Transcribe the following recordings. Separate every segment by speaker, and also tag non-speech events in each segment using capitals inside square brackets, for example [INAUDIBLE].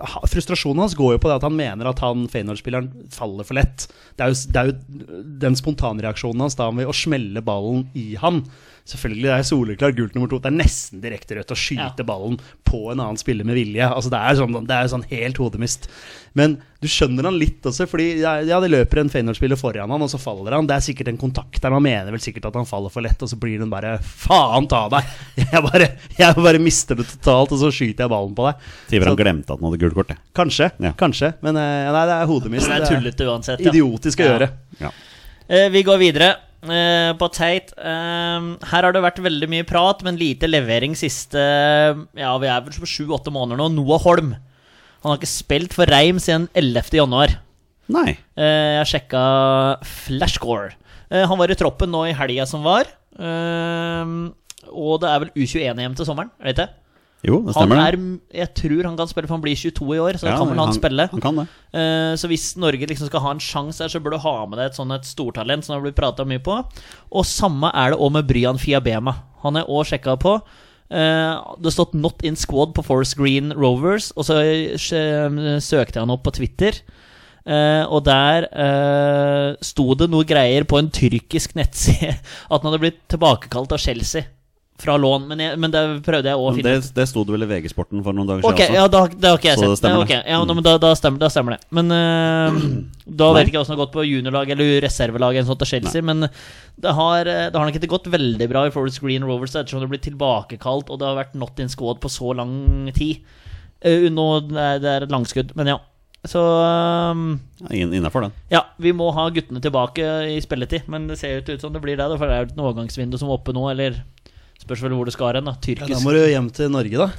Speaker 1: ha- Frustrasjonen hans går jo på det at han mener at han Feyenoord-spilleren faller for lett. Det er jo, det er jo den spontanreaksjonen hans da ved å smelle ballen i han. Selvfølgelig det er soleklart gult nummer to. Det er nesten direkte rødt å skyte
Speaker 2: Ja.
Speaker 1: ballen på en annen spiller med vilje. Altså, det er sånn, det er sånn helt hodemist. Men du skjønner han litt også, fordi ja, ja, det løper en Feyenoord-spiller foran han, og så faller han. Det er sikkert en kontakt der, han mener vel sikkert at han faller for lett, og så blir den bare Faen ta deg! [LAUGHS] Jeg bare, jeg bare mister det totalt, og så skyter jeg ballen på deg.
Speaker 3: Tiver han
Speaker 1: Så,
Speaker 3: glemte at han hadde gult kort. jeg.
Speaker 1: kanskje,
Speaker 3: Ja.
Speaker 1: kanskje. Men eh, nei, det er hodemist.
Speaker 2: Det er tullete uansett. ja.
Speaker 1: idiotisk å
Speaker 2: Ja.
Speaker 1: gjøre.
Speaker 3: Ja.
Speaker 2: Eh, Vi går videre. eh, På Teit. Eh, Her har det vært veldig mye prat, men lite levering siste eh, Ja, vi er vel på sju-åtte måneder nå. Noah Holm. Han har ikke spilt for Reim siden 11. januar.
Speaker 3: Nei.
Speaker 2: Eh, Jeg sjekka flashscore. Eh, Han var i troppen nå i helga som var. Eh, Og det er vel U21-EM til sommeren, vet jeg.
Speaker 3: Jo, det
Speaker 2: Han
Speaker 3: stemmer.
Speaker 2: er,
Speaker 3: det.
Speaker 2: jeg tror han kan spille, for han blir 22 i år, så da
Speaker 3: Ja,
Speaker 2: kan vel han, spille.
Speaker 3: Han kan det.
Speaker 2: Eh, Så hvis Norge liksom skal ha en sjanse her, så bør du ha med deg et sånn et stortalent som det har blitt prata mye på. Og samme er det òg med Bryan Fiabema. Han er òg sjekka på. Eh, Det har stått 'Not in squad' på Forest Green Rovers, og så eh, søkte jeg han opp på Twitter. Eh, og der eh, sto det noe greier på en tyrkisk nettside [LAUGHS] at han hadde blitt tilbakekalt av Chelsea fra lån. Men, jeg, men det prøvde jeg å
Speaker 3: Men
Speaker 2: finne
Speaker 3: det, det sto det vel i VG-sporten for noen dager
Speaker 2: Ok,
Speaker 3: siden.
Speaker 2: ja, da, det har ikke jeg
Speaker 3: Så
Speaker 2: sett.
Speaker 3: det stemmer
Speaker 2: Nei, ok.
Speaker 3: det.
Speaker 2: Ja, men da, da, stemmer, da stemmer det. Men eh, da
Speaker 3: Nei.
Speaker 2: vet ikke jeg åssen det har gått på juniorlag eller reservelag eller sånt til Chelsea, men det har, eh, det har nok ikke gått veldig bra i Forest Green Rovers ettersom det blir tilbakekalt, og det har vært not in squad på så lang tid. Eh, nå er det er et langskudd, men ja. Så eh,
Speaker 3: også. Ja, inn- Innenfor den.
Speaker 2: ja, vi må ha guttene tilbake i spilletid, men det ser jo ikke ut som det blir det. da, For det er jo ikke noe overgangsvindu som er oppe nå, eller spørs vel hvor det skal hen. da,
Speaker 1: Ja,
Speaker 2: Tyrkisk
Speaker 1: da må du hjem til Norge, da.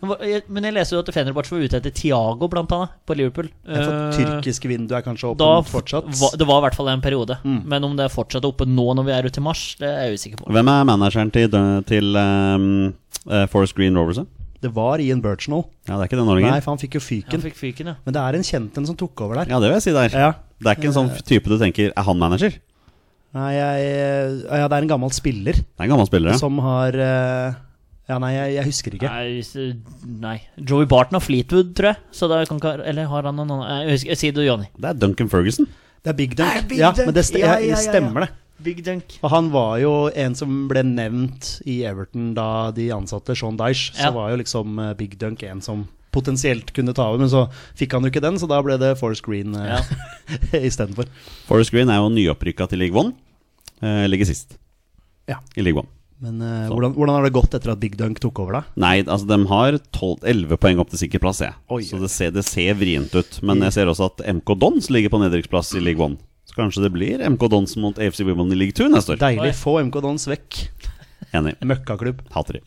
Speaker 2: Men hva- jeg- Men jeg leser jo at Fenerbahçe var ute etter Tiago, blant annet, på Liverpool.
Speaker 1: Jeg får
Speaker 2: Eh,
Speaker 1: tyrkiske vinduet er kanskje
Speaker 2: da
Speaker 1: åpent fortsatt. Mm.
Speaker 2: var- det var i hvert fall en periode. Men om det fortsatt er oppe nå når vi er ute i mars, det er jeg usikker på.
Speaker 3: Hvem er manageren til, til ehm, eh, Forest Green Rovers? da?
Speaker 1: Det var Ian Birchnell.
Speaker 3: Ja, det er ikke den
Speaker 1: Nei,
Speaker 3: Norge.
Speaker 1: for han fikk jo
Speaker 2: Han
Speaker 1: fyken.
Speaker 2: fikk fyken, ja.
Speaker 1: Men det er en kjent en som tok over der.
Speaker 3: Ja, det vil jeg si der.
Speaker 1: Ja.
Speaker 3: Det er ikke en sånn type du tenker Er han manager? Det
Speaker 1: Nei, jeg, eh, ja, det er en gammel spiller
Speaker 3: er en gammel spiller, ja.
Speaker 1: som har eh, Ja, nei, jeg, jeg husker ikke.
Speaker 2: Nei, s- nei. Joey Barton har Fleetwood, tror jeg. Så da kan ikke Eller har han en annen Nei, Jeg husker, jeg sier det, Johnny.
Speaker 3: Det er Duncan Ferguson.
Speaker 1: Det er Big Dunk.
Speaker 2: Det er Big
Speaker 1: ja,
Speaker 2: Dunk.
Speaker 1: men det st
Speaker 2: Ja,
Speaker 1: ja,
Speaker 2: ja, ja, ja.
Speaker 1: stemmer, det.
Speaker 2: Big Dunk.
Speaker 1: For han var jo en som ble nevnt i Everton da de ansatte Sean Dyche. Så
Speaker 2: Ja.
Speaker 1: var jo liksom eh, Big Dunk en som potensielt kunne ta over, men så fikk han jo ikke den, så da ble det Forest Green
Speaker 2: Ja.
Speaker 1: [LAUGHS] uh, istedenfor.
Speaker 3: Forest Green er jo nyopprykka til League One. Eh, ligger sist
Speaker 1: Ja.
Speaker 3: i League One.
Speaker 1: Men eh,
Speaker 3: Så.
Speaker 1: hvordan, hvordan har det gått etter at Big Dunk tok over, da?
Speaker 3: Nei, altså de har 12, 11 poeng opp til sikker plass, jeg.
Speaker 1: Oi,
Speaker 3: så
Speaker 1: oi.
Speaker 3: det ser, det ser vrient ut. Men
Speaker 2: Mm.
Speaker 3: jeg ser også at MK Dons ligger på nedrykksplass i League One. Så kanskje det blir MK Dons mot AFC Women i League 2 neste år.
Speaker 1: Deilig.
Speaker 2: Oi.
Speaker 1: Få MK Dons vekk.
Speaker 3: Enig.
Speaker 1: Møkkaklubb.
Speaker 3: Hater
Speaker 2: [LAUGHS]
Speaker 3: de.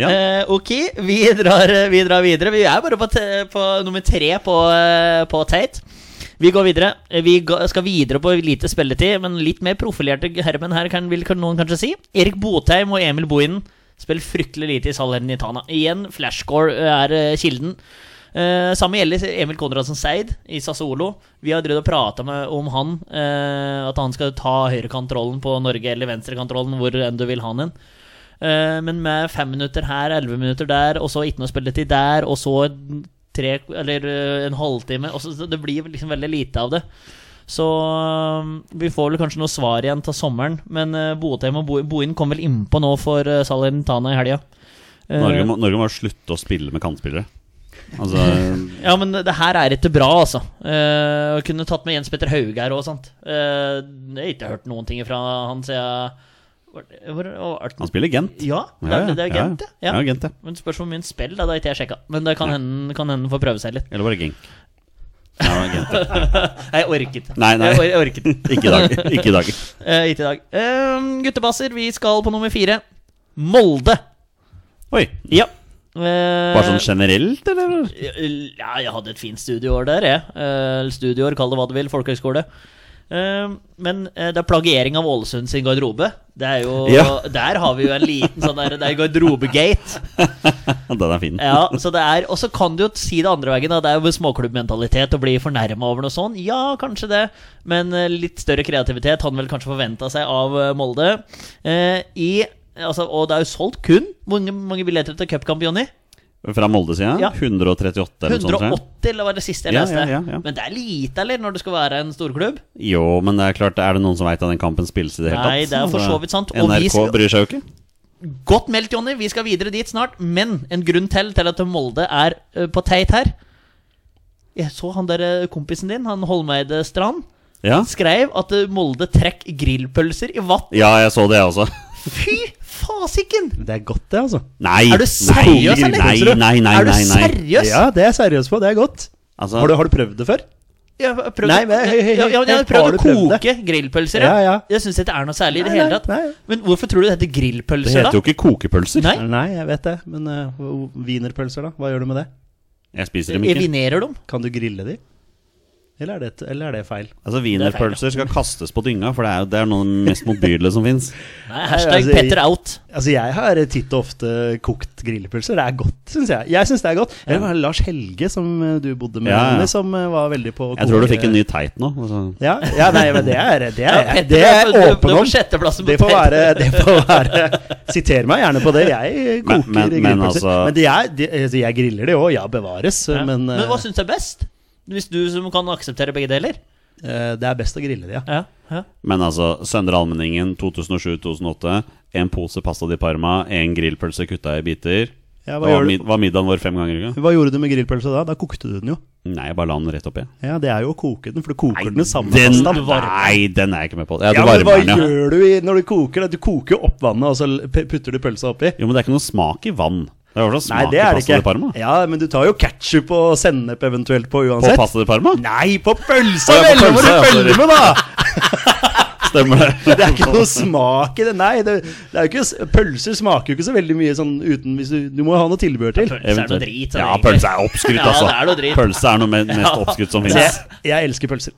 Speaker 3: Ja.
Speaker 2: Eh, ok, vi drar, eh, vi drar videre. Vi er bare på, te- på nummer tre på, eh, på Tate. Vi går videre. Eh, Vi ga- skal videre på lite spilletid, men litt mer profilerte herremenn her, kan, vil kan- noen kanskje si. Erik Botheim og Emil Bohinen spiller fryktelig lite i Salernitana. Igjen, flashscore eh, er eh, kilden. Eh, samme gjelder Emil Konradsen Seid i Sassuolo. Vi har drevet og prata om han. eh, at han skal ta høyrekantrollen på Norge, eller venstrekantrollen, hvor enn du vil ha han hen. Eh, men med fem minutter her, elleve minutter der, og så ikke noe spilletid der, og så tre, eller eh, en halvtime og så, så Det blir liksom veldig lite av det. Så eh, vi får vel kanskje noe svar igjen til sommeren, men uh, Botheim og Bo- Bohin kom vel innpå nå for uh, Salernitana i helga. Eh,
Speaker 3: Norge må, Norge må slutte å spille med kantspillere. Altså
Speaker 2: [LAUGHS] Ja, men det her er ikke bra, altså. Eh, jeg kunne tatt med Jens Petter Hauge her òg, sant. Eh, jeg har ikke hørt noen ting fra han siden Hvor, hvor, hvor,
Speaker 3: Han spiller Gent.
Speaker 2: Ja, det er, det er Gent,
Speaker 3: ja. ja.
Speaker 2: ja.
Speaker 3: Gent, ja.
Speaker 2: Men det spørs hvor mye han spiller, da, det har ikke jeg sjekka. Men det kan
Speaker 3: Nei.
Speaker 2: hende kan hende han får prøve seg litt.
Speaker 3: Eller bare Genk. Ja, Gent,
Speaker 2: [LAUGHS]
Speaker 3: ja.
Speaker 2: Nei, jeg orket ikke.
Speaker 3: Nei, nei.
Speaker 2: Jeg, or jeg orket
Speaker 3: [LAUGHS]
Speaker 2: ikke.
Speaker 3: Ikke i dag. Ikke i dag.
Speaker 2: Eh, ikke i dag. Eh, guttebasser, vi skal på nummer fire. Molde.
Speaker 3: Oi.
Speaker 2: Ja. Eh,
Speaker 3: Bare sånn generelt, eller?
Speaker 2: Ja, jeg hadde et fint studieår der, jeg. Eh, studieår, kall det hva du vil, folkehøgskole. Eh, men eh, det er plagiering av Ålesund sin garderobe. Det er jo,
Speaker 3: Ja.
Speaker 2: Der har vi jo en liten sånn der, det er garderobegate.
Speaker 3: Ja, Den er fin.
Speaker 2: Ja, så det er, Og så kan du jo si det andre veien, da. Det er jo småklubbmentalitet å bli fornærma over noe sånt. Ja, kanskje det, men eh, litt større kreativitet hadde han vel kanskje forventa seg av eh, Molde. Eh, i, altså, og det er jo solgt kun mange, mange billetter til cupkamp, Jonny.
Speaker 3: Fra Molde-sida?
Speaker 2: Ja.
Speaker 3: 138 eller noe sånt? tror jeg.
Speaker 2: 180 eller var det siste jeg
Speaker 3: Ja,
Speaker 2: leste.
Speaker 3: ja, ja, ja.
Speaker 2: Men det er lite, eller? Når det skal være en storklubb?
Speaker 3: Jo, men det er klart, er det noen som veit at den kampen spilles i det hele tatt?
Speaker 2: Nei, det er for så vidt sant, og vi
Speaker 3: NRK
Speaker 2: skal-
Speaker 3: bryr seg jo ikke.
Speaker 2: Godt meldt, Jonny. Vi skal videre dit snart. Men en grunn til til at Molde er eh, på teit her. Jeg så han der eh, kompisen din, han Holmeide Strand,
Speaker 3: Ja,
Speaker 2: skrev at eh, Molde trekker grillpølser i vatt.
Speaker 3: ja jeg så det, jeg også. [LAUGHS]
Speaker 2: Fy fasiken!
Speaker 1: Det er godt, det, altså.
Speaker 3: Nei!
Speaker 2: Er du seriøs, eller?
Speaker 3: Nei, nei, nei, nei,
Speaker 2: er du
Speaker 3: nei, nei.
Speaker 2: seriøs?
Speaker 1: Ja, det er jeg seriøs på. Det er godt.
Speaker 3: Altså,
Speaker 1: Har du, har du prøvd det før?
Speaker 2: Jeg har prøvd,
Speaker 1: Nei, men hei, hei, hei,
Speaker 2: ja, ja, jeg har
Speaker 1: har
Speaker 2: prøvd
Speaker 1: du
Speaker 2: å
Speaker 1: prøvd
Speaker 2: koke grillpølser.
Speaker 1: Ja, ja.
Speaker 2: Jeg syns ikke det er noe særlig i det
Speaker 1: Nei,
Speaker 2: hele
Speaker 1: nei,
Speaker 2: tatt.
Speaker 1: nei.
Speaker 2: Men hvorfor tror du det heter
Speaker 3: det
Speaker 2: grillpølser,
Speaker 3: heter jo
Speaker 2: da?
Speaker 3: ikke kokepølser.
Speaker 2: Nei,
Speaker 1: Nei, jeg vet det. Men eh, hva- wienerpølser, da? Hva gjør du med det?
Speaker 3: Jeg spiser dem ikke.
Speaker 2: evinerer dem.
Speaker 1: Kan du grille de? Eller er det, eller er det feil?
Speaker 3: Altså, Wienerpølser skal kastes på dynga, for det er jo det er noe av det mest motbydelige som fins.
Speaker 2: Nei, hashtag
Speaker 1: altså,
Speaker 2: Petter out.
Speaker 1: Altså, jeg har titt og ofte kokt grillpølser. Det er godt, syns jeg. Jeg syns det er godt. Eller var det Lars Helge, som eh, du bodde med,
Speaker 3: Ja, ja.
Speaker 1: Anne, som eh, var veldig på å
Speaker 3: Jeg tror du
Speaker 1: koke-
Speaker 3: fikk en ny teit nå. Altså.
Speaker 1: ja, ja, nei, men det er Det er,
Speaker 2: Ja, Petter,
Speaker 1: det er
Speaker 2: du- du- du
Speaker 1: åpen
Speaker 2: får
Speaker 1: om.
Speaker 2: sjetteplassen på
Speaker 1: Det får
Speaker 2: Petter.
Speaker 1: være, det får være Siter meg gjerne på det. Jeg
Speaker 3: Men-
Speaker 1: koker
Speaker 3: men- men
Speaker 1: grillpølser. Men,
Speaker 3: altså-
Speaker 1: det er, det, altså, jeg griller det òg, ja, bevares.
Speaker 2: Ja.
Speaker 1: Men, eh,
Speaker 2: hva syns du er best? Hvis du som kan akseptere begge deler?
Speaker 1: eh, det er best å grille det, ja.
Speaker 2: Ja, ja.
Speaker 3: Men altså, Søndre Almenningen 2007-2008. En pose pasta di Parma, en grillpølse kutta i biter.
Speaker 1: ja
Speaker 3: Det
Speaker 1: hva,
Speaker 3: var,
Speaker 1: gjør
Speaker 3: mid
Speaker 1: du,
Speaker 3: var middagen vår fem ganger i uka?
Speaker 1: hva gjorde du med grillpølsa da? Da kokte du den jo.
Speaker 3: Nei, jeg bare la den rett oppi.
Speaker 1: Ja, Det er jo å koke den, for du koker den med samme
Speaker 3: den,
Speaker 1: pastaen.
Speaker 3: nei, den er jeg ikke med på. Ja, du
Speaker 1: Ja, men hva
Speaker 3: varmer den, ja.
Speaker 1: gjør du i, når du koker det? Du koker jo opp vannet, og så l- p- putter du pølsa oppi.
Speaker 3: Jo, men det er ikke noe smak i vann. Det er jo smak
Speaker 1: Nei, det er
Speaker 3: i
Speaker 1: det
Speaker 3: pasta di
Speaker 1: ikke.
Speaker 3: Parma.
Speaker 1: Ja, Men du tar jo ketsjup og sennep eventuelt på
Speaker 3: På
Speaker 1: uansett.
Speaker 3: pasta di Parma?
Speaker 1: Nei, på
Speaker 3: Å,
Speaker 1: pølsa
Speaker 3: ja, på
Speaker 1: vel!
Speaker 3: [LAUGHS]
Speaker 1: Må du
Speaker 3: pølsa, ja,
Speaker 1: følge med, da!
Speaker 3: Stemmer det?
Speaker 1: Det er ikke noe smak i det. Nei, det, det er jo ikke, s- pølser smaker jo ikke så veldig mye sånn uten hvis du, du må jo ha noe tilbehør til.
Speaker 2: Pølse er noe drit. sånn
Speaker 3: Ja,
Speaker 2: egentlig.
Speaker 3: pølse er oppskrytt,
Speaker 2: Ja,
Speaker 3: altså.
Speaker 2: det er noe drit.
Speaker 3: Pølse er noe me- mest oppskrytt som
Speaker 2: Ja.
Speaker 3: finnes.
Speaker 1: Jeg, jeg elsker pølser.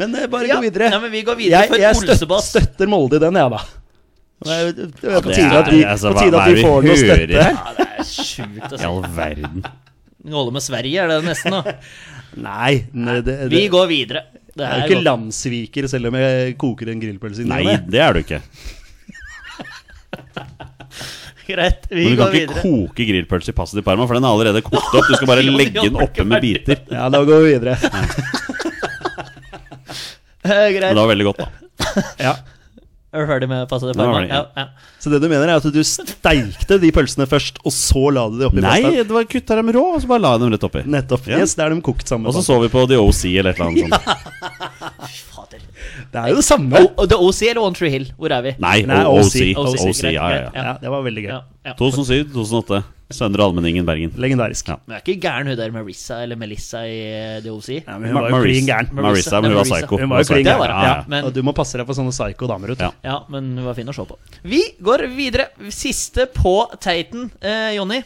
Speaker 1: Men eh, bare
Speaker 2: Ja,
Speaker 1: gå videre.
Speaker 2: ja, men vi går videre for
Speaker 1: jeg støt-
Speaker 2: Olsebass.
Speaker 1: støtter Molde i den, jeg, da. Det er jo- det er jo på
Speaker 3: det
Speaker 1: tide at
Speaker 3: er-
Speaker 1: de,
Speaker 3: altså,
Speaker 1: på
Speaker 3: hva-
Speaker 1: tide
Speaker 3: hva er
Speaker 1: at de
Speaker 3: det vi
Speaker 1: får noe
Speaker 3: hører?
Speaker 1: støtte her.
Speaker 2: Ja, det er sjukt å
Speaker 3: I all
Speaker 2: si.
Speaker 3: verden.
Speaker 2: Holde med Sverige, er det nesten, da.
Speaker 1: Nei, ne, det, det,
Speaker 2: Vi går videre. Det
Speaker 1: jeg er
Speaker 2: her
Speaker 1: jo ikke
Speaker 2: går-
Speaker 1: landssviker selv om jeg koker en grillpølse inni
Speaker 3: Nei,
Speaker 1: meg.
Speaker 3: det er du ikke.
Speaker 2: Greit, vi
Speaker 3: Men du
Speaker 2: går
Speaker 3: kan ikke
Speaker 2: videre.
Speaker 3: koke grillpølse i pasta di Parma, for den er allerede kokt opp. Du skal bare
Speaker 2: Jo,
Speaker 3: legge
Speaker 2: jo,
Speaker 3: den oppe med
Speaker 2: ikke
Speaker 3: biter.
Speaker 1: Ja, da går vi videre.
Speaker 2: Eh,
Speaker 3: Men
Speaker 2: [LAUGHS] Greit.
Speaker 3: det var veldig godt, da.
Speaker 1: Ja.
Speaker 2: Er du ferdig med passe det?
Speaker 3: Nå var det-
Speaker 2: Ja, ja.
Speaker 1: Så det du mener er at du steikte de pølsene først, og så la du de oppi
Speaker 3: Nei,
Speaker 1: pastaen?
Speaker 3: det var kutta dem rå, og så bare la jeg dem rett oppi.
Speaker 1: Nettopp.
Speaker 3: Ja.
Speaker 1: Yes, det er de kokt sammen.
Speaker 3: Og så så vi på The OC eller et eller annet sånt.
Speaker 2: Fader.
Speaker 1: Det er jo det samme.
Speaker 2: O- The OC eller One Tree Hill? Hvor er vi?
Speaker 3: Nei,
Speaker 1: Nei,
Speaker 3: OC.
Speaker 1: OC,
Speaker 3: OC,
Speaker 2: greit,
Speaker 3: ja, ja,
Speaker 2: greit,
Speaker 3: ja.
Speaker 1: Ja, det var veldig gøy.
Speaker 2: Ja, ja.
Speaker 3: 2007-2008. Søndre Almenningen, Bergen.
Speaker 1: Legendarisk.
Speaker 3: Ja.
Speaker 2: Men det er ikke gæren hun der Marissa eller Melissa i eh, The OC.
Speaker 1: Ja, men hun var jo
Speaker 3: Marissa-
Speaker 1: klin gæren.
Speaker 3: Marissa, men hun var
Speaker 2: Marissa.
Speaker 3: psycho.
Speaker 1: Hun var jo klin
Speaker 2: Det var
Speaker 1: gæren.
Speaker 2: det,
Speaker 3: Ja, ja.
Speaker 2: ja. Men-
Speaker 1: Og du må passe deg for sånne psycho damer, vet du.
Speaker 3: Ja.
Speaker 2: Ja, men hun var fin å se på. Vi går videre. Siste på Teiten, eh, Jonny.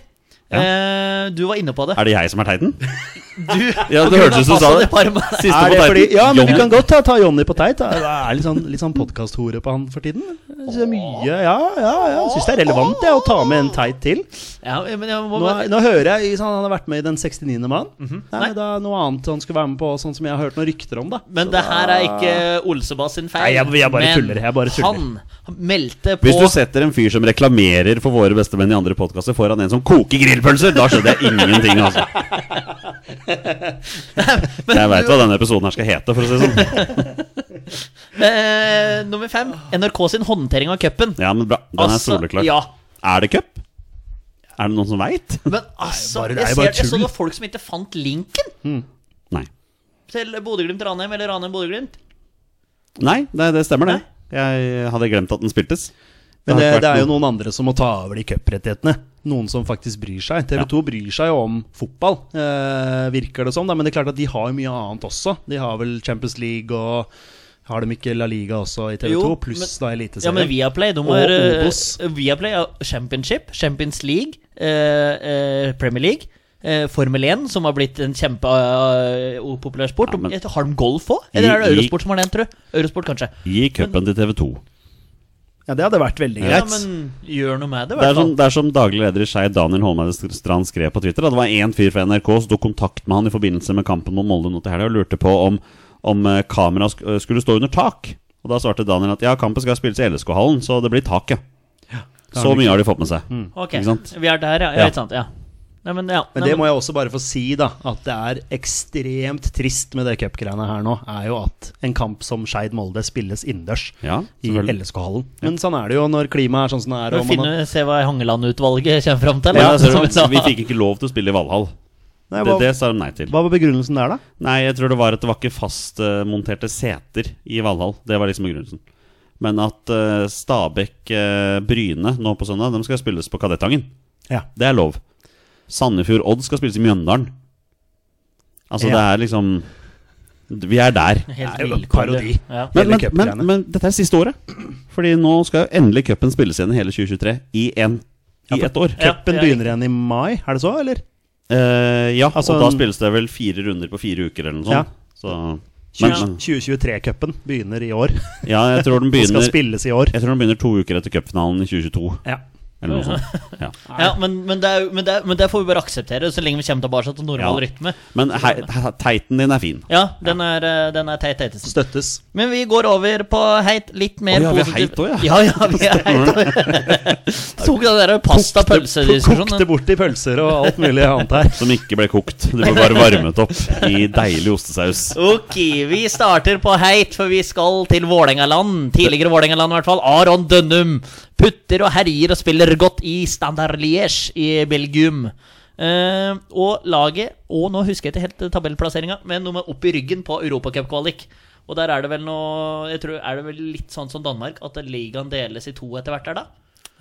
Speaker 2: Eh, du var inne på det.
Speaker 3: Er det jeg som er teiten?
Speaker 2: Du,
Speaker 3: Ja,
Speaker 2: på
Speaker 3: det
Speaker 2: grunn
Speaker 3: hørtes
Speaker 2: av
Speaker 3: ut som du sa
Speaker 2: Passo
Speaker 3: det.
Speaker 2: de Parma.
Speaker 3: Siste
Speaker 1: Er
Speaker 3: på
Speaker 1: det fordi,
Speaker 3: teiten.
Speaker 1: ja, men vi
Speaker 3: Johnny.
Speaker 1: kan godt ta, ta Jonny på teit. da. Det er litt sånn, litt sånn podkasthore på han for tiden. Så mye, ja, ja, ja. Syns det er relevant jeg, å ta med en teit til.
Speaker 2: Ja, men jeg må
Speaker 1: Nå,
Speaker 2: bare
Speaker 1: er- nå hører jeg sånn, Han har vært med i Den 69. mann.
Speaker 3: Mhm.
Speaker 1: Nei,
Speaker 2: Nei.
Speaker 1: men Det er noe annet han skulle være med på, sånn som jeg har hørt noen rykter om. da
Speaker 2: Men
Speaker 1: Så
Speaker 2: det
Speaker 1: da-
Speaker 2: her er ikke Olsebass sin feil.
Speaker 1: Nei, jeg- jeg bare
Speaker 2: men
Speaker 1: tuller, jeg bare tuller.
Speaker 2: Han meldte på
Speaker 3: Hvis du setter en fyr som reklamerer for våre beste menn i andre podkaster foran en som koker grillpølser, da skjønner jeg ingenting, altså.
Speaker 1: [LAUGHS]
Speaker 3: Jeg veit hva denne episoden her skal hete, for å si det sånn.
Speaker 2: eh, nummer fem. NRK sin håndtering av cupen.
Speaker 3: Ja, men bra. Den er
Speaker 2: Altså,
Speaker 3: soleklar.
Speaker 2: Ja,
Speaker 3: Er det cup? Er det noen som veit?
Speaker 2: men altså
Speaker 1: bare- det er
Speaker 2: Jeg,
Speaker 1: jo
Speaker 2: ser,
Speaker 1: bare
Speaker 2: jeg så
Speaker 1: tull.
Speaker 2: noen folk som ikke fant linken
Speaker 3: Nei.
Speaker 2: til Bodø-Glimt-Ranheim eller Ranheim-Bodø-Glimt.
Speaker 3: Nei, det, det stemmer, det. Jeg hadde glemt at den spiltes. Det har
Speaker 1: Men det,
Speaker 3: ikke
Speaker 1: det
Speaker 3: vært
Speaker 1: er jo noen andre som må ta over de cuprettighetene. Noen som faktisk bryr seg. TV 2 bryr seg jo om fotball, eh, virker det som. Da. Men det er klart at de har jo mye annet også. De har vel Champions League og Har de ikke La Liga også i TV 2?
Speaker 2: Jo,
Speaker 1: Pluss
Speaker 2: men-
Speaker 1: da
Speaker 2: Ja, men
Speaker 1: Eliteserien.
Speaker 2: Viaplay de
Speaker 1: Og
Speaker 2: har, eh,
Speaker 1: Obos.
Speaker 2: Viaplay har Championship, Champions League, eh, eh, Premier League, eh, Formel 1, som har blitt en kjempepopulær sport.
Speaker 3: Ja, men-
Speaker 2: Et- har de golf òg? Eller er det
Speaker 3: I- i-
Speaker 2: Eurosport som har den, tror du? Eurosport, kanskje.
Speaker 3: Gi cupen til TV 2.
Speaker 1: Ja, det hadde vært veldig
Speaker 2: Ja,
Speaker 1: greit.
Speaker 2: men gjør noe med det, i
Speaker 3: Det er sånn,
Speaker 2: hvert
Speaker 3: som,
Speaker 2: fall.
Speaker 3: det er som daglig leder i Skei, Daniel Holmeide Strand, skrev på Twitter. Da. Det var én fyr fra NRK som tok kontakt med han i forbindelse med kampen mot Molde nå til helga og lurte på om, om eh, kameraet sk eh, skulle stå under tak. Og Da svarte Daniel at ja, kampen skal spilles i LSK-hallen, så det blir tak, ja. Så mye har de fått med seg.
Speaker 2: Ok,
Speaker 3: Ikke sant?
Speaker 2: vi er der, ja.
Speaker 3: Ja.
Speaker 2: ja. Ikke sant, ja. Nei, men, ja.
Speaker 1: Men
Speaker 2: Nei,
Speaker 1: det må jeg også bare få si, da. At det er ekstremt trist med det cupgreiene her nå, er jo at en kamp som Skeid Molde spilles innendørs.
Speaker 3: Ja,
Speaker 1: I
Speaker 3: selvfølgelig.
Speaker 1: LSK-hallen. Men sånn er det jo når klimaet er sånn som det er.
Speaker 2: Må
Speaker 1: og man har-
Speaker 2: finne, se hva Hangeland-utvalget kommer fram til.
Speaker 3: Ja, altså,
Speaker 2: da,
Speaker 3: så
Speaker 2: som vi sa.
Speaker 3: vi [LAUGHS] fikk ikke lov til å spille i Valhall.
Speaker 1: Nei,
Speaker 3: Det,
Speaker 1: hva,
Speaker 3: det sa de nei til.
Speaker 1: hva var begrunnelsen der, da?
Speaker 3: Nei, jeg tror det var at det var ikke fastmonterte seter i Valhall. Det var liksom begrunnelsen. Men at eh, Stabæk eh, Bryne nå på søndag, de skal spilles på Kadettangen.
Speaker 1: Ja.
Speaker 3: Det er lov. Sandefjord Odd skal spilles i Mjøndalen. Altså, det
Speaker 1: Ja.
Speaker 3: er liksom Vi er der.
Speaker 2: sånn Helt
Speaker 1: Det er jo
Speaker 2: vilkårlig.
Speaker 1: parodi.
Speaker 2: Ja.
Speaker 3: Men,
Speaker 1: Hele
Speaker 3: men, men,
Speaker 1: cupgreiene.
Speaker 3: men dette er siste året. Fordi nå skal jo endelig cupen spilles igjen i hele 2023. I en I ett år.
Speaker 2: Ja.
Speaker 1: Cupen
Speaker 2: det er
Speaker 1: begynner igjen i mai, er det så, eller?
Speaker 3: Eh, ja,
Speaker 1: Altså-
Speaker 3: og da spilles det vel fire runder på fire uker eller noe
Speaker 1: Ja.
Speaker 3: sånt. Så, men,
Speaker 1: 2023-cupen begynner
Speaker 2: [LAUGHS]
Speaker 1: i år.
Speaker 3: ja, jeg tror den
Speaker 1: Og skal
Speaker 3: begynner
Speaker 1: spilles i år.
Speaker 3: Jeg tror den begynner to uker etter cupfinalen i 2022.
Speaker 1: Ja.
Speaker 3: Eller noe sånt. Ja.
Speaker 2: Ja, men, men, det er, jo- men, det er, men det får vi bare akseptere, så lenge vi kommer tilbake til normal
Speaker 3: Ja.
Speaker 2: rytme.
Speaker 3: Men hei, he- teiten din er fin.
Speaker 2: Ja, den er, eh, den er teit teitesen.
Speaker 1: Støttes.
Speaker 2: Men vi går over på heit litt mer
Speaker 3: Å, ja, vi er
Speaker 2: positivt.
Speaker 3: heit også,
Speaker 2: ja. ja, vi er heit
Speaker 3: [LAUGHS]
Speaker 2: også. [LAUGHS] Tok den der pasta-pølse-diskusjonen.
Speaker 1: Kokte bort i pølser og alt mulig annet her.
Speaker 3: Som ikke ble kokt. Det ble bare varmet opp i deilig ostesaus.
Speaker 2: Ok, vi starter på heit, for vi skal til Vålerengaland. Tidligere Vålerengaland, i hvert fall. Aron Dønnum. Putter og herjer og spiller godt i Standard Liège i Belgium. Eh, og laget Og nå husker jeg ikke helt tabellplasseringa, men noe med opp i ryggen på Europacup-kvalik. Og der er det vel noe Jeg tror Er det vel litt sånn som Danmark, at ligaen deles i to etter hvert der, da?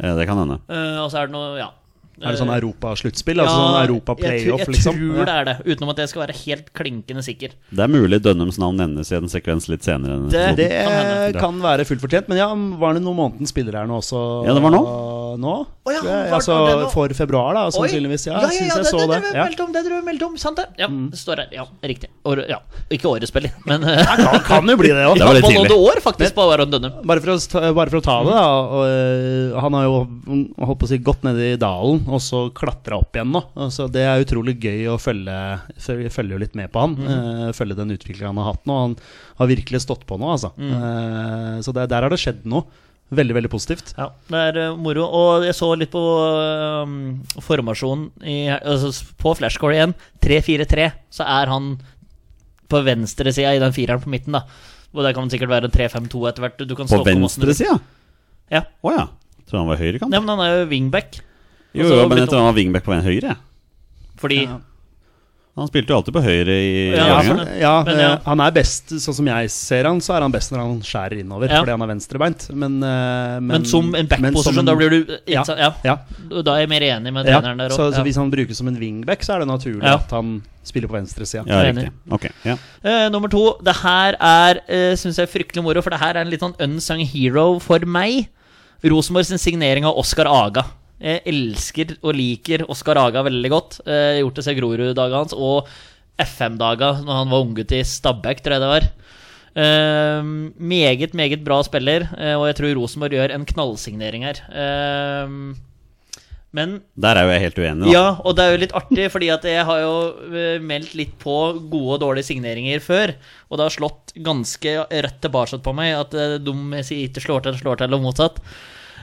Speaker 3: Eh, Det kan hende.
Speaker 2: Eh, og så er det noe Ja.
Speaker 1: Er det sånn Europa-sluttspill?
Speaker 2: Ja,
Speaker 1: altså sånn
Speaker 2: jeg tror-
Speaker 1: Europa-playoff, liksom?
Speaker 2: Jeg tror det
Speaker 1: Ja.
Speaker 2: er det, utenom at jeg skal være helt klinkende sikker.
Speaker 3: Det er mulig Dønnums navn nevnes i en sekvens litt senere. enn episoden.
Speaker 2: Det-
Speaker 1: Det
Speaker 2: Kan hende.
Speaker 1: eh, kan være fullt fortjent, men ja, var det noen månedens spiller her nå også?
Speaker 3: Ja, det var nå.
Speaker 1: eh, Nå?
Speaker 2: Å ja,
Speaker 1: tror jeg.
Speaker 2: var-
Speaker 1: altså
Speaker 2: var det nå?
Speaker 1: for februar, da,
Speaker 2: sånn
Speaker 1: sannsynligvis. Ja, jeg syns jeg så det.
Speaker 2: det Mm.
Speaker 1: Ja.
Speaker 2: meldte om, det du meldte om, sant det? Ja, det står her. Ja, riktig. År, ja. Ikke årets spiller, men
Speaker 1: [LAUGHS]
Speaker 2: eh,
Speaker 1: Ja, kan, kan jo bli det òg.
Speaker 3: Det var litt
Speaker 2: Ballon
Speaker 3: tidlig.
Speaker 2: d'Or, faktisk, på Aron Dønnum.
Speaker 1: Bare for, å, sta- bare for å ta det, da. Og, øh, han har jo mm, holdt på å si gått ned i dalen, og så klatra opp igjen nå. Altså, det er utrolig gøy å følge følge- følger jo litt med på han. eh, følge den utviklingen han har hatt nå. Han har virkelig stått på nå, altså. Eh, så det, der har det skjedd noe. Veldig, veldig positivt.
Speaker 2: Ja, det er eh, moro. Og jeg så litt på ehm, formasjonen i, altså, s- på flashcore igjen. 3-4-3, så er han på venstresida i den fireren på midten, da. Og der kan det sikkert være en 3-5-2 etter hvert. Du kan
Speaker 3: På
Speaker 2: stå måten du-
Speaker 3: venstresida?
Speaker 2: Ja.
Speaker 3: Å ja. Tror han var høyrekant.
Speaker 2: ja, men han er jo wingback. Og
Speaker 3: Jo,
Speaker 2: så
Speaker 3: jo, men jeg
Speaker 2: begynte-
Speaker 3: tror han var wingback på en høyre. jeg.
Speaker 2: Fordi
Speaker 3: Han spilte jo alltid på høyre i
Speaker 2: Ja,
Speaker 3: Vålerenga.
Speaker 2: for det-
Speaker 1: Ja,
Speaker 2: Men ja.
Speaker 1: eh, han er best, sånn som jeg ser han, så er han best når han skjærer innover,
Speaker 2: Ja.
Speaker 1: fordi han er venstrebeint. Men, eh,
Speaker 2: Men, som en
Speaker 1: men som
Speaker 2: backposisjon,
Speaker 1: en-
Speaker 2: da blir du ja.
Speaker 1: Ja.
Speaker 2: ja.
Speaker 1: ja,
Speaker 2: Da er jeg mer enig med
Speaker 1: ja.
Speaker 2: treneren der
Speaker 1: Så,
Speaker 2: også.
Speaker 1: så
Speaker 2: Ja.
Speaker 1: hvis han brukes som en wingback, så er det naturlig
Speaker 2: Ja.
Speaker 1: at han spiller på venstresida.
Speaker 3: Ja,
Speaker 2: Jeg er
Speaker 3: riktig. Ok, ja.
Speaker 2: Eh, nummer to. Det her er eh, synes jeg er fryktelig moro, for det her er en litt sånn unsung hero for meg. Rosenborg sin signering av Oskar Aga. Jeg elsker og liker Oskar Aga veldig godt. Eh, Jeg har gjort det siden Grorud-daga hans, og FM-daga når han var unggutt i Stabæk, tror jeg det var. Eh, meget, meget bra spiller, eh, og jeg tror Rosenborg gjør en knallsignering her. Eh, men
Speaker 3: Der er jo jeg helt uenig, da.
Speaker 2: ja, og det er jo litt artig, fordi at jeg har jo eh, meldt litt på gode og dårlige signeringer før. Og det har slått ganske rødt tilbake på meg at eh, de sier ikke slår til, slår til, og motsatt.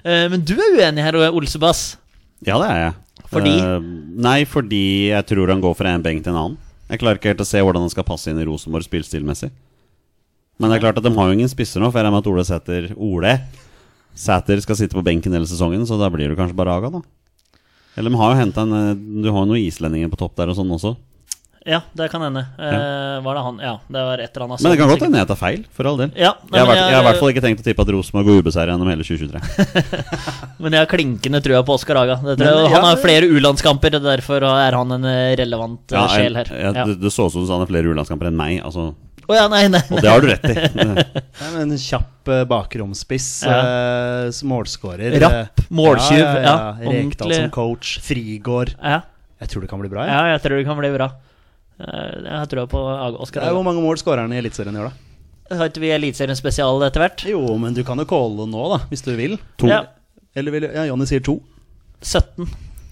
Speaker 2: Eh, Men du er uenig her, Olsebass.
Speaker 3: Ja, det er jeg.
Speaker 2: Fordi?
Speaker 3: Eh, nei, fordi jeg tror han går fra en benk til en annen. Jeg klarer ikke helt å se hvordan han skal passe inn i Rosenborg spillstilmessig. Men det er klart at de har jo ingen spisser nå, for jeg regner med at Ole Sæter Ole Sæter skal sitte på benken hele sesongen, så da blir det kanskje bare Aga, da. Eller de har jo hentet en eh, Du har jo noen islendinger på topp der og sånn også.
Speaker 2: Ja, det kan hende. Eh, Var det han? Ja, det var et eller annet.
Speaker 3: Men det kan
Speaker 2: sånt,
Speaker 3: godt hende jeg tar feil, for all del.
Speaker 2: Ja, Altså, nei,
Speaker 3: jeg, har
Speaker 2: men
Speaker 3: vært,
Speaker 2: jeg-
Speaker 3: jeg har i hvert fall ikke tenkt å tippe at Rosenborg går ubeseira gjennom hele 2023.
Speaker 2: sikkert. Men jeg har klinkende trua på Oskar Haga. Det tror jeg.
Speaker 1: Men,
Speaker 2: Han
Speaker 1: ja,
Speaker 2: har
Speaker 1: det-
Speaker 2: flere U-landskamper, og derfor er han en eh, relevant eh,
Speaker 3: Ja, jeg-
Speaker 2: sjel her.
Speaker 3: jeg-
Speaker 2: Ja.
Speaker 3: det, det så ut som du sa han har flere U-landskamper enn meg, altså.
Speaker 2: Å ja, nei, nei,
Speaker 3: Og
Speaker 2: nei.
Speaker 3: det har du rett
Speaker 2: [LAUGHS]
Speaker 3: i.
Speaker 1: Ja, men En kjapp eh, bakromspiss,
Speaker 2: Ja.
Speaker 1: eh, s- målskårer.
Speaker 2: Rapp,
Speaker 1: eh,
Speaker 2: måltyv,
Speaker 1: Ja, ja,
Speaker 2: ja,
Speaker 1: ja. Rekdal
Speaker 2: ordentlig.
Speaker 1: som coach. Frigård.
Speaker 2: Ja,
Speaker 1: Jeg tror det kan bli bra. Ja.
Speaker 2: ja, jeg tror det kan bli bra. Eh, Jeg har trua på Aga- Oskar
Speaker 1: Det er
Speaker 2: Haga.
Speaker 1: jo Hvor mange mål skårer han i Eliteserien i år, da?
Speaker 2: Har ikke vi Eliteserien spesial etter hvert?
Speaker 1: Jo, men du kan jo calle nå, da, hvis du vil.
Speaker 3: To.
Speaker 2: Ja,
Speaker 1: Eller vil Ja, Jonny sier to.
Speaker 2: 17.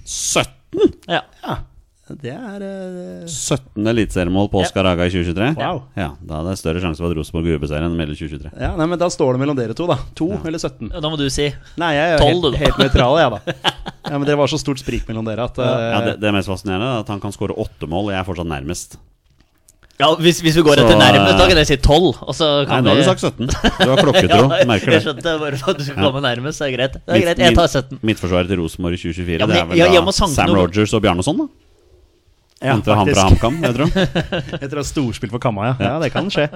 Speaker 3: 17
Speaker 2: Ja.
Speaker 1: Ja, det er eh,
Speaker 3: 17. eliteseriemål på Oskar Haga i 2023?
Speaker 1: Wow.
Speaker 3: Ja, Da er det større sjanse for at Rosenborg går ubeseira enn mellom 2023.
Speaker 1: Ja, nei, men Da står det mellom dere to, da. To eller 17?
Speaker 2: Da må du si.
Speaker 1: Nei, jeg er jo
Speaker 2: 12, du,
Speaker 1: helt,
Speaker 2: da.
Speaker 1: helt nøytral, jeg, da. Ja, men Det var så stort sprik mellom dere at eh,
Speaker 3: Ja, det, det mest fascinerende er at han kan skåre åtte mål, og jeg er fortsatt nærmest.
Speaker 2: Ja, Hvis, hvis vi går
Speaker 3: Så,
Speaker 2: etter nærme,
Speaker 3: eh,
Speaker 2: da kan jeg si 12. Og så
Speaker 3: Nei,
Speaker 2: kan
Speaker 3: nå har
Speaker 2: vi-
Speaker 3: du sagt 17. Du har klokketro.
Speaker 2: [LAUGHS] ja,
Speaker 3: Merker det.
Speaker 2: Jeg skjønte bare for at du skulle
Speaker 3: Ja.
Speaker 2: komme nærmest. Det er greit. Det er
Speaker 3: Mitt-
Speaker 2: greit, Jeg tar
Speaker 3: mitt-
Speaker 2: 17.
Speaker 3: Midtforsvaret til Rosenborg i 2024,
Speaker 2: Ja, men
Speaker 3: det
Speaker 2: jeg-
Speaker 3: er vel
Speaker 2: jeg-
Speaker 3: da
Speaker 2: jeg må sanke
Speaker 3: Sam
Speaker 2: noe-
Speaker 3: Rogers og Bjarnason, da?
Speaker 1: ja,
Speaker 3: Henter han fra
Speaker 1: faktisk. [LAUGHS]
Speaker 3: HamKam, jeg tror.
Speaker 1: Etter å ha storspill for Kamma, ja. ja. Det kan skje.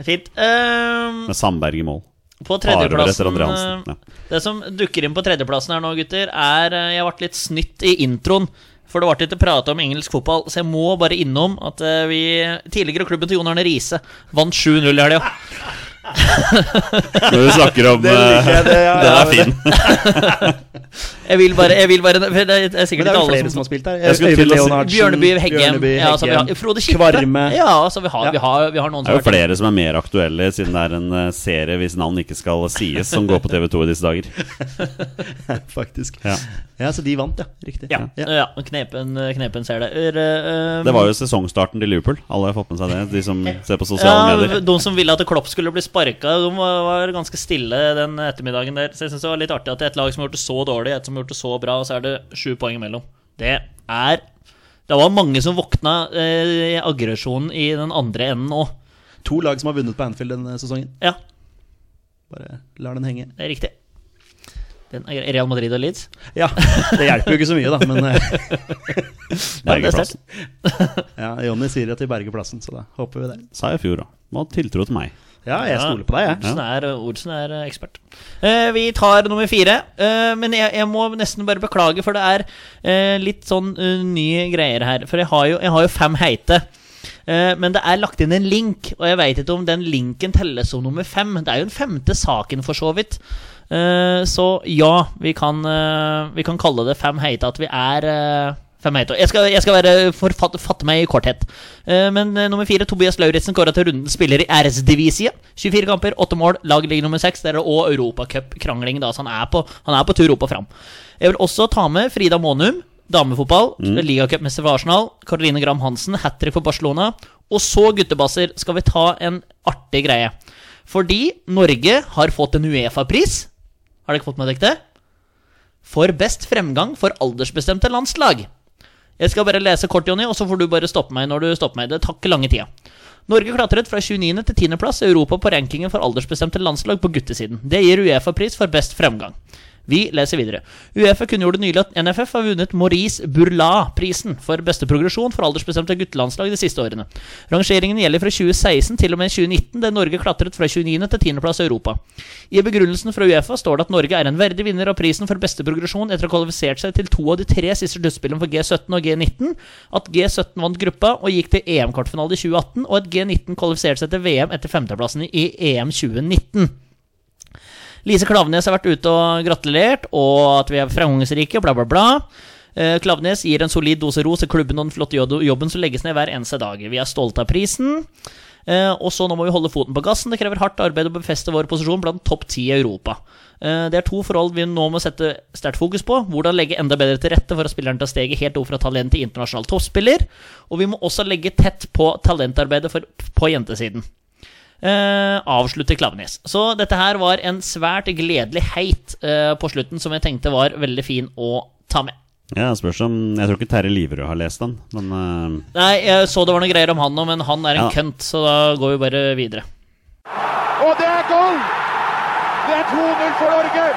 Speaker 2: Fint. Ehm,
Speaker 3: Med Sandberg i
Speaker 2: [LAUGHS]
Speaker 3: mål.
Speaker 2: på
Speaker 3: Tar over etter
Speaker 2: tredjeplassen
Speaker 3: André Hansen.
Speaker 2: eh,
Speaker 3: Ja.
Speaker 2: Det som dukker inn på tredjeplassen her nå, gutter, er eh, Jeg ble litt snytt i introen. For det ble ikke prata om engelsk fotball, så jeg må bare innom at eh, vi tidligere klubben til Jon Arne Riise vant 7-0 i helga.
Speaker 3: Når du snakker om eh,
Speaker 1: jeg. Det,
Speaker 3: Den er fin.
Speaker 2: Jeg vil bare, jeg vil bare for Det er
Speaker 1: Men
Speaker 2: sikkert
Speaker 1: det er
Speaker 2: ikke
Speaker 1: jo
Speaker 2: alle
Speaker 1: flere
Speaker 2: som
Speaker 1: som har spilt der.
Speaker 3: Jeg skulle til å si-
Speaker 1: Øyvind Leonardsen,
Speaker 2: Bjørneby, Heggem,
Speaker 1: Bjørneby,
Speaker 2: Ja, altså, vi har,
Speaker 1: Heggem,
Speaker 2: Frode Kippe.
Speaker 1: Kvarme.
Speaker 2: Ja, altså, vi, har,
Speaker 1: Ja.
Speaker 2: Vi, har, vi har noen
Speaker 3: Det er jo
Speaker 2: har vært-
Speaker 3: flere som er mer aktuelle, siden det er en eh, serie hvis navn ikke skal sies, som går på TV2 i disse dager.
Speaker 1: [LAUGHS] faktisk.
Speaker 3: Ja.
Speaker 1: Ja, så de vant, ja. Riktig.
Speaker 2: Ja, ja. knepen, knepen ser det. Er, eh,
Speaker 3: Det var jo sesongstarten til Liverpool. Alle har fått med seg det, de som ser på sosiale
Speaker 2: ja,
Speaker 3: medier.
Speaker 2: De som ville at Klopp skulle bli sparka, de var, var ganske stille den ettermiddagen der. Så jeg synes det var litt artig at det er et lag som har gjort det så dårlig, et som har gjort det så bra, og så er det sju poeng imellom. Det er Det var mange som våkna eh, i aggresjonen i den andre enden òg.
Speaker 1: To lag som har vunnet på Anfield denne sesongen.
Speaker 2: Ja,
Speaker 1: Bare lar den henge.
Speaker 2: det er riktig. Den er grei. Real Madrid og Leeds.
Speaker 1: Ja, Det hjelper jo ikke så mye, da. Men eh,
Speaker 3: Bergeplassen.
Speaker 1: ja, Jonny sier at de berger plassen, så da håper vi det.
Speaker 3: Sa jeg i fjor òg. Må ha tiltro til meg.
Speaker 1: Ja, jeg stoler på deg, jeg.
Speaker 2: Olsen er, Olsen er eh, ekspert. Eh, vi tar nummer fire. eh, men jeg, jeg må nesten bare beklage, for det er eh, litt sånn eh, nye greier her. For jeg har jo, jeg har jo fem heite. Eh, men det er lagt inn en link, og jeg veit ikke om den linken telles som nummer fem. Det er jo den femte saken, for så vidt. Eh, så ja, vi kan, eh, vi kan kalle det fem heite at vi er eh, fem heite. Jeg skal, jeg skal være forfatte, fatte meg i korthet. Eh, men eh, nummer fire, Tobias Lauritzen, kåra til rundens spiller i RS-divisia. 24 kamper, 8 mål, lag ligger nummer 6. Det er òg europacupkrangling, da, så han er, på, han er på tur opp og fram. Jeg vil også ta med Frida Månum, damefotball, ligacupmester for Arsenal. Caroline Graham Hansen, hat trick for Barcelona. Og så, guttebasser, skal vi ta en artig greie. Fordi Norge har fått en Uefa-pris. Har dere ikke fått med dere det? For best fremgang for aldersbestemte landslag. Jeg skal bare lese kort, Jonny, og så får du bare stoppe meg når du stopper meg. Det tar ikke lange tida. Norge klatret fra 29. til 10. plass i Europa på rankingen for aldersbestemte landslag på guttesiden. Det gir Uefa-pris for best fremgang. Vi leser videre. Uefa kunngjorde nylig at NFF har vunnet Maurice Burla-prisen for beste progresjon for aldersbestemte guttelandslag de siste årene. Rangeringen gjelder fra 2016 til og med 2019, der Norge klatret fra 29. til 10. plass i Europa. I begrunnelsen fra Uefa står det at Norge er en verdig vinner av prisen for beste progresjon etter å ha kvalifisert seg til to av de tre siste sluttspillene for G17 og G19, at G17 vant gruppa og gikk til EM-kvartfinale i 2018, og at G19 kvalifiserte seg til VM etter femteplassen i EM 2019. Lise Klaveness har vært ute og gratulert, og at vi er framgangsrike, bla, bla, bla. Eh, Klaveness gir en solid dose ros til klubben og den flotte jo- jobben som legges ned hver eneste dag. Vi er stolte av prisen. Eh, og så nå må vi holde foten på gassen. Det krever hardt arbeid å befeste vår posisjon blant topp ti i Europa. Eh, det er to forhold vi nå må sette sterkt fokus på. Hvordan legge enda bedre til rette for at spilleren tar steget helt opp fra talent til internasjonal toppspiller. Og vi må også legge tett på talentarbeidet for, på jentesiden. Eh, avslutter Klaveness. Så dette her var en svært gledelig heit eh, på slutten, som jeg tenkte var veldig fin å ta med.
Speaker 3: Ja, spørs om Jeg tror ikke Terje Liverød har lest den, men eh,
Speaker 2: Nei, jeg så det var noen greier om han nå, men han er en
Speaker 3: Ja.
Speaker 2: kønt, så da går vi bare videre.
Speaker 4: Og det er goal! Det er 2-0 for Norge.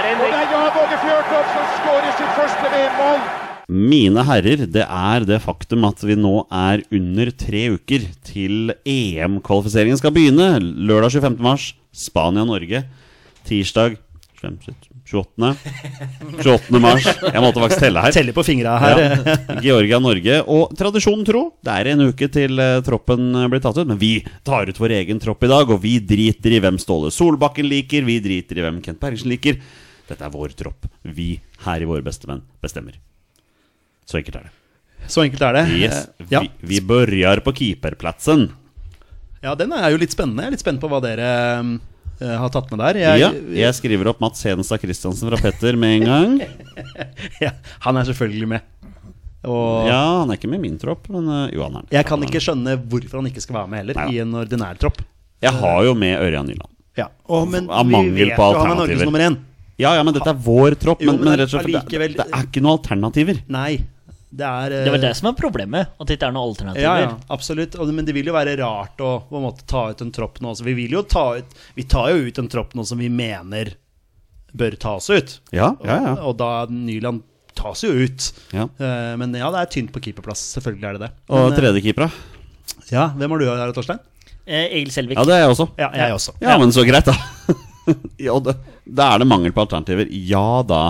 Speaker 4: Og det er Jan Åge Fjørtoft som skårer sitt første VM-mål.
Speaker 3: eh, Mine herrer, det er det faktum at vi nå er under tre uker til EM-kvalifiseringen skal begynne. Lørdag 25. mars, Spania-Norge. Tirsdag 25, 28. 28. mars. Jeg måtte faktisk telle her.
Speaker 1: Teller på fingra her. eh,
Speaker 3: Ja. [LAUGHS] Georgia-Norge. Og tradisjonen tro, det er en uke til eh, troppen eh, blir tatt ut. Men vi tar ut vår egen tropp i dag, og vi driter i hvem Ståle Solbakken liker, vi driter i hvem Kent Bergersen liker. Dette er vår tropp. Vi her i Våre bestemenn bestemmer. Så enkelt er det.
Speaker 1: Så enkelt er det.
Speaker 3: Yes,
Speaker 1: Eh,
Speaker 3: vi,
Speaker 1: Ja.
Speaker 3: vi begynner på keeperplassen.
Speaker 1: ja, den er jo litt spennende. Jeg er litt spent på hva dere eh, har tatt med der. Jeg,
Speaker 3: Ja, jeg skriver opp Mats Hedenstad Christiansen fra Petter med en gang.
Speaker 1: [LAUGHS] ja, han er selvfølgelig med. Og
Speaker 3: Ja, han er ikke med i min tropp, men eh, jo, han er det.
Speaker 1: jeg kan ikke skjønne hvorfor han ikke skal være med heller,
Speaker 3: Nei da.
Speaker 1: i en ordinær tropp.
Speaker 3: Jeg har jo med Ørjan Nyland.
Speaker 1: Ja. Å, men
Speaker 3: Av
Speaker 1: vi
Speaker 3: mangel
Speaker 1: vet
Speaker 3: på
Speaker 1: jo han er
Speaker 3: alternativer.
Speaker 1: Norges nummer én.
Speaker 3: Ja, ja, men dette er vår tropp.
Speaker 1: Jo,
Speaker 3: Men,
Speaker 1: men
Speaker 3: men
Speaker 1: det er
Speaker 3: rett og slett, det,
Speaker 1: allikevel-
Speaker 3: det er ikke noen alternativer.
Speaker 1: Nei, det er eh,
Speaker 2: Det var det som er problemet, at det ikke er noen alternativer.
Speaker 1: Ja, ja, absolutt. Og, det- men det vil jo være rart å på en måte ta ut en tropp nå. Så vi vil jo ta ut Vi tar jo ut en tropp nå som vi mener bør tas ut.
Speaker 3: Ja, ja, ja.
Speaker 1: Og, og da Nyland tas jo ut.
Speaker 3: ja.
Speaker 1: Eh, men ja, det er tynt på keeperplass. Selvfølgelig er det det.
Speaker 3: Og
Speaker 1: Men, eh,
Speaker 3: tredjekeepera.
Speaker 1: ja, hvem har du her, Torstein?
Speaker 2: Eh, Egil Selvik.
Speaker 3: Ja, det er jeg også.
Speaker 1: Ja, jeg også.
Speaker 3: Ja, men så greit, da. [LAUGHS] ja, og det, da er det mangel på alternativer. Ja da,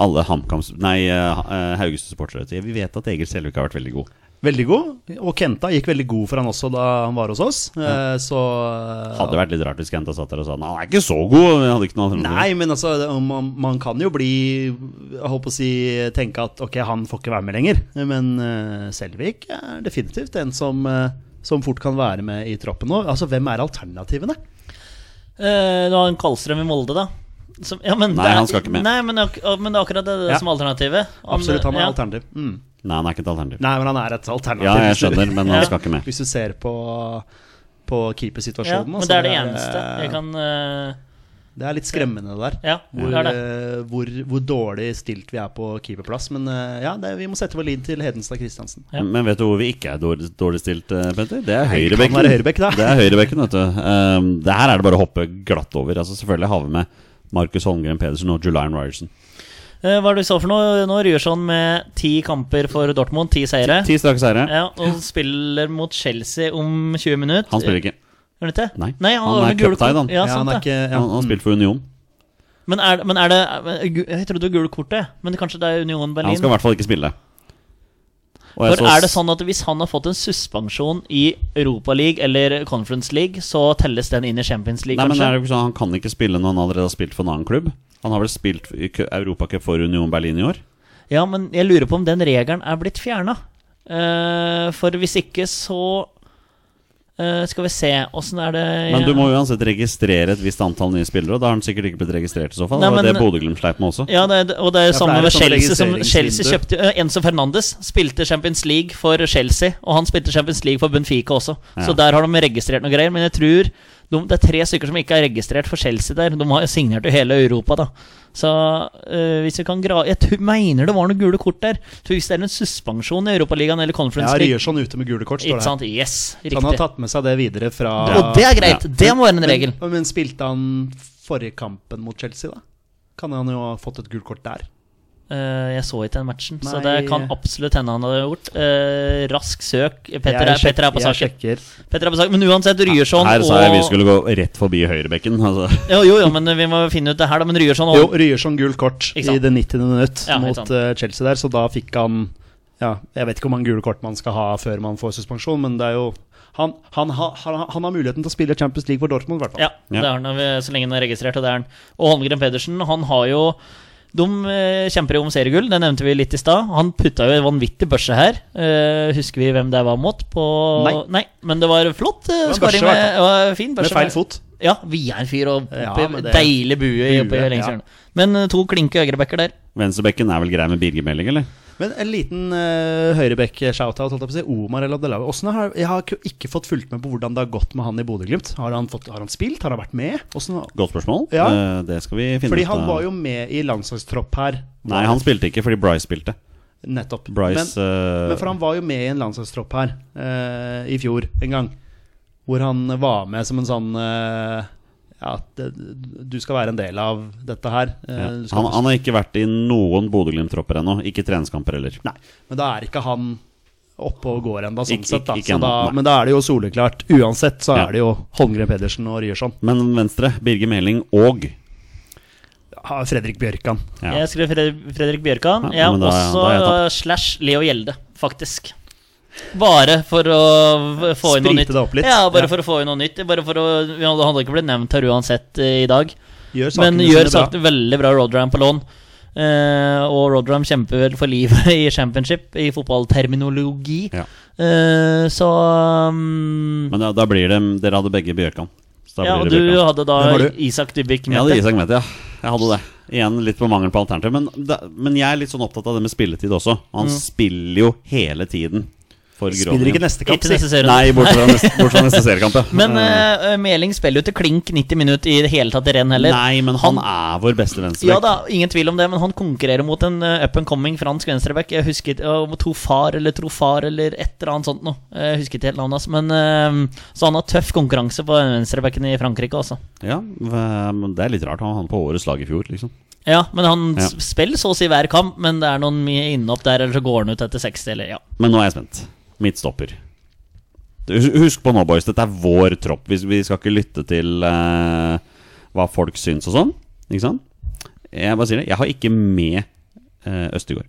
Speaker 3: alle HamKams... Nei, eh, Haugesund-supportere. vet du. Vi vet at Egil Selvik har vært veldig god.
Speaker 1: Veldig god. Og Kenta gikk veldig god for han også da han var hos oss. Eh, så eh,
Speaker 3: Hadde vært litt rart hvis Kenta satt der og sa Nei, han er ikke så god. Jeg hadde ikke noen alternativer.
Speaker 1: Nei, men altså, det- man, man kan jo bli Jeg holdt på å si tenke at ok, han får ikke være med lenger. Men eh, Selvik er definitivt en som, eh, som fort kan være med i troppen nå. Altså, hvem er alternativene?
Speaker 2: Eh, du har en Karlstrøm i Molde, da. Som, ja, men
Speaker 3: Nei,
Speaker 2: det er,
Speaker 3: han skal ikke med.
Speaker 2: Nei, men, ak ja, men det er akkurat det, det
Speaker 1: Ja.
Speaker 2: som er alternativet. Han-
Speaker 1: Absolutt, han er
Speaker 2: ja.
Speaker 1: alternativ. Mm.
Speaker 3: Nei, han er ikke et alternativ.
Speaker 1: Nei, men han er et alternativ.
Speaker 3: Ja, jeg
Speaker 1: hvis du-
Speaker 3: skjønner, men han skal ikke med.
Speaker 1: Hvis du ser på, på
Speaker 2: Ja,
Speaker 1: keepersituasjonen.
Speaker 2: men
Speaker 1: altså,
Speaker 2: det er det eneste jeg kan eh,
Speaker 1: Det er litt skremmende, det der.
Speaker 2: Ja,
Speaker 1: Hvor,
Speaker 2: det er det.
Speaker 1: eh, hvor, hvor dårlig stilt vi er på keeperplass. Men eh, ja, det, vi må sette vår lid til Hedenstad Christiansen.
Speaker 2: Ja.
Speaker 3: Men vet du hvor vi ikke er dårlig, dårlig stilt, eh, Petter? Det er
Speaker 1: kan
Speaker 3: høyrebekken.
Speaker 1: være høyrebekk, da.
Speaker 3: Det er høyrebekken, vet du. Um, det her er det bare å hoppe glatt over. Altså, selvfølgelig har vi med Markus Holmgren Pedersen og Julian Ryerson.
Speaker 2: eh, Hva er det du sa for noe? Nå ruer sånn med ti kamper for Dortmund, ti seire.
Speaker 3: Ti strake seire.
Speaker 2: Ja, og spiller mot Chelsea om 20 minutter.
Speaker 3: Han spiller ikke.
Speaker 2: Gjør han ikke?
Speaker 3: Nei.
Speaker 2: han,
Speaker 3: Han
Speaker 2: har
Speaker 3: er
Speaker 2: den gule
Speaker 3: cuptied,
Speaker 2: kort-
Speaker 3: han.
Speaker 2: Ja,
Speaker 1: han
Speaker 2: sant
Speaker 1: er
Speaker 2: det.
Speaker 1: ikke ja.
Speaker 3: Han, han spilte for Union.
Speaker 2: Men er, det- men er det men, gu- Jeg trodde det var gule kortet, men kanskje det er Union Berlin.
Speaker 3: Han skal i hvert fall ikke spille. Og jeg
Speaker 2: For
Speaker 3: så-
Speaker 2: er det sånn at Hvis han har fått en suspensjon i Europaligaen eller Conference League, så telles den inn i Champions League,
Speaker 3: Nei, men er
Speaker 2: kanskje?
Speaker 3: det ikke sånn, Han kan ikke spille når han allerede har spilt for en annen klubb. Han har vel spilt i kø- Europacup for Union Berlin i år?
Speaker 2: Ja, men jeg lurer på om den regelen er blitt fjerna. for hvis ikke, så eh, Skal vi se Åssen er det
Speaker 3: Men du må uansett registrere et visst antall nye spillere, og da har han sikkert ikke blitt registrert i så fall.
Speaker 2: Nei,
Speaker 3: det var
Speaker 2: men-
Speaker 3: det Bodø-Glimt sleit med også.
Speaker 2: Ja, det, er- og det er
Speaker 1: Ja, for
Speaker 2: samme
Speaker 1: det er
Speaker 2: med
Speaker 1: et sånt
Speaker 2: Chelsea. Som Chelsea
Speaker 1: registreringsvindu.
Speaker 2: kjøpte eh, Enzo Fernandes spilte Champions League for Chelsea, og han spilte Champions League for Benfica også.
Speaker 3: Ja.
Speaker 2: Så der har de registrert noe greier. Men jeg tror de, det er tre stykker som ikke er registrert for Chelsea der. De har jo signert i hele Europa, da. Så eh, hvis vi kan gra... Jeg tror, mener det var noen gule kort der. Så hvis det er en suspensjon i Europaligaen eller
Speaker 1: ja,
Speaker 2: Conference League
Speaker 1: Ryerson sånn ute med gule kort, står
Speaker 2: Ikke
Speaker 1: det.
Speaker 2: sant? Yes,
Speaker 1: her. Han har
Speaker 2: riktig.
Speaker 1: tatt med seg det videre fra
Speaker 2: Og det er greit. Det må være en regel.
Speaker 1: Men, men spilte han forrige kampen mot Chelsea, da? Kan han jo ha fått et gult kort der?
Speaker 2: Eh, jeg så ikke den matchen, så det
Speaker 1: Nei.
Speaker 2: kan absolutt hende han hadde gjort. Eh, rask søk. Petter er,
Speaker 1: Jeg sjek-
Speaker 2: Petter er på
Speaker 1: jeg
Speaker 2: saken.
Speaker 1: sjekker.
Speaker 2: Petter er på saken, Men uansett, Ryerson
Speaker 3: Her sa
Speaker 2: Sånn og
Speaker 3: jeg vi skulle gå rett forbi høyrebekken. Altså.
Speaker 2: jo, jo, jo, men vi må finne ut det her, da. Men Ryerson og
Speaker 1: Jo, Ryerson gult kort
Speaker 2: Ikke
Speaker 1: i
Speaker 2: sant?
Speaker 1: det 90. minutt
Speaker 2: Ja, ikke sant.
Speaker 1: mot eh, Chelsea der, så da fikk han ja, Jeg vet ikke hvor mange gule kort man skal ha før man får suspensjon, men det er jo Han, han, ha- han, han har muligheten til å spille Champions League for Dortmund, i hvert fall.
Speaker 2: Ja, det er han eh, så lenge han er registrert, og det er han. Og Holmgren Pedersen, han har jo de eh, kjemper jo om seriegull, det nevnte vi litt i stad. Han putta jo en vanvittig børse her. Eh, husker vi hvem det var mot? På
Speaker 1: Nei.
Speaker 2: men det var flott uh,
Speaker 1: Det var en børse,
Speaker 2: scoring. Med, ja, fin børse
Speaker 1: Med feil fot.
Speaker 2: Ja, Vierfyr og oppi,
Speaker 1: Ja, men det-
Speaker 2: deilig bue
Speaker 1: Bue,
Speaker 2: oppi lengst
Speaker 1: ja.
Speaker 2: hjørnet. Men eh, to klinke høyrebacker der.
Speaker 3: Venstrebekken er vel grei med Birgemelding, eller?
Speaker 1: Men en liten uh, høyrebekk-shoutout, holdt jeg på å si. Omar El Abdelawi. Hvordan har- Jeg har ikke- ikke fått fulgt med på hvordan det har gått med han i Bodø-Glimt. Har, han fått- har han spilt? Har han vært med? Hvordan,
Speaker 3: Godt spørsmål.
Speaker 1: Ja.
Speaker 3: Eh, det skal vi finne
Speaker 1: fordi
Speaker 3: ut
Speaker 1: han
Speaker 3: av.
Speaker 1: var jo med i landslagstropp her.
Speaker 3: Nei, han spilte ikke fordi Bryce spilte.
Speaker 1: Nettopp.
Speaker 3: Bryce
Speaker 1: men,
Speaker 3: eh,
Speaker 1: men for han var jo med i en landslagstropp her eh, i fjor en gang. Hvor han var med som en sånn eh, Ja, det, du skal være en del av dette her. eh,
Speaker 3: ja.
Speaker 1: du skal
Speaker 3: han, han har ikke vært i noen Bodø-Glimt-tropper ennå. Ikke treningskamper heller.
Speaker 1: Nei, men da er ikke han oppe og går ennå, sånn
Speaker 3: Ikke-
Speaker 1: sett. Da.
Speaker 3: ikke- ikke
Speaker 1: Så
Speaker 3: ennå,
Speaker 1: da,
Speaker 3: nei.
Speaker 1: men da er det jo soleklart. Uansett så
Speaker 3: Ja.
Speaker 1: er det jo Holmgren Pedersen og Ryerson.
Speaker 3: Men venstre, Birger Meling og
Speaker 1: Ja, Fredrik Bjørkan.
Speaker 3: ja.
Speaker 2: Jeg skrev Fredrik, Fredrik Bjørkan.
Speaker 3: Ja,
Speaker 2: jeg har
Speaker 3: men da-
Speaker 2: også
Speaker 3: da har jeg tatt.
Speaker 2: eh, slash Leo Gjelde, faktisk. Bare for å v- få inn noe
Speaker 1: Sprite
Speaker 2: nytt.
Speaker 1: det opp litt.
Speaker 2: Ja, bare
Speaker 1: Ja.
Speaker 2: for å få inn noe nytt. Bare for å, han hadde ikke blitt nevnt her uansett eh, i dag.
Speaker 1: Gjør
Speaker 2: Men
Speaker 1: sakene
Speaker 2: gjør
Speaker 1: sine
Speaker 2: sagt, veldig bra Rodram på lån. Eh, og Rodram kjemper vel for livet [LAUGHS] i championship, i fotballterminologi.
Speaker 3: Ja.
Speaker 2: Eh, så um,
Speaker 3: Men da, da blir det Dere hadde begge Bjørkan. Så da
Speaker 2: Ja,
Speaker 3: blir
Speaker 2: og
Speaker 3: det
Speaker 2: du
Speaker 3: Bjørkan.
Speaker 2: hadde da
Speaker 1: Hvem var du?
Speaker 2: Isak Dybvik
Speaker 3: Jeg hadde
Speaker 2: Mette.
Speaker 3: Isak Mette, ja. Jeg hadde det. Igjen litt på mangel på alternativ. Men, da- men jeg er litt sånn opptatt av det med spilletid også. Han spiller jo hele tiden for
Speaker 1: bra. Mm. Spiller ikke
Speaker 3: Groningen.
Speaker 1: neste kamp,
Speaker 2: Ikke neste
Speaker 1: si. Mm.
Speaker 2: serien.
Speaker 3: Nei, bortsett
Speaker 2: [LAUGHS]
Speaker 3: fra neste, bortsett fra neste seriekamp, ja.
Speaker 2: Men
Speaker 3: Eh,
Speaker 2: eh, Meling spiller jo til klink 90 minutter i det hele tatt i renn heller.
Speaker 3: Nei, men han er vår beste venstrebekk.
Speaker 2: Ja da, ingen tvil om det, men han konkurrerer mot en eh, up and coming fransk venstreback. Jeg husker ikke uh, Tofar eller Trofar eller et eller annet sånt noe. Jeg husker ikke helt navnet hans. Men, eh, så han har tøff konkurranse på venstrebacken i Frankrike, altså.
Speaker 3: Ja, v- men det er litt rart. Han var på årets lag i fjor, liksom.
Speaker 2: Ja, men han
Speaker 3: Ja.
Speaker 2: s- spiller så å si hver kamp, men det er noen mye innopp der, eller så går han ut etter 60, eller ja.
Speaker 3: Men nå er jeg spent. Midtstopper. Hus- Husk på nå, boys. Dette er vår tropp. Vi, vi skal ikke lytte til eh, hva folk syns og sånn. Ikke sant? Jeg bare sier det. Jeg har ikke med uh, Østegård.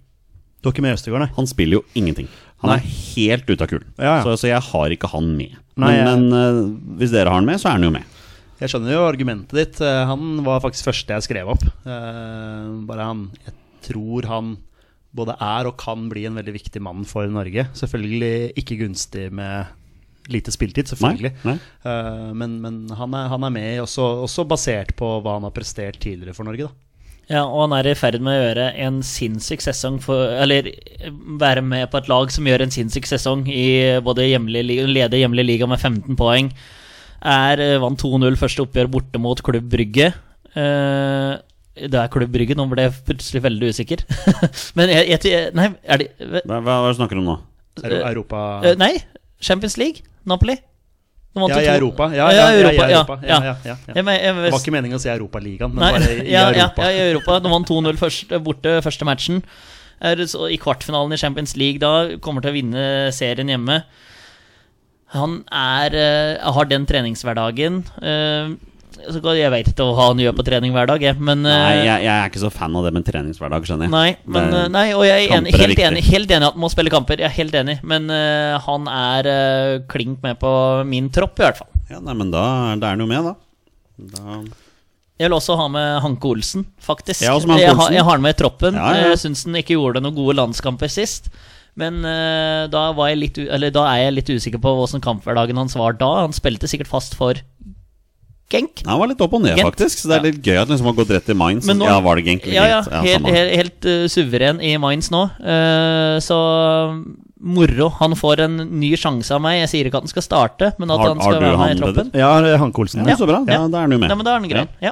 Speaker 1: Du er ikke med i Østegård, nei.
Speaker 3: Han spiller jo ingenting. Han
Speaker 1: Nei.
Speaker 3: er helt ute av kulen.
Speaker 1: Ja, ja.
Speaker 3: Så, så jeg har ikke han med.
Speaker 1: Nei, jeg-
Speaker 3: men men, eh, hvis dere har han med, så er han jo med.
Speaker 1: Jeg skjønner jo argumentet ditt. Eh, Han var faktisk første jeg skrev opp. Eh, Bare han Jeg tror han både er og kan bli en veldig viktig mann for Norge. Selvfølgelig ikke gunstig med lite spilletid, selvfølgelig.
Speaker 3: Nei, nei.
Speaker 1: Eh, Men, men han, er, han er med, også, også basert på hva han har prestert tidligere for Norge, da.
Speaker 2: Ja, og han er i ferd med å gjøre en sinnssyk sesong for, Eller eh, være med på et lag som gjør en sinnssyk sesong i både hjemlig liga, leder hjemlig liga med 15 poeng. Er eh, Vant 2-0 første oppgjør borte mot Klubb Brygge. Eh, det er Klubb Brygge, nå ble jeg plutselig veldig usikker. [LAUGHS] Men jeg, jeg Nei, er det eh,
Speaker 3: Hva, hva, hva snakker du om nå?
Speaker 1: Euro- Europa
Speaker 2: eh, Nei, Champions League? Napoli? De vant
Speaker 1: Ja, i
Speaker 2: jo to-
Speaker 1: Europa. Ja, ja, ja, i Europa. Ja, ja, ja, ja.
Speaker 2: Jeg, men- eh, jeg,
Speaker 1: Det var ikke meningen å si Europaligaen, men
Speaker 2: Nei, [LAUGHS]
Speaker 1: bare i
Speaker 2: ja,
Speaker 1: Europa.
Speaker 2: Ja, ja, i Europa. De vant 2-0 først- borte første matchen. Er det så, I kvartfinalen i Champions League da kommer til å vinne serien hjemme. Han er, eh, har den treningshverdagen. eh, så kan- jeg vet ikke hva han gjør på trening hver dag, jeg, men eh,
Speaker 3: Nei, jeg, jeg er ikke så fan av det med treningshverdag, skjønner jeg.
Speaker 2: Nei, men,
Speaker 3: Det-
Speaker 2: eh, nei og jeg er enig,
Speaker 3: Kamper er
Speaker 2: helt,
Speaker 3: viktig.
Speaker 2: enig, helt enig at man må spille kamper. Jeg er helt enig, men eh, han er eh, klink med på min tropp, i hvert fall.
Speaker 3: Ja, nei, men da er det er noe med, da. da
Speaker 2: Jeg vil også ha med Hanke Olsen, faktisk.
Speaker 3: Ja, også med Hanke
Speaker 2: jeg, har,
Speaker 3: Olsen.
Speaker 2: jeg har han med i troppen.
Speaker 3: Ja, ja.
Speaker 2: Jeg syns han ikke gjorde noen gode landskamper sist. Men eh, da, var jeg litt, u- eller, da er jeg litt usikker på hvordan kamphverdagen hans var da. Han spilte sikkert fast for Genk.
Speaker 3: Nei, han var litt opp og ned,
Speaker 2: Gent.
Speaker 3: faktisk. Så det er litt gøy at han liksom har gått rett i minds.
Speaker 2: Men nå-
Speaker 3: ja, var det Genk eller
Speaker 2: Ja, ja,
Speaker 3: Gent?
Speaker 2: helt,
Speaker 3: samme.
Speaker 2: helt, helt eh, suveren i Mainz nå. Eh, så moro. Han får en ny sjanse av meg. Jeg sier ikke at han skal starte, men at
Speaker 3: Har-
Speaker 2: han skal
Speaker 3: har du
Speaker 2: være med
Speaker 3: han,
Speaker 2: i troppen.
Speaker 3: Peder?
Speaker 1: Jeg har Hanke Olsen.
Speaker 3: Ja,
Speaker 1: Ja.
Speaker 3: Så bra. Da,
Speaker 2: Ja.
Speaker 3: da er han jo med.
Speaker 2: Nei, men da er han grei. Ja.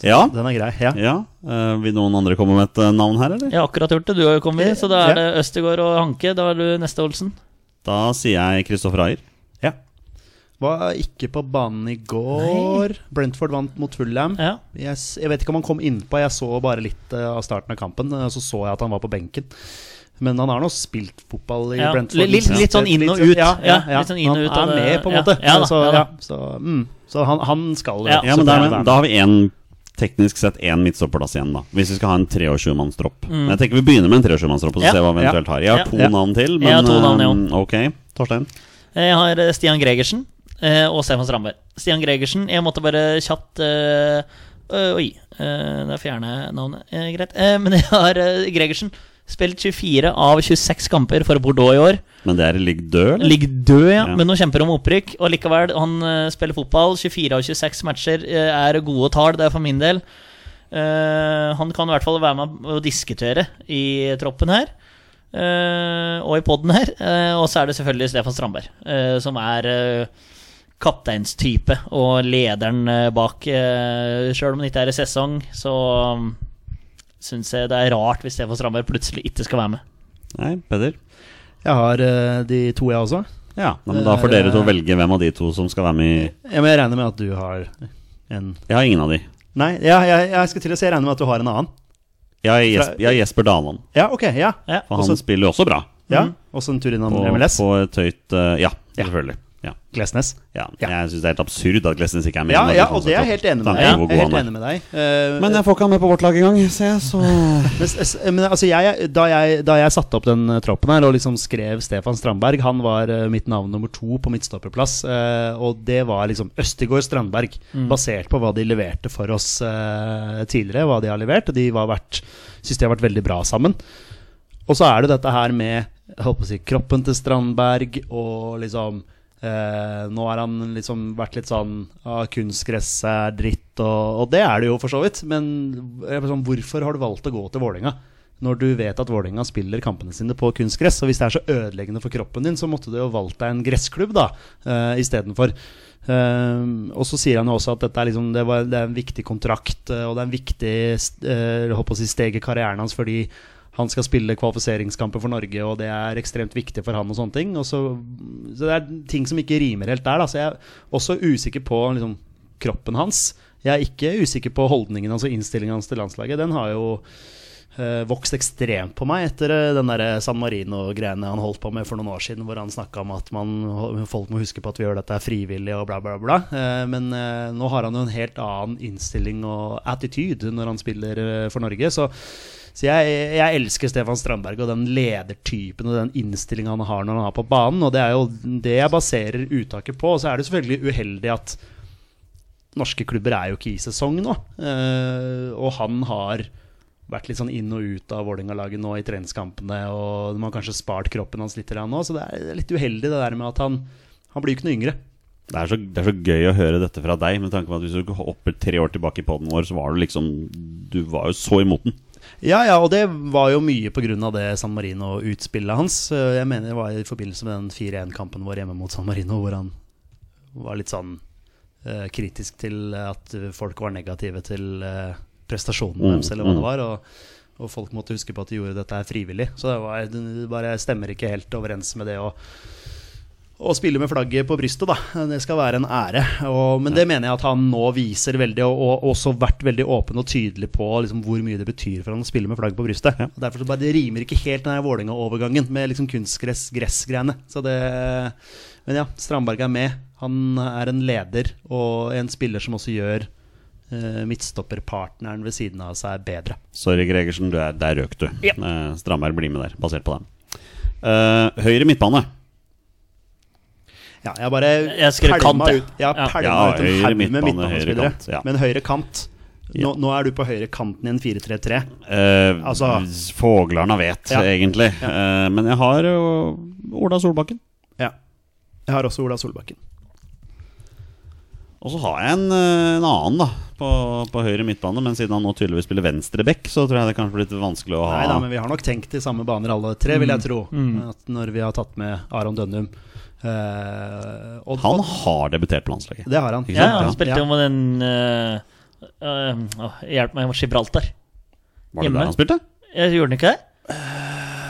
Speaker 3: Ja. ja.
Speaker 1: Den er grei. Ja.
Speaker 3: ja. Eh, vil noen andre komme med et eh, navn her, eller?
Speaker 2: Jeg har akkurat gjort det, du har jo kommet, så da
Speaker 1: Ja.
Speaker 2: er det Østegård og Hanke. Da er du neste, Olsen.
Speaker 3: Da sier jeg Kristoffer Ayer.
Speaker 1: ja. Var ikke på banen i går. Brentford vant mot Fulham.
Speaker 2: Ja.
Speaker 1: Jeg, s- jeg vet ikke om han kom innpå, jeg så bare litt eh, av starten av kampen. eh, Så så jeg at han var på benken. Men han har nå spilt fotball i
Speaker 2: Ja,
Speaker 1: Brentford.
Speaker 2: litt- litt- litt sånn inn og ut.
Speaker 1: Ja, ja,
Speaker 2: Ja,
Speaker 1: ja.
Speaker 2: litt sånn inn og ut av
Speaker 1: Han er
Speaker 2: det-
Speaker 1: med, på en
Speaker 2: ja.
Speaker 1: måte.
Speaker 2: Ja da,
Speaker 1: så
Speaker 2: ja da.
Speaker 1: så, mm. så han, han skal
Speaker 2: Ja.
Speaker 3: Ja, men da, er
Speaker 1: absolutt
Speaker 3: vi-
Speaker 1: være
Speaker 3: da har vi en, teknisk sett én midtstopperplass igjen, da. Hvis vi skal ha en 23-mannstropp. Men Jeg tenker vi begynner med en 23-mannstropp og så
Speaker 2: Mm. Ja.
Speaker 3: ser hva vi eventuelt har. Jeg har
Speaker 2: Ja.
Speaker 3: to
Speaker 1: Ja.
Speaker 3: navn til, men
Speaker 2: Jeg har to navn,
Speaker 3: eh, ok. Torstein.
Speaker 2: Jeg har eh, Stian Gregersen eh, og Stefan Strandberg. Stian Gregersen, jeg måtte bare kjapt eh, øh, Oi, eh, der fjerner jeg navnet. Eh, greit. Eh, men jeg har eh, Gregersen. Spilt 24 av 26 kamper for Bordeaux i år.
Speaker 3: Men det er i ligg død, eller?
Speaker 2: Ligger død, ja,
Speaker 3: Ja.
Speaker 2: men nå kjemper om opprykk. Og likevel, han eh, spiller fotball. 24 av 26 matcher eh, er gode tall, det er for min del. Eh, han kan i hvert fall være med og diskutere i troppen her. eh, og i poden her. Eh, og så er det selvfølgelig Stefan Strandberg, eh, som er uh, kapteinstype og lederen eh, bak. Uh, Sjøl om det ikke er i sesong, så um, syns jeg det er rart hvis Stefan Strandberg plutselig ikke skal være med.
Speaker 3: Nei, Peder.
Speaker 1: Jeg har eh, de to, jeg også.
Speaker 3: Ja, nei, men Da får
Speaker 1: Det er-
Speaker 3: dere to velge hvem av de to som skal være med i
Speaker 1: Ja, men jeg regner med at du har en
Speaker 3: Jeg har ingen av de.
Speaker 1: Nei, ja, jeg, jeg skal til å si jeg regner med at du har en annen.
Speaker 3: Jeg har Jesper, jeg har Jesper Daland.
Speaker 1: Ja, ok. Ja.
Speaker 2: Ja.
Speaker 3: For han
Speaker 1: Også-
Speaker 3: spiller jo også bra.
Speaker 1: ja.
Speaker 2: Mm.
Speaker 1: Også en tur innom
Speaker 3: På,
Speaker 1: MLS.
Speaker 3: på et høyt eh, Ja, selvfølgelig. Ja.
Speaker 1: Glesnes.
Speaker 3: Ja.
Speaker 1: Ja.
Speaker 3: Jeg syns det er helt absurd at Glesnes ikke er med.
Speaker 1: Ja,
Speaker 3: i Norge
Speaker 1: ja, og det er jeg
Speaker 3: Landslagstropp.
Speaker 1: helt enig med
Speaker 3: Tanken
Speaker 1: deg.
Speaker 3: på hvor
Speaker 1: Jeg er
Speaker 3: god
Speaker 1: helt
Speaker 3: han er.
Speaker 1: enig med deg. Eh,
Speaker 3: Men jeg får ikke han med på vårt lag engang, ser jeg, så
Speaker 1: Men, s- men altså, jeg, da, jeg, da jeg satte opp den eh, troppen her og liksom skrev Stefan Strandberg Han var eh, mitt navn nummer to på midtstopperplass. eh, og det var liksom Østegård Strandberg,
Speaker 3: Mm.
Speaker 1: basert på hva de leverte for oss eh, tidligere. Hva de har levert. Og de har vært, syns de har vært veldig bra sammen. Og så er det dette her med jeg holdt på å si, kroppen til Strandberg og liksom eh, Nå har han liksom vært litt sånn ah, Kunstgress er dritt, og, og det er det jo for så vidt. Men jeg blir sånn, hvorfor har du valgt å gå til Vålerenga? Når du vet at Vålerenga spiller kampene sine på kunstgress, og hvis det er så ødeleggende for kroppen din, så måtte du jo valgt deg en gressklubb da, uh, istedenfor. Um, og så sier han jo også at dette er liksom, det, var, det er en viktig kontrakt, eh, og det er en viktig uh, håper å si steg i karrieren hans fordi han skal spille kvalifiseringskamper for Norge, og det er ekstremt viktig for han. og sånne ting. Og så, så det er ting som ikke rimer helt der. Da. Så jeg er også usikker på liksom, kroppen hans. Jeg er ikke usikker på holdningen hans og innstillingen hans til landslaget. Den har jo eh, vokst ekstremt på meg etter eh, den der San Marino-greiene han holdt på med for noen år siden, hvor han snakka om at man, folk må huske på at vi gjør dette frivillig og bla, bla, bla. Eh, men eh, nå har han jo en helt annen innstilling og attitude når han spiller eh, for Norge. så så jeg, jeg elsker Stefan Strandberg og den ledertypen og den innstillinga han har når han er på banen, og det er jo det jeg baserer uttaket på. Og så er det selvfølgelig uheldig at norske klubber er jo ikke i sesong nå, eh, og han har vært litt sånn inn og ut av Vålerenga-laget nå i treningskampene, og de har kanskje spart kroppen hans litt nå, så det er litt uheldig det der med at han, han blir jo ikke noe yngre.
Speaker 3: Det er, så, det er så gøy å høre dette fra deg, med tanke på at hvis du går opp tre år tilbake i poden vår, så var du liksom Du var jo så imot den.
Speaker 1: Ja, ja, og det var jo mye pga. det San Marino-utspillet hans. Eh, Jeg mener det var i forbindelse med den 4-1-kampen vår hjemme mot San Marino, hvor han var litt sånn eh, kritisk til at folk var negative til eh, prestasjonen
Speaker 3: Mm,
Speaker 1: deres, eller hva
Speaker 3: mm.
Speaker 1: det var. Og, og folk måtte huske på at de gjorde dette her frivillig. Så det, var, det bare stemmer ikke helt overens med det å å spille med flagget på brystet, da. Det skal være en ære. Og, men det mener jeg at han nå viser veldig, og, og også vært veldig åpen og tydelig på liksom, hvor mye det betyr for han å spille med flagget på brystet. Og Derfor så bare det rimer ikke helt den her Vålerenga-overgangen med liksom kunstgress-gress-greiene. Så det Men ja, Strandberg er med. Han er en leder og en spiller som også gjør eh, midtstopperpartneren ved siden av seg bedre.
Speaker 3: Sorry, Gregersen, du er, der røk du. Eh, Strandberg blir med der, basert på dem. Eh, høyre midtbane.
Speaker 1: Ja, jeg bare
Speaker 2: Jeg skrev
Speaker 1: pælma
Speaker 2: kant, jeg.
Speaker 1: ut, jeg
Speaker 2: Ja.
Speaker 1: pælma
Speaker 3: Ja,
Speaker 1: ut en
Speaker 3: høyre
Speaker 1: haug med
Speaker 3: midtbane, høyre
Speaker 1: midtbanespillere.
Speaker 3: kant, ja.
Speaker 1: Men høyre kant nå, nå er du på høyre kanten i en 4-3-3.
Speaker 3: Eh,
Speaker 1: Altså-
Speaker 3: Foglarna vet,
Speaker 1: Ja.
Speaker 3: egentlig. Eh, men jeg har jo Ola Solbakken.
Speaker 1: Ja. Jeg har også Ola Solbakken.
Speaker 3: Og så har jeg en, eh, en annen da på, på høyre midtbane, men siden han nå tydeligvis spiller venstre back, så tror jeg det kanskje blir litt vanskelig å ha
Speaker 1: Nei da, men vi har nok tenkt i samme baner alle tre,
Speaker 2: Mm.
Speaker 1: vil jeg tro. At når vi har tatt med Aron Dønnum. Eh, og,
Speaker 3: Han
Speaker 1: og,
Speaker 3: har debutert på landslaget.
Speaker 1: det har han.
Speaker 3: Ikke
Speaker 2: Ja,
Speaker 3: sant?
Speaker 2: han
Speaker 3: Ja.
Speaker 2: spilte jo med den eh, eh, åh, Hjelp meg, Gibraltar.
Speaker 3: Var det
Speaker 2: hjemme.
Speaker 3: der han spilte?
Speaker 2: Jeg gjorde den ikke det?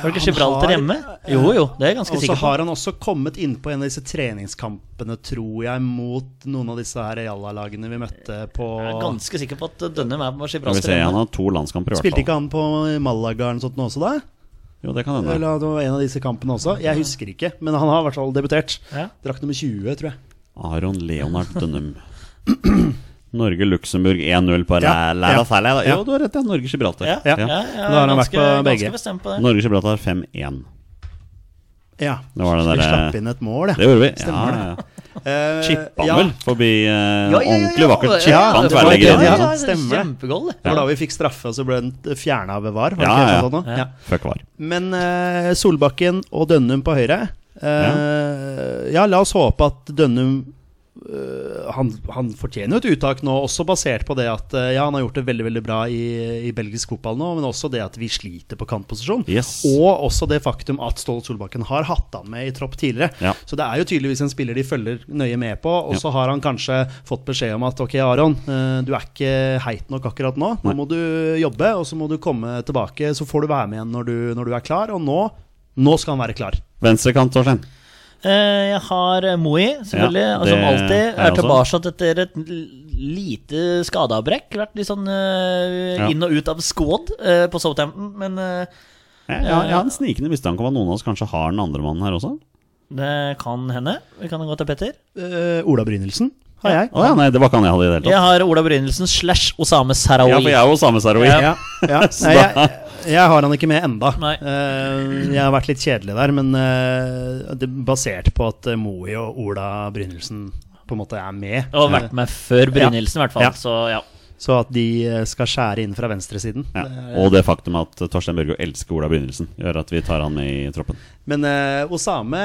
Speaker 2: Var det ikke
Speaker 1: Eh, han
Speaker 2: Gibraltar
Speaker 1: har- eh,
Speaker 2: hjemme? Jo, jo, det er jeg ganske
Speaker 1: Og så
Speaker 2: sikker på.
Speaker 1: har han også kommet innpå en av disse treningskampene, tror jeg, mot noen av disse her Jalla-lagene vi møtte på
Speaker 2: Jeg er ganske sikker på at Dønnum er på
Speaker 3: Skal vi
Speaker 2: Gibraltar
Speaker 3: se, han
Speaker 2: hjemme.
Speaker 3: har to landskamper i hvert
Speaker 1: Spilte
Speaker 3: fall.
Speaker 1: ikke han på Malaga eller noe sånt nå også, da?
Speaker 3: Jo, det kan hende.
Speaker 1: Eller det var en av disse kampene også. Jeg husker ikke, men han har i hvert fall debutert.
Speaker 2: Ja.
Speaker 1: Drakk nummer 20, tror jeg.
Speaker 3: Aron Leonard Dønnum. [CLEARS THROAT] Norge-Luxembourg 1-0 på
Speaker 1: Ja,
Speaker 3: ja, Læra
Speaker 1: ja,
Speaker 3: Særlig.
Speaker 1: ja.
Speaker 3: Jo, du har rett, ja. Norge-Gibraltar.
Speaker 2: Ja,
Speaker 1: Ja.
Speaker 2: ja, jeg er
Speaker 1: Da har han vært
Speaker 2: ganske,
Speaker 1: på begge.
Speaker 2: Ganske bestemt på det.
Speaker 3: Norge-Gibraltar 5-1.
Speaker 1: Ja.
Speaker 3: Det var det
Speaker 1: Vi
Speaker 3: der-
Speaker 1: slapp inn et mål,
Speaker 3: Det gjorde vi. eh, Ja,
Speaker 1: Stemmer det.
Speaker 3: ja, ja.
Speaker 1: [LAUGHS] Eh,
Speaker 3: Chippa
Speaker 1: ja,
Speaker 3: han vel forbi eh,
Speaker 2: Ja, ja, ja, ja.
Speaker 3: ordentlig vakkert. Chippa
Speaker 2: Ja,
Speaker 3: han
Speaker 2: det var
Speaker 1: tverrlegger
Speaker 3: tverrlegger inn. sånn
Speaker 2: det.
Speaker 1: ja,
Speaker 3: Ja,
Speaker 1: ja. stemmer det.
Speaker 2: Kjempegoal, det.
Speaker 1: Det var da vi fikk straffe, og så ble den fjerna ved VAR. Var det
Speaker 3: Ja,
Speaker 1: ikke
Speaker 3: ja.
Speaker 1: helt sånn nå?
Speaker 2: Ja.
Speaker 1: Ja.
Speaker 3: Fuck var.
Speaker 1: Men eh, Solbakken og Dønnum på høyre eh, ja. la oss håpe at Dønnum eh, han, han fortjener jo et uttak nå, også basert på det at eh, ja, han har gjort det veldig veldig bra i, i belgisk fotball nå, men også det at vi sliter på kantposisjon.
Speaker 3: Yes.
Speaker 1: Og også det faktum at Ståle Solbakken har hatt han med i tropp tidligere.
Speaker 3: Ja.
Speaker 1: Så det er jo tydeligvis en spiller de følger nøye med på. Og så har han kanskje fått beskjed om at ok, Aron, eh, du er ikke heit nok akkurat nå. Nå
Speaker 3: Nei.
Speaker 1: må du jobbe, og så må du komme tilbake. Så får du være med igjen når du, når du er klar. Og nå, nå skal han være klar.
Speaker 3: Venstrekant, Torstein.
Speaker 2: Eh, Jeg har Moi, selvfølgelig.
Speaker 3: Ja,
Speaker 2: Altså, som
Speaker 3: det
Speaker 2: alltid.
Speaker 3: er
Speaker 2: Er
Speaker 3: jeg
Speaker 2: tilbake etter et l- lite skadeavbrekk. Vært litt sånn eh,
Speaker 3: Ja.
Speaker 2: inn og ut av squad eh, på Southampton, men eh,
Speaker 3: Jeg, jeg, jeg har en snikende mistanke om at noen av oss kanskje har den andre mannen her også.
Speaker 2: det kan hende. Vi kan gå til Petter.
Speaker 1: Eh, Ola Brynildsen har jeg.
Speaker 3: Å ja, nei, det var ikke han jeg hadde i det hele
Speaker 2: Jeg
Speaker 3: tatt.
Speaker 2: har Ola Brynildsen slash Osame Sarawi.
Speaker 3: Ja, for jeg er jo samme Saroui.
Speaker 2: Ja. [LAUGHS]
Speaker 1: Ja, nei, jeg, jeg har han ikke med enda.
Speaker 2: Nei.
Speaker 1: Eh, jeg har vært litt kjedelig der, men eh, det basert på at eh, Moi og Ola Brynildsen på en måte er med.
Speaker 2: Og vært med før Brynildsen, i hvert fall.
Speaker 1: Ja.
Speaker 2: Så ja.
Speaker 1: Så at de eh, skal skjære inn fra venstresiden.
Speaker 3: Ja. Og det faktum at Torstein Børgo elsker Ola Brynildsen, gjør at vi tar han med i troppen.
Speaker 1: Men eh, Osame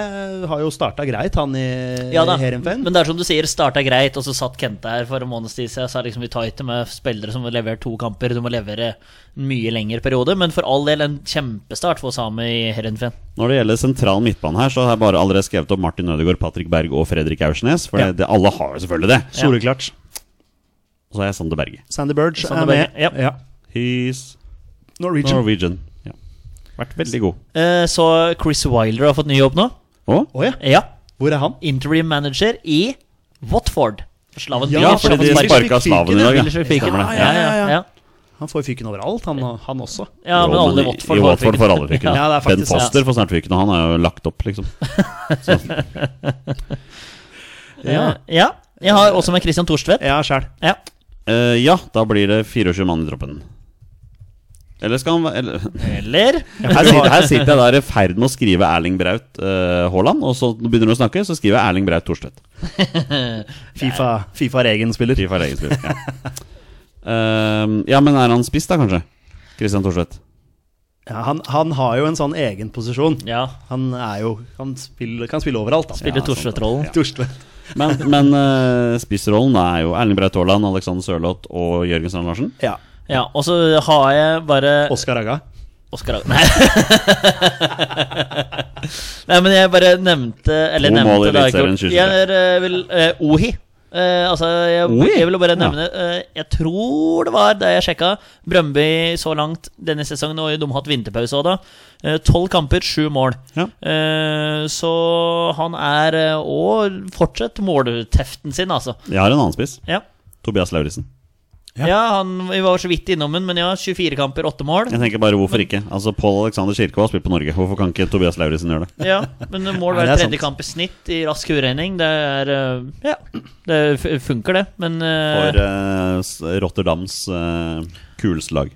Speaker 1: har jo starta greit, han i
Speaker 2: ja da.
Speaker 1: Heerenveen.
Speaker 2: Men det er som du sier, starta greit, og så satt Kente her for en måneds tid siden og sa liksom vi tar ikke med spillere som har levert to kamper, du må levere en mye lengre periode. Men for all del en kjempestart for Osame i Heerenveen.
Speaker 3: Når det gjelder sentral midtbane her, så har jeg bare allerede skrevet opp Martin Ødegaard, Patrick Berg og Fredrik Aursnes. For
Speaker 1: Ja.
Speaker 3: det, det, alle har jo selvfølgelig det.
Speaker 1: Soleklart.
Speaker 3: Og så har jeg Sander Berge.
Speaker 1: Sandy Burge
Speaker 2: Sander
Speaker 1: er med.
Speaker 2: Berge, ja.
Speaker 3: He's
Speaker 1: Norwegian.
Speaker 3: Norwegian. Ja. Vært veldig god.
Speaker 2: Eh, Så Chris Wilder har fått ny jobb nå.
Speaker 3: Og?
Speaker 1: Å ja.
Speaker 2: Ja.
Speaker 1: Hvor er han?
Speaker 2: Interim manager i Watford. Slaven
Speaker 1: Ja,
Speaker 3: Ja,
Speaker 2: Bilic har
Speaker 3: fordi
Speaker 2: fått
Speaker 3: de
Speaker 2: sparken.
Speaker 1: sparket
Speaker 3: sparka slaven i dag. ja.
Speaker 2: Bilic fikk
Speaker 3: Stemmer det.
Speaker 2: han. Ja, ja, ja.
Speaker 1: Han får fyken overalt, han, han også.
Speaker 2: Ja, men
Speaker 3: Jo,
Speaker 2: alle i
Speaker 3: i-
Speaker 2: Watford
Speaker 3: i
Speaker 2: får
Speaker 3: Watford
Speaker 2: fyken.
Speaker 3: får alle fyken.
Speaker 1: Ja, det
Speaker 3: ben
Speaker 1: er faktisk sant.
Speaker 3: Foster får snart fyken, og han er jo lagt opp, liksom.
Speaker 2: Ja. Eh, ja. Jeg har også med Christian Thorstvedt.
Speaker 1: Ja, sjæl.
Speaker 2: Ja.
Speaker 3: Eh, ja, da blir det 24 mann i troppen. Eller skal han være eller-
Speaker 2: Eller
Speaker 3: her, sitter, her sitter jeg der i ferd med å skrive Erling Braut eh, Haaland, og så begynner du å snakke, så skriver jeg Erling Braut Thorstvedt.
Speaker 1: Fifa, FIFA er egen spiller.
Speaker 3: Fy for egen spill, Ja. Eh, ja, men er han spiss, da, kanskje? Christian Thorstvedt.
Speaker 1: Ja, han, han har jo en sånn egen posisjon.
Speaker 2: Ja.
Speaker 1: Han er jo Han spiller, kan spille overalt, da. sånn-
Speaker 2: Spiller
Speaker 3: Ja,
Speaker 2: Thorstvedt-rollen.
Speaker 1: Torstvedt.
Speaker 3: Men, men eh, spissrollen er jo Erling Braut Haaland, Alexander Sørloth og Jørgen Strand Larsen.
Speaker 1: Ja.
Speaker 2: Ja, og så har jeg bare
Speaker 1: Oskar Aga.
Speaker 2: Oskar Hagen. [LAUGHS] Nei. Nei, men jeg bare nevnte Eller
Speaker 3: To mål i
Speaker 2: nevnte det har jeg ikke
Speaker 3: Eliteserien
Speaker 2: gjort. Jeg er, eh, vil eh, Ohi Eh, altså, jeg,
Speaker 3: Oi!
Speaker 2: jeg vil jo bare
Speaker 3: Ja.
Speaker 2: nevne eh, Jeg tror det var da jeg sjekka Brøndby så langt denne sesongen, og de har hatt vinterpause òg, da. Eh, Tolv kamper, sju mål.
Speaker 3: Ja.
Speaker 2: Eh, så han er eh, Og fortsatt målteften sin, altså.
Speaker 3: Jeg har en annen spiss.
Speaker 2: Ja.
Speaker 3: Tobias Lauritzen.
Speaker 2: Ja. han vi var så vidt innom den, men ja, 24 kamper, 8 mål.
Speaker 3: Jeg tenker bare, hvorfor ikke? Altså, Pål Alexander Kirkevold har spilt på Norge. Hvorfor kan ikke Tobias Lauritzen gjøre det?
Speaker 2: Ja, men mål
Speaker 1: Nei,
Speaker 2: hver
Speaker 1: det er
Speaker 2: tredje
Speaker 1: sant.
Speaker 2: kamp i snitt i rask urregning. Det er eh, Ja, det f- funker, det, men eh,
Speaker 3: For eh, s- Rotterdams eh, kuleste lag.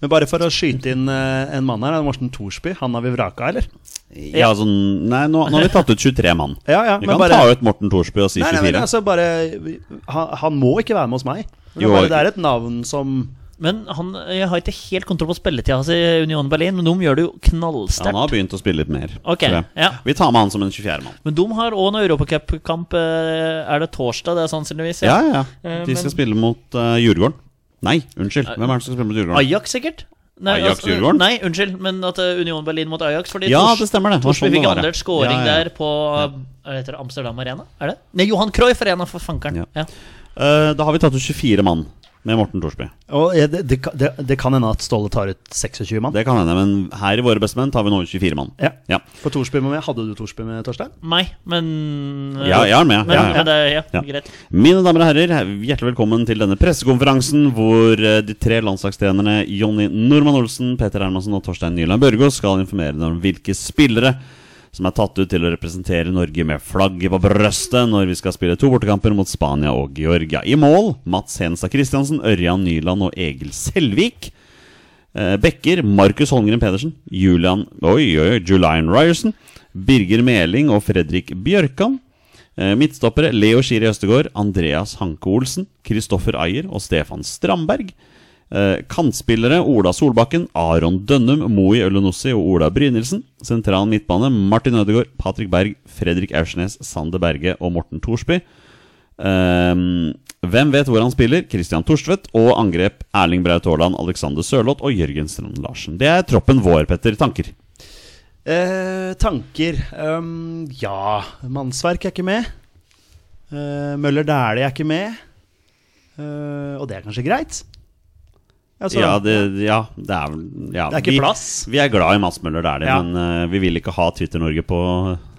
Speaker 1: Men bare for å skyte inn eh, en mann her, Morten Thorsby. Han har vi vraka, eller?
Speaker 3: Ja, altså, nei, nå, nå har vi tatt ut 23 mann.
Speaker 1: [LAUGHS] Ja, ja,
Speaker 3: Vi
Speaker 1: men
Speaker 3: kan
Speaker 1: bare-
Speaker 3: ta ut Morten Thorsby og si
Speaker 1: Nei, nei,
Speaker 3: 24.
Speaker 1: men altså bare han, han må ikke være med hos meg. Men
Speaker 3: Jo,
Speaker 1: bare, det er et navn som
Speaker 2: Men han, jeg har ikke helt kontroll på spilletida hans i Union Berlin, men de gjør det jo
Speaker 3: Ja, han
Speaker 2: knallsterkt.
Speaker 3: har begynt å spille litt mer.
Speaker 2: Ok,
Speaker 3: tror jeg.
Speaker 2: ja.
Speaker 3: Vi tar med han som en 24-mann.
Speaker 2: men de har òg en europacupkamp. eh, Er det torsdag, det er sannsynligvis?
Speaker 3: Ja, ja.
Speaker 2: Eh,
Speaker 3: De
Speaker 2: men-
Speaker 3: skal spille mot eh, Djurgården. Nei, unnskyld. Hvem er det som skal spille mot Djurgården?
Speaker 2: Ajax, sikkert?
Speaker 3: Ajax
Speaker 2: altså,
Speaker 3: Djurgården?
Speaker 2: Nei, unnskyld, men at eh, Union Berlin mot Ajax. Fordi
Speaker 3: Ja,
Speaker 2: Tors-
Speaker 3: det stemmer det. Det var
Speaker 2: Torsby
Speaker 3: sånn det
Speaker 2: fikk
Speaker 3: var, ja.
Speaker 2: andert scoring
Speaker 3: Ja, ja, ja.
Speaker 2: der på eh, hva heter det, Amsterdam Arena? Er det? Nei, Johan Cruyff Arena, for
Speaker 3: Ja.
Speaker 2: fankeren. Ja.
Speaker 3: Eh, da har vi tatt ut 24 mann med Morten Thorsby.
Speaker 1: og eh, det, det, kan- det, det kan hende at Ståle tar ut 26 mann.
Speaker 3: Det kan hende, men her i Våre bestemenn tar vi nå ut 24 mann.
Speaker 1: Ja.
Speaker 3: Ja,
Speaker 1: For Thorsby må med. Hadde du Thorsby med, Torstein?
Speaker 2: Nei, men eh,
Speaker 3: ja jeg er med.
Speaker 2: Men,
Speaker 3: Ja, ja.
Speaker 2: men det, ja,
Speaker 3: Ja.
Speaker 2: greit.
Speaker 3: Mine damer og herrer, hjertelig velkommen til denne pressekonferansen hvor eh, de tre landslagstrenerne Jonny Normann Olsen, Peter Hermansen og Torstein Nyland Børgo skal informere deg om hvilke spillere som er tatt ut til å representere Norge med flagget på brøstet når vi skal spille to bortekamper mot Spania og Georgia. I mål Mats Henstad Christiansen, Ørjan Nyland og Egil Selvik. Eh, Bekker, Markus Holmgren Pedersen, Julian Oi, oi, oi, Julian Ryerson, Birger Meling og Fredrik Bjørkan. Eh, Midtstoppere Leo Skiri Østegård, Andreas Hanke Olsen, Kristoffer Ayer og Stefan Strandberg. Eh, Kantspillere Ola Solbakken, Aron Dønnum, Moi Ølenossi og Ola Brynildsen. Sentral midtbane Martin Ødegaard, Patrick Berg, Fredrik Aursnes, Sander Berge og Morten Thorsby. Ehm, hvem vet hvor han spiller? Christian Torstvedt. Og angrep Erling Braut Haaland, Alexander Sørloth og Jørgen Strand Larsen. Det er troppen vår, Petter. Tanker?
Speaker 1: Eh, tanker Ehm, Ja, Mannsverk er ikke med. Eh, Møller Dæhlie er ikke med. Eh, og det er kanskje greit? Altså,
Speaker 3: ja, det, ja, det er vel ja.
Speaker 1: Det er ikke
Speaker 3: vi,
Speaker 1: plass.
Speaker 3: Vi er glad i Mads Møller Dæhlie,
Speaker 1: Ja.
Speaker 3: men eh, vi vil ikke ha Twitter-Norge på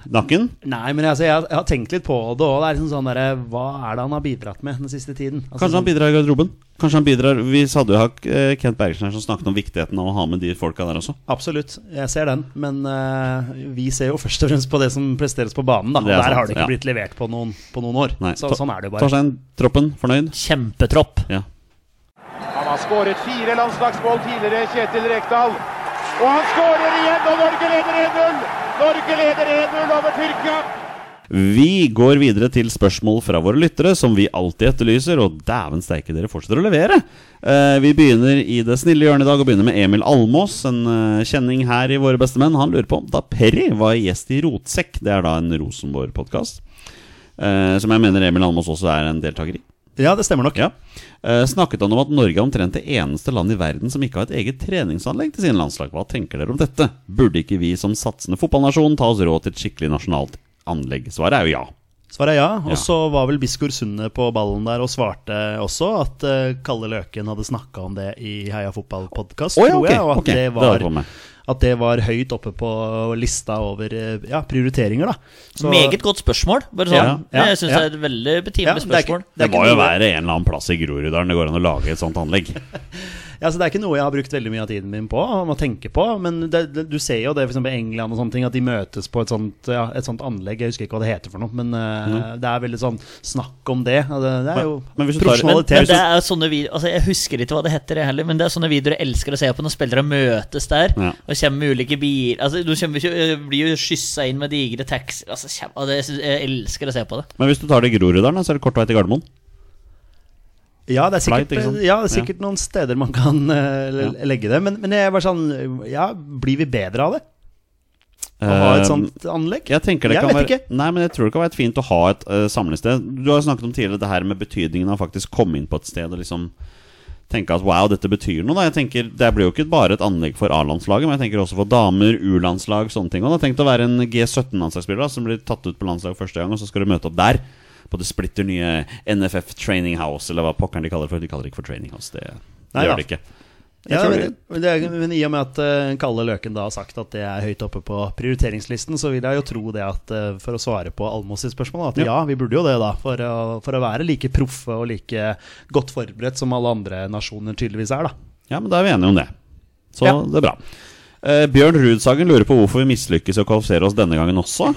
Speaker 3: nakken.
Speaker 1: Nei, men altså, jeg, har- jeg har tenkt litt på det òg. Det er liksom sånn derre Hva er det han har bidratt med den siste tiden? Altså,
Speaker 3: Kanskje han bidrar i garderoben? Kanskje han bidrar Vi hadde jo hatt eh, Kent Bergersen her som snakket om viktigheten av å ha med de folka der også.
Speaker 1: Absolutt, jeg ser den. Men eh, vi ser jo først og fremst på det som presteres på banen. Da.
Speaker 3: Det
Speaker 1: Og
Speaker 3: er
Speaker 1: Der
Speaker 3: sant,
Speaker 1: har det ikke
Speaker 3: ja.
Speaker 1: blitt levert på noen, på noen år.
Speaker 3: Nei,
Speaker 1: Så
Speaker 3: Tor-
Speaker 1: sånn er det jo bare.
Speaker 3: Torstein, troppen fornøyd?
Speaker 2: Kjempetropp.
Speaker 3: Ja.
Speaker 4: Han har skåret fire landslagsmål tidligere, Kjetil Rekdal. Og han skårer igjen, og Norge leder 1-0! Norge leder 1-0 over Tyrkia.
Speaker 3: Vi går videre til spørsmål fra våre lyttere, som vi alltid etterlyser. Og dæven steike, dere fortsetter å levere! Eh, vi begynner i det snille hjørnet i dag, og begynner med Emil Almås, en eh, kjenning her i Våre beste menn. Han lurer på da Perry var gjest i Rotsekk, det er da en Rosenborg-podkast, eh, som jeg mener Emil Almås også er en deltaker i.
Speaker 1: Ja, det stemmer nok.
Speaker 3: Ja. Eh, snakket han om at Norge er omtrent det eneste land i verden som ikke har et eget treningsanlegg til sine landslag. Hva tenker dere om dette? Burde ikke vi som satsende fotballnasjon ta oss råd til et skikkelig nasjonalt anlegg? Svaret er jo ja.
Speaker 1: Svaret er ja. Og
Speaker 3: Ja.
Speaker 1: så var vel Biskor Sunde på ballen der og svarte også at eh, Kalle Løken hadde snakka om det i Heia fotball-podkast,
Speaker 3: Å ja,
Speaker 1: tror
Speaker 3: ok,
Speaker 1: jeg. Og at,
Speaker 3: ok, det
Speaker 1: det
Speaker 3: hadde jeg fått
Speaker 1: var,
Speaker 3: med.
Speaker 1: at det var høyt oppe på lista over eh, ja, prioriteringer, da. Så-
Speaker 2: Meget godt spørsmål. Bare sånn.
Speaker 1: Ja, ja,
Speaker 2: jeg syns
Speaker 1: ja.
Speaker 2: det er et veldig
Speaker 1: Ja,
Speaker 2: betimelig
Speaker 1: det er ikke-
Speaker 2: spørsmål.
Speaker 3: Det, må
Speaker 1: er ikke
Speaker 3: jo
Speaker 1: noe-
Speaker 3: være en eller annen plass i Groruddalen det går an å lage et sånt anlegg.
Speaker 1: Ja, så Det er ikke noe jeg har brukt veldig mye av tiden min på. om å tenke på Men det, det, du ser jo det for eksempel i England og sånne ting at de møtes på et sånt, ja, et sånt anlegg. Jeg husker ikke hva det heter for noe, men eh, det er veldig sånn snakk om det. og Det, det er jo
Speaker 3: Men hvis du tar-
Speaker 2: Men,
Speaker 1: profesjonalitet.
Speaker 2: men det er sånne videoer altså Jeg husker ikke hva det heter, jeg heller, men det er sånne videoer jeg elsker å se på når spillere møtes der.
Speaker 3: Ja.
Speaker 2: Og kommer med ulike biler altså, Du kommer, ikke- øh, blir jo skyssa inn med digre taxier. Altså, kjem- altså, jeg, synes- jeg elsker å se på det.
Speaker 3: Men hvis du tar det i Groruddalen, da, så er det kort vei til Gardermoen.
Speaker 1: Ja, det er
Speaker 3: Flight,
Speaker 1: sikkert,
Speaker 3: ikke sant?
Speaker 1: ja, det er sikkert noen steder man kan eh, le-
Speaker 3: Ja.
Speaker 1: legge det. Men, men jeg var sånn Ja, blir vi bedre av det? Å ha
Speaker 3: Eh,
Speaker 1: et sånt anlegg?
Speaker 3: Jeg tenker det
Speaker 1: Jeg
Speaker 3: kan
Speaker 1: vet
Speaker 3: være
Speaker 1: ikke.
Speaker 3: Nei, men jeg tror det kan være et fint å ha et eh, samlested. Du har jo snakket om tidligere det her med betydningen av faktisk komme inn på et sted og liksom tenke at wow, dette betyr noe. da Jeg tenker, Det blir jo ikke bare et anlegg for A-landslaget, men jeg tenker også for damer, U-landslag, sånne ting. Og da tenk å være en G17-landslagsspiller da som blir tatt ut på landslag første gang, og så skal du møte opp der. på det splitter nye NFF Training House, eller hva pokkeren de kaller det for. De kaller det ikke for Training House, det, det
Speaker 1: Nei,
Speaker 3: gjør
Speaker 1: ja.
Speaker 3: de ikke. Jeg
Speaker 1: Ja,
Speaker 3: tror
Speaker 1: men,
Speaker 3: det-
Speaker 1: men det, er- men i og med at eh, Kalle Løken da har sagt at det er høyt oppe på prioriteringslisten, så vil jeg jo tro det at eh, for å svare på Almås sitt spørsmål, at ja. vi burde jo det, da. For å, for å være like proffe og like godt forberedt som alle andre nasjoner tydeligvis er, da.
Speaker 3: Ja, men da er vi enige om det. Så
Speaker 1: Ja.
Speaker 3: det er bra. Eh, Bjørn Rudsagen lurer på hvorfor vi mislykkes i å kvalifisere oss denne gangen også.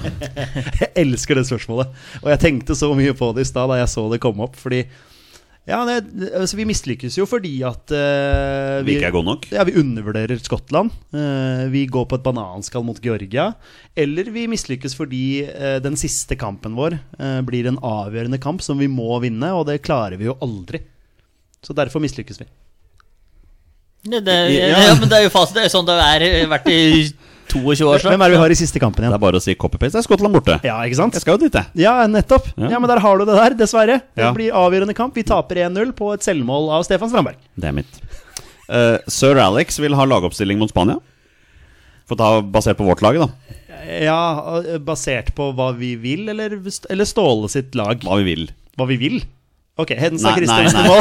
Speaker 1: Jeg elsker det spørsmålet. Og jeg tenkte så mye på det i stad da jeg så det komme opp, fordi ja, det, altså, Vi mislykkes jo fordi at eh,
Speaker 3: Vi ikke er gode nok.
Speaker 1: Ja, Vi undervurderer Skottland. eh, vi går på et bananskall mot Georgia. Eller vi mislykkes fordi eh, den siste kampen vår eh, blir en avgjørende kamp som vi må vinne, og det klarer vi jo aldri. Så derfor mislykkes vi.
Speaker 2: Det, det,
Speaker 3: Ja.
Speaker 2: ja. men det er jo fasit. Det er jo sånn det har vært i 22 år.
Speaker 1: Hvem
Speaker 2: snart.
Speaker 1: er det vi har i siste kampen
Speaker 3: Det
Speaker 1: igjen?
Speaker 3: er bare å si copy-paste. Det er Skottland borte.
Speaker 1: Ja, ikke sant?
Speaker 3: Jeg skal jo dit, jeg.
Speaker 1: Ja, nettopp.
Speaker 3: Ja.
Speaker 1: Ja, Men der har du det der, dessverre. Det
Speaker 3: Ja.
Speaker 1: blir avgjørende kamp. Vi taper 1-0 på et selvmål av Stefan Strandberg.
Speaker 3: Det er mitt. Eh, Sir Alex vil ha lagoppstilling mot Spania. For da, basert på vårt lag, da.
Speaker 1: Ja, eh, basert på hva vi vil, eller, eller Ståle sitt lag?
Speaker 3: Hva vi vil.
Speaker 1: Hva vi vil? Ok, Hensa
Speaker 3: Nei,
Speaker 1: Kristiansen
Speaker 3: nei, nei.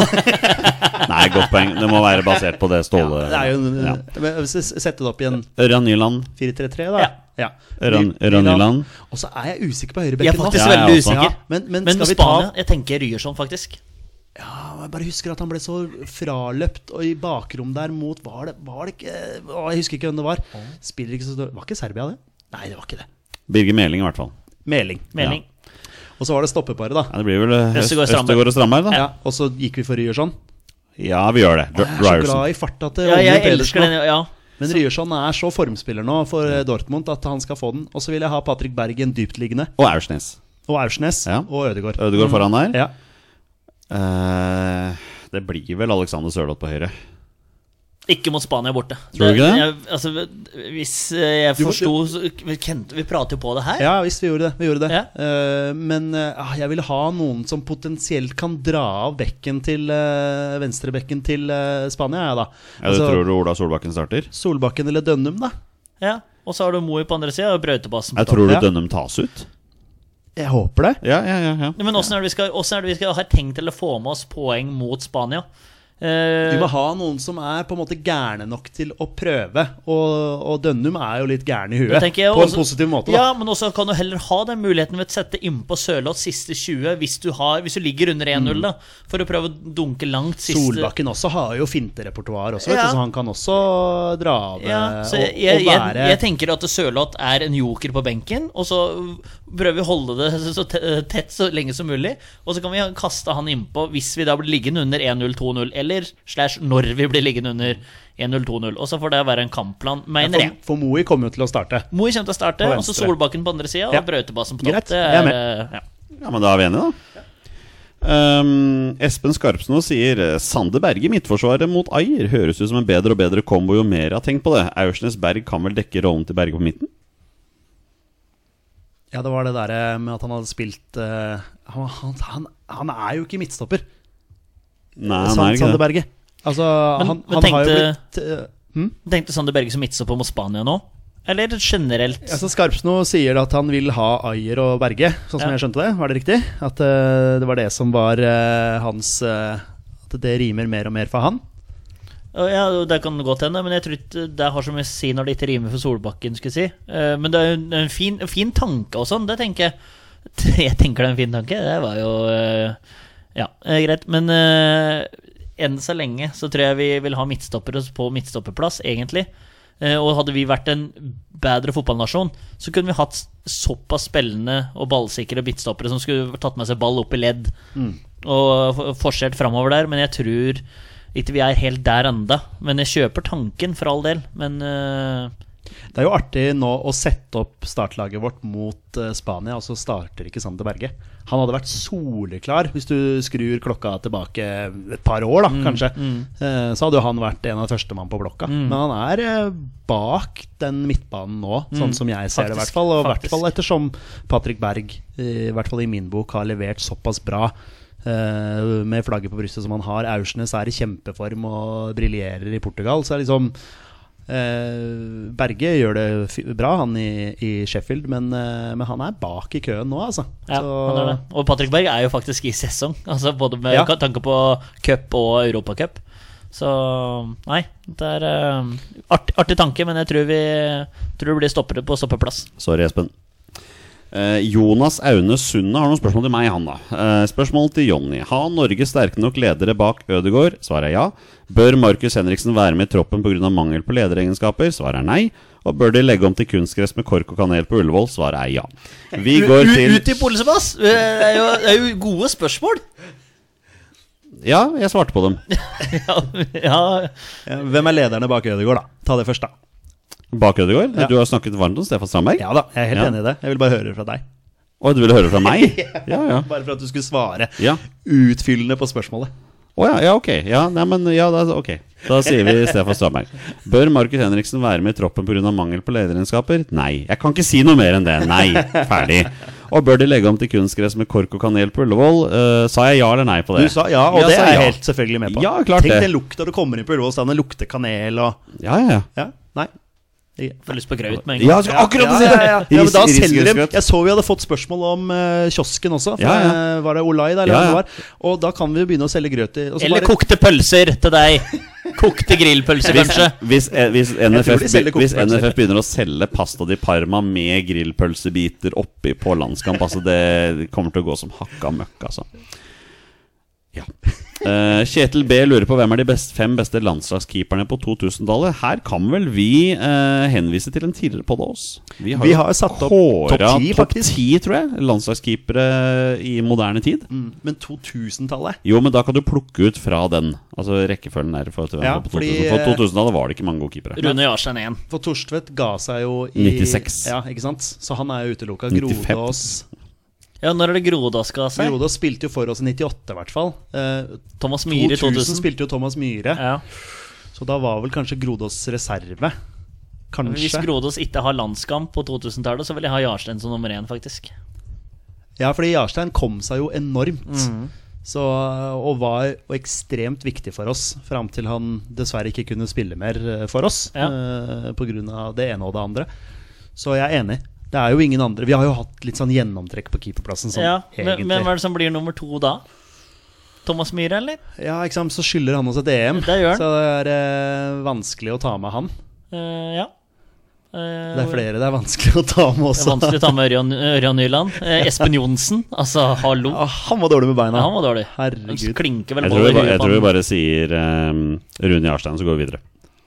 Speaker 3: [LAUGHS]
Speaker 1: mål.
Speaker 3: Nei, godt poeng. Det må være basert på det Ståle
Speaker 1: Det er jo
Speaker 3: ja.
Speaker 1: men hvis jeg Sette det opp i en
Speaker 3: Ørjan Nyland.
Speaker 1: 4-3-3, da.
Speaker 2: Ja.
Speaker 1: Ja.
Speaker 3: Ørjan
Speaker 1: Ny-
Speaker 3: Ørjan
Speaker 1: Nyland.
Speaker 3: Nyland.
Speaker 1: Og så er jeg usikker på
Speaker 2: Jeg er
Speaker 1: høyrebekken nå.
Speaker 2: faktisk
Speaker 3: Ja, jeg
Speaker 2: veldig
Speaker 3: også.
Speaker 2: usikker.
Speaker 1: Ja, men- men
Speaker 2: men
Speaker 1: skal vi ta-
Speaker 2: Spania Jeg tenker Ryerson, faktisk.
Speaker 1: Ja, Jeg bare husker at han ble så fraløpt, og i bakrom der mot Var det, var det ikke å, Jeg husker ikke hvem det var. Spiller ikke så stor- Var ikke Serbia det? Nei, det var ikke det.
Speaker 3: Birger Meling, i hvert fall.
Speaker 1: Meling.
Speaker 2: Mening.
Speaker 1: Og så var det stoppeparet, da.
Speaker 3: Ja, det blir vel eh, Øst-
Speaker 2: Østegård Strandberg.
Speaker 3: Østegård og Strandberg, da.
Speaker 1: Ja, Og så gikk vi for Ryerson.
Speaker 3: Ja, vi gjør det.
Speaker 1: Jeg er så
Speaker 3: Ryerson.
Speaker 1: glad i farta til
Speaker 2: Ja,
Speaker 1: Olje
Speaker 2: jeg
Speaker 1: Pedersen
Speaker 2: elsker
Speaker 1: nå.
Speaker 2: den. Ja.
Speaker 1: Men Ryerson er så formspiller nå for eh, Dortmund at han skal få den. Og så vil jeg ha Patrick Bergen dyptliggende.
Speaker 3: Og Aursnes.
Speaker 1: Og Aursnes
Speaker 3: Ja.
Speaker 1: og Ødegaard.
Speaker 3: Ødegaard foran der.
Speaker 1: Mm. Ja.
Speaker 3: Eh, det blir vel Alexander Sørloth på høyre.
Speaker 2: Ikke mot Spania borte.
Speaker 3: Tror du ikke det?
Speaker 2: Jeg, altså, hvis eh, jeg
Speaker 1: Du må-
Speaker 2: forsto så- vi, kjente- vi prater jo på det her.
Speaker 1: ja visst, vi gjorde det. Vi gjorde det.
Speaker 2: Ja.
Speaker 1: Eh, men eh, ah, jeg vil ha noen som potensielt kan dra av bekken til eh, venstrebekken til eh, Spania, jeg, da.
Speaker 3: Ja,
Speaker 1: Altså,
Speaker 3: du tror du Ola Solbakken starter?
Speaker 1: Solbakken eller Dønnum, da.
Speaker 2: Ja. Og så har du Moi på andre sida og brøytebassen. på
Speaker 3: Jeg tror du
Speaker 1: Ja.
Speaker 3: Dønnum tas ut.
Speaker 1: Jeg håper det.
Speaker 3: Ja, ja, ja, ja.
Speaker 2: toppen. Men åssen er det vi skal, hvordan er det vi skal ha tenkt eller få med oss poeng mot Spania?
Speaker 1: Vi
Speaker 2: Eh,
Speaker 1: må ha noen som er på en måte gærne nok til å prøve. Og, og Dønnum er jo litt gæren i huet.
Speaker 2: Da tenker jeg
Speaker 1: På en
Speaker 2: også-
Speaker 1: positiv måte, da.
Speaker 2: ja, men også kan du heller ha den muligheten ved å sette innpå Sørloth siste 20 hvis du, har, hvis du ligger under
Speaker 1: Mm.
Speaker 2: 1-0, da. For å prøve å dunke langt siste
Speaker 1: Solbakken også har jo finterepertoar, også, vet
Speaker 2: Ja.
Speaker 1: du, så han kan også dra av
Speaker 2: Ja,
Speaker 1: eh,
Speaker 2: så jeg,
Speaker 1: og,
Speaker 2: jeg,
Speaker 1: og
Speaker 2: jeg,
Speaker 1: være
Speaker 2: jeg tenker at Sørloth er en joker på benken, og så prøver vi å holde det [LAUGHS] så- så te- tett så lenge som mulig. Og så kan vi kaste han innpå hvis vi da blir liggende under 1-0, 2-0, eller slash når vi blir liggende under 1-0, 2-0. Og så får det være en kampplan, mener jeg.
Speaker 1: For, for Moi kommer jo til å starte.
Speaker 2: Moi kommer til å starte,
Speaker 1: På
Speaker 2: og så
Speaker 1: venstre.
Speaker 2: Solbakken på andre sida, og
Speaker 1: Ja.
Speaker 2: Brautebassen på
Speaker 1: Greit,
Speaker 2: topp. Det er,
Speaker 1: jeg er med.
Speaker 2: eh, ja.
Speaker 3: Ja, men da er vi enige, da. Ehm, Espen Skarpsno sier eh, Sander Berge, midtforsvaret mot Ayer, høres ut som en bedre og bedre kombo jo mer jeg har tenkt på det. Aursnes Berg kan vel dekke rollen til Berge på midten?
Speaker 1: Ja, det var det derre med at han hadde spilt eh, han, han, han, han er jo ikke midtstopper,
Speaker 3: Nei, han er
Speaker 1: Sand-
Speaker 3: ikke
Speaker 1: Sander
Speaker 3: det.
Speaker 1: Berge. Altså,
Speaker 2: Men-
Speaker 1: han,
Speaker 2: men
Speaker 1: han har jo
Speaker 2: tenkte-
Speaker 1: blitt eh, hm?
Speaker 2: Tenkte Sander Berge som midtstopper mot Spania nå? Eller generelt?
Speaker 1: altså, Skarpsno sier at han vil ha Ayer og Berge, sånn som
Speaker 2: Ja.
Speaker 1: jeg skjønte det. Var det riktig? At eh, det var det som var eh, hans eh, At det rimer mer og mer for han.
Speaker 2: Ja, det kan godt hende, men jeg tror ikke det har så mye å si når det ikke rimer for Solbakken. skulle jeg si Eh, Men det er jo en- en fin, en fin tanke og sånn, det tenker jeg. [LAUGHS] Jeg tenker det er en fin tanke. Det var jo eh, Ja, eh, greit. Men eh, enn så lenge så tror jeg vi vil ha midtstoppere på midtstopperplass, egentlig. Eh, Og hadde vi vært en bedre fotballnasjon, så kunne vi hatt såpass spillende og ballsikre midtstoppere som skulle tatt med seg ball opp i ledd
Speaker 1: Mm.
Speaker 2: og for- forsert framover der, men jeg tror ikke vi er helt der enda Men jeg kjøper tanken, for all del. Men øh,
Speaker 1: Det er jo artig nå å sette opp startlaget vårt mot eh, Spania, og så starter ikke Sander Berge. Han hadde vært soleklar hvis du skrur klokka tilbake et par år,
Speaker 2: Mm,
Speaker 1: da, kanskje. Eh, Så hadde jo han vært en av førstemann på blokka.
Speaker 2: Mm.
Speaker 1: Men han er eh, bak den midtbanen nå, sånn som jeg ser det, i
Speaker 2: Mm. Faktisk,
Speaker 1: hvert fall. Og i
Speaker 2: faktisk.
Speaker 1: hvert fall ettersom Patrick Berg, eh, i hvert fall i min bok, har levert såpass bra. eh, med flagget på brystet som han har. Aursnes er i kjempeform og briljerer i Portugal. Så er det liksom Eh, eh, Berge gjør det fi- bra, han i, i Sheffield, men, eh, men han er bak i køen nå, altså.
Speaker 2: Ja,
Speaker 1: Så-
Speaker 2: han er det. Og Patrick Berg er jo faktisk i sesong, [LAUGHS] altså både med
Speaker 1: Ja.
Speaker 2: tanke på cup og europacup. Så nei, det er eh, artig, artig tanke, men jeg tror vi tror det blir stoppere på stoppeplass.
Speaker 3: Sorry, Espen. Eh, Jonas Aune Sunde har noen spørsmål til meg, han da. Eh, spørsmål til Jonny. Har Norge sterke nok ledere bak Ødegaard? Svaret er ja. Bør Markus Henriksen være med i troppen pga. mangel på lederegenskaper? Svaret er nei. Og bør de legge om til kunstgress med kork og kanel på Ullevål? Svaret er ja. Vi går til
Speaker 2: Ut i Polsebass! Det er jo, det er jo gode spørsmål!
Speaker 3: Ja, jeg svarte på dem.
Speaker 2: Ja, ja,
Speaker 1: Ja, Hvem er lederne bak Ødegaard, da? Ta det først, da.
Speaker 3: Bak Ødegaard?
Speaker 1: Ja.
Speaker 3: Du har snakket varmt om Stefan Strandberg?
Speaker 1: Ja da, jeg er helt
Speaker 3: Ja.
Speaker 1: enig i det. Jeg vil bare høre fra deg.
Speaker 3: Og du ville høre fra meg? Ja, ja.
Speaker 1: Bare for at du skulle svare
Speaker 3: Ja.
Speaker 1: utfyllende på spørsmålet.
Speaker 3: Å ja, ja, ok. Ja, nei, men, ja da, ok. Da sier vi Stefan Strandberg. Bør Markus Henriksen være med i troppen pga. mangel på lederegenskaper? Nei. Jeg kan ikke si noe mer enn det. Nei. Ferdig. Og bør de legge om til kunstgress med kork og kanel på Ullevål? Eh, sa jeg ja eller nei på
Speaker 1: Du
Speaker 3: det?
Speaker 1: sa ja, og
Speaker 3: Jeg
Speaker 1: det
Speaker 3: sa
Speaker 1: er jeg
Speaker 3: ja.
Speaker 1: helt selvfølgelig med på.
Speaker 3: Ja, klart
Speaker 1: Tenk
Speaker 3: det.
Speaker 1: den lukta du kommer inn på Ullevål stadion, det lukter kanel og
Speaker 3: Ja, ja, ja.
Speaker 1: Ja, nei.
Speaker 2: Får lyst på graut med en
Speaker 3: Ja,
Speaker 2: gang.
Speaker 3: jeg skulle akkurat si
Speaker 1: ja,
Speaker 3: det!
Speaker 1: ja, ja. ja, men da
Speaker 3: Ris-
Speaker 1: selger de
Speaker 3: risgrynsgrøt.
Speaker 1: Jeg så vi hadde fått spørsmål om eh, kiosken også. For,
Speaker 3: Ja, ja.
Speaker 1: eh, var det Olai der? Eller
Speaker 3: Ja,
Speaker 1: hva
Speaker 3: ja.
Speaker 1: det var? Og da kan vi jo begynne å selge grøt i og så
Speaker 2: Eller
Speaker 1: bare-
Speaker 2: kokte pølser til deg. Kokte grillpølser, kanskje.
Speaker 3: Hvis, eh, hvis, NFF,
Speaker 1: de selger
Speaker 3: hvis
Speaker 1: kokepølser.
Speaker 3: NFF begynner å selge pasta di Parma med grillpølsebiter oppi på landskamp, altså det kommer til å gå som hakka møkk, altså. Ja. Eh, Kjetil B lurer på hvem er de best, fem beste landslagskeeperne på 2000-tallet. Her kan vel vi eh, henvise til en tidligere på det oss.
Speaker 1: Vi har satt opp
Speaker 3: kåret
Speaker 1: topp ti,
Speaker 3: topp
Speaker 1: faktisk.
Speaker 3: 10, tror jeg, landslagskeepere i moderne tid.
Speaker 1: Mm, Men 2000-tallet
Speaker 3: Jo, men da kan du plukke ut fra den. Altså rekkefølgen er for,
Speaker 1: Ja,
Speaker 3: ja, på 2000.
Speaker 1: fordi, eh,
Speaker 3: For 2000-tallet var det ikke mange gode keepere.
Speaker 2: Rune Jarstein 1.
Speaker 1: For Torstvedt ga seg jo i
Speaker 3: 96.
Speaker 1: Ja, ikke sant? Så han er jo utelukka.
Speaker 3: 95.
Speaker 1: Grodås
Speaker 2: Ja, når er det Grodaska seg?
Speaker 1: Grodås spilte jo for oss i 98, i hvert fall. Eh,
Speaker 2: Thomas Myhre
Speaker 1: 2000,
Speaker 2: 2000.
Speaker 1: spilte jo Thomas Myhre,
Speaker 2: Ja.
Speaker 1: så da var vel kanskje Grodås reserve.
Speaker 2: Hvis
Speaker 1: Kanskje.
Speaker 2: Grodås ikke har landskamp på 2000-tallet, så vil jeg ha Jarstein som nummer én, faktisk.
Speaker 1: Ja, fordi Jarstein kom seg jo enormt.
Speaker 2: Mhm.
Speaker 1: Så, og var jo ekstremt viktig for oss fram til han dessverre ikke kunne spille mer eh, for oss
Speaker 2: Ja.
Speaker 1: eh, På grunn av det ene og det andre. Så jeg er enig. Det er jo ingen andre Vi har jo hatt litt sånn gjennomtrekk på keeperplassen. Sånn,
Speaker 2: ja, men,
Speaker 1: egentlig.
Speaker 2: men hva er det som blir nummer to da? Thomas Myhre, eller?
Speaker 1: ja, ikke sant? Så skylder han oss et EM,
Speaker 2: Det gjør han.
Speaker 1: så det er eh, vanskelig å ta med han.
Speaker 2: Eh, ja. Eh,
Speaker 1: Det er flere det er vanskelig å ta med
Speaker 2: det er
Speaker 1: også. [LAUGHS]
Speaker 2: vanskelig å ta med Ørjan, Ørjan Nyland. Eh, Espen Johnsen, altså hallo.
Speaker 1: Ja, Ah, han var dårlig
Speaker 2: Ja,
Speaker 1: med beina.
Speaker 2: han var dårlig. Han
Speaker 1: Herregud.
Speaker 2: klinker
Speaker 3: Jeg
Speaker 2: vel
Speaker 3: tror, vi, ba- jeg tror vi bare sier ehm, Rune Jarstein, så går vi videre.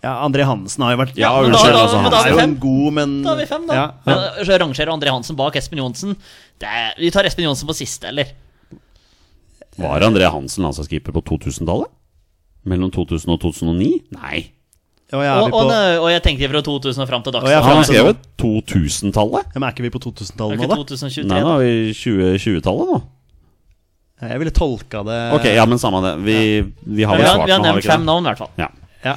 Speaker 1: Ja, André Hansen har jo vært
Speaker 3: Ja,
Speaker 2: men da-
Speaker 3: unnskyld,
Speaker 2: da-
Speaker 3: altså.
Speaker 2: men
Speaker 1: Han
Speaker 2: da-
Speaker 3: Hans.
Speaker 1: er
Speaker 2: vi
Speaker 1: jo
Speaker 2: fem.
Speaker 1: en god, men
Speaker 2: Da har vi fem, da.
Speaker 1: Ja, ja.
Speaker 2: Men Så rangerer André Hansen bak Espen Johnsen. Det er, vi tar Espen Johnsen på siste, eller?
Speaker 3: Var André Hansen landslagskeeper på 2000-tallet? Mellom 2000 og 2009? Nei.
Speaker 1: Ja, og jeg er
Speaker 2: Og,
Speaker 1: vi
Speaker 2: og, eh,
Speaker 1: på-
Speaker 2: og jeg tenkte fra 2000 og fram til dags
Speaker 1: Og jeg er
Speaker 2: dato.
Speaker 3: Han
Speaker 1: fram
Speaker 3: har
Speaker 1: til nå.
Speaker 3: skrevet 2000-tallet?
Speaker 1: Ja, men er ikke vi på 2000-tallet
Speaker 2: Det
Speaker 1: nå,
Speaker 2: er
Speaker 1: da?
Speaker 2: ikke
Speaker 3: Nei,
Speaker 2: 2023,
Speaker 3: nå
Speaker 2: da.
Speaker 3: er vi 2020-tallet nå.
Speaker 1: Jeg ville tolka det
Speaker 3: Ok, ja, men samme det. Vi, vi har vel svart
Speaker 2: Eh, Men vi har,
Speaker 3: nå,
Speaker 2: vi har
Speaker 3: har vi
Speaker 2: nevnt
Speaker 3: ikke
Speaker 2: fem
Speaker 3: det?
Speaker 2: navn, i hvert fall.
Speaker 3: Ja.
Speaker 1: Ja.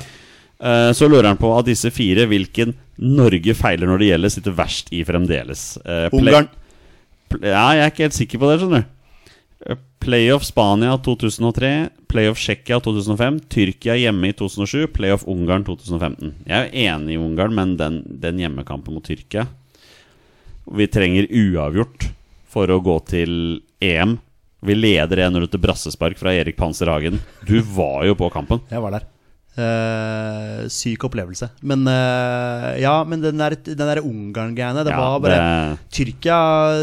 Speaker 3: Eh, Så lurer han på av disse fire hvilken Norge feiler når det gjelder, sitter verst i fremdeles. Eh, play-
Speaker 1: Ungarn.
Speaker 3: pl- Ja, jeg er ikke helt sikker på det, skjønner du. Eh, Playoff Spania 2003, playoff Tsjekkia 2005, Tyrkia hjemme i 2007, playoff Ungarn 2015. Jeg er jo enig i Ungarn, men den, den hjemmekampen mot Tyrkia Vi trenger uavgjort for å gå til EM. Vi leder 1-0 til brassespark fra Erik Panser Hagen. Du var jo på kampen.
Speaker 1: Jeg var der. Eh, syk opplevelse. Men eh, ja, men den der, den der Ungarn-greiene Det
Speaker 3: Ja,
Speaker 1: var bare
Speaker 3: det-
Speaker 1: Tyrkia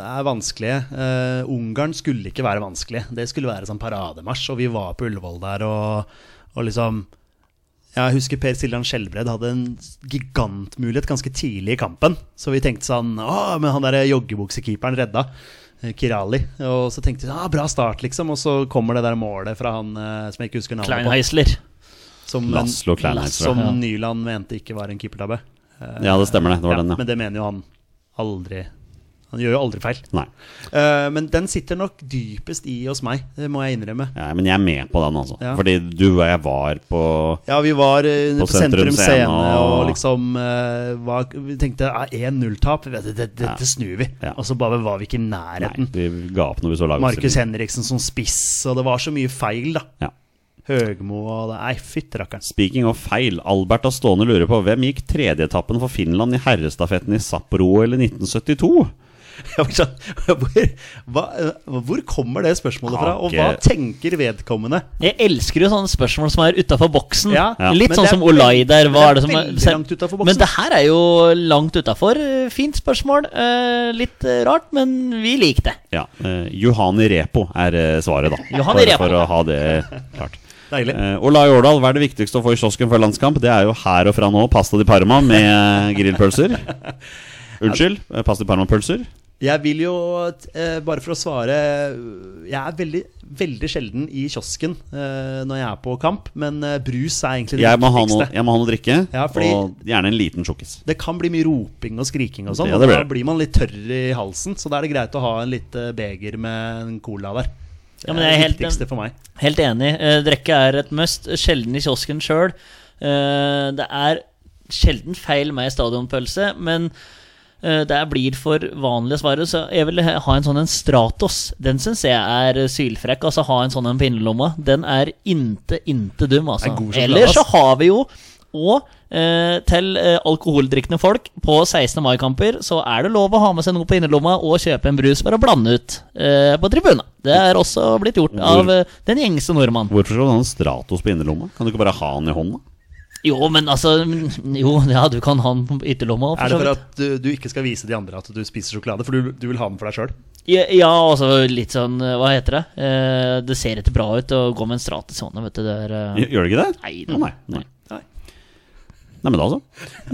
Speaker 1: er vanskelige. Eh, Ungarn skulle ikke være vanskelig. Det skulle være sånn parademarsj, og vi var på Ullevål der og, og liksom Jeg husker Per Siljan Skjelbred hadde en gigantmulighet ganske tidlig i kampen. Så vi tenkte sånn Å, men han der joggebuksekeeperen redda. eh, Kirali. Og så tenkte vi ah, bra start, liksom. Og så kommer det der målet fra han eh, som jeg ikke husker navnet på.
Speaker 2: Kleinheisler.
Speaker 1: Som,
Speaker 3: Laszlo Kleinheis,
Speaker 1: som
Speaker 3: tror jeg.
Speaker 1: Nyland mente ikke var en keepertabbe.
Speaker 3: Ja, det stemmer det. Det var
Speaker 1: Ja,
Speaker 3: den, ja.
Speaker 1: Men det mener jo han aldri. Han gjør jo aldri feil.
Speaker 3: Nei.
Speaker 1: Eh, men den sitter nok dypest i hos meg, det må jeg innrømme.
Speaker 3: Ja, men jeg er med på den, altså.
Speaker 1: Ja.
Speaker 3: Fordi du og jeg var på
Speaker 1: Ja, vi var eh,
Speaker 3: På
Speaker 1: på, Sentrum
Speaker 3: Sentrum
Speaker 1: Scene
Speaker 3: Scene
Speaker 1: og,
Speaker 3: og-
Speaker 1: liksom eh, var, Vi tenkte "Ah, ja, 1-0-tap, det, det, det,
Speaker 3: Ja.
Speaker 1: dette snur vi.
Speaker 3: Ja.
Speaker 1: Og så bare var vi ikke i
Speaker 3: Nei,
Speaker 1: nærheten.
Speaker 3: vi ga opp når vi så laget.
Speaker 1: Markus Henriksen som spiss, og det var så mye feil, da.
Speaker 3: Ja.
Speaker 1: Høgmo og det Nei, fytti rakkeren. [LAUGHS]
Speaker 3: Speaking of feil, Albert av Stående lurer på hvem gikk tredjeetappen for Finland i herrestafetten i Sapporo-OL i 1972?
Speaker 1: Jeg var sånn, Hvor, hva, eh, hvor kommer det spørsmålet fra? Og hva
Speaker 3: Har ikke-
Speaker 1: tenker vedkommende?
Speaker 2: Jeg elsker jo sånne spørsmål som er utafor boksen.
Speaker 1: Ja,
Speaker 3: Ja.
Speaker 2: Litt
Speaker 1: men
Speaker 2: sånn
Speaker 1: det er
Speaker 2: som Olai der. Hva er
Speaker 1: veldig-
Speaker 2: det som er,
Speaker 1: veldig langt utenfor boksen.
Speaker 2: Men det her er jo langt utafor. Fint spørsmål. eh, Litt eh, rart, men vi liker det.
Speaker 3: Ja, eh, Johani Repo er eh, svaret, da.
Speaker 2: Johani
Speaker 3: Bare
Speaker 2: Repo.
Speaker 3: for å ha det klart.
Speaker 1: Deilig.
Speaker 3: Eh, Olai Årdal, hva er det viktigste å få i kiosken før landskamp? Det er jo her og fra nå pasta di Parma
Speaker 1: [LAUGHS]
Speaker 3: med grillpølser. Unnskyld, eh, pasta di Parma-pølser.
Speaker 1: Jeg vil jo, eh, bare for å svare Jeg er veldig, veldig sjelden i kiosken eh, når jeg er på kamp, men eh, brus er egentlig det
Speaker 3: Jeg må ha noe,
Speaker 1: viktigste.
Speaker 3: jeg må ha noe å drikke,
Speaker 1: Ja, fordi-
Speaker 3: og gjerne en liten tjukkis.
Speaker 1: Det kan bli mye roping og skriking og sånn,
Speaker 3: Ja,
Speaker 1: og
Speaker 3: det
Speaker 1: da
Speaker 3: blir det.
Speaker 1: blir man litt tørr i halsen. Så da er det greit å ha en liten beger med en cola der. Det
Speaker 2: Ja,
Speaker 1: er
Speaker 2: men
Speaker 1: det
Speaker 2: jeg er helt-
Speaker 1: viktigste for meg.
Speaker 2: Helt enig. Eh, Drikke er et must. Sjelden i kiosken sjøl. Det er sjelden feil med stadionpølse, men eh, det er- blir for vanlige svaret. Så jeg vil he- ha en sånn en Stratos. Den syns jeg er eh, sylfrekk. Altså ha en sånn en på innerlomma. Den er inte, inte dum,
Speaker 1: Det
Speaker 2: altså.
Speaker 1: er god sjokolade,
Speaker 2: Eller så
Speaker 1: ass.
Speaker 2: har vi jo og eh, til eh, alkoholdrikkende folk på 16. mai-kamper så er det lov å ha med seg noe på innerlomma og kjøpe en brus for å blande ut eh, på tribunen. Det er også blitt gjort av eh, den gjengse nordmann.
Speaker 3: Hvorfor skal du ha en Stratos på innerlomma? Kan du ikke bare ha den i hånda?
Speaker 2: Jo, men altså mm, Jo, ja, du kan ha den på ytterlomma. for
Speaker 1: Er det
Speaker 2: så
Speaker 1: for
Speaker 2: vidt.
Speaker 1: at du, du ikke skal vise de andre at du spiser sjokolade, for du, du vil ha den for deg sjøl?
Speaker 2: Ja, ja, altså litt sånn eh, Hva heter det? Eh, det ser ikke bra ut å gå med en stratus i hånda, vet du. Det er eh,
Speaker 3: Gjør- Gjør det ikke det?
Speaker 2: Nei,
Speaker 3: Å,
Speaker 2: det-
Speaker 3: nei, nei. Nei, men da så.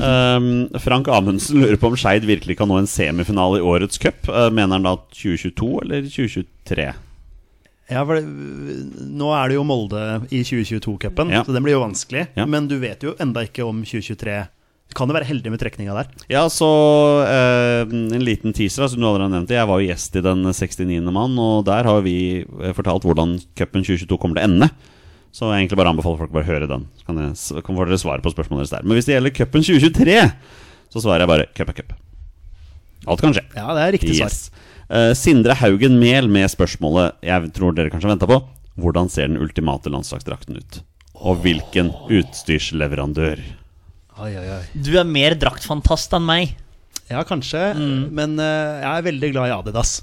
Speaker 3: Ehm, Frank Amundsen lurer på om Skeid virkelig kan nå en semifinale i årets cup. Eh, mener han da 2022 eller 2023?
Speaker 1: Ja, for det, Nå er det jo Molde i 2022-cupen,
Speaker 3: Ja.
Speaker 1: så den blir jo vanskelig.
Speaker 3: Ja.
Speaker 1: Men du vet jo enda ikke om 2023 Kan du være heldig med trekninga der?
Speaker 3: Ja, så eh, en liten teaser, da, som du allerede nevnte. Jeg var jo gjest i Den 69. mann, og der har vi eh, fortalt hvordan cupen 2022 kommer til å ende. Så jeg egentlig bare anbefaler folk å bare høre den. Så kan, jeg, så kan får dere svare på spørsmålet deres der. Men hvis det gjelder cupen 2023, så svarer jeg bare cup er cup. Alt kan skje.
Speaker 1: Ja, det er riktig svar.
Speaker 3: Yes. Eh, Sindre Haugen Mehl med spørsmålet jeg tror dere kanskje venta på. Hvordan ser den ultimate landslagsdrakten ut? Og hvilken utstyrsleverandør?
Speaker 1: Oi, oi, oi.
Speaker 2: Du er mer draktfantast enn meg.
Speaker 1: Ja, kanskje,
Speaker 3: Mm.
Speaker 1: men eh, jeg er veldig glad i Adidas.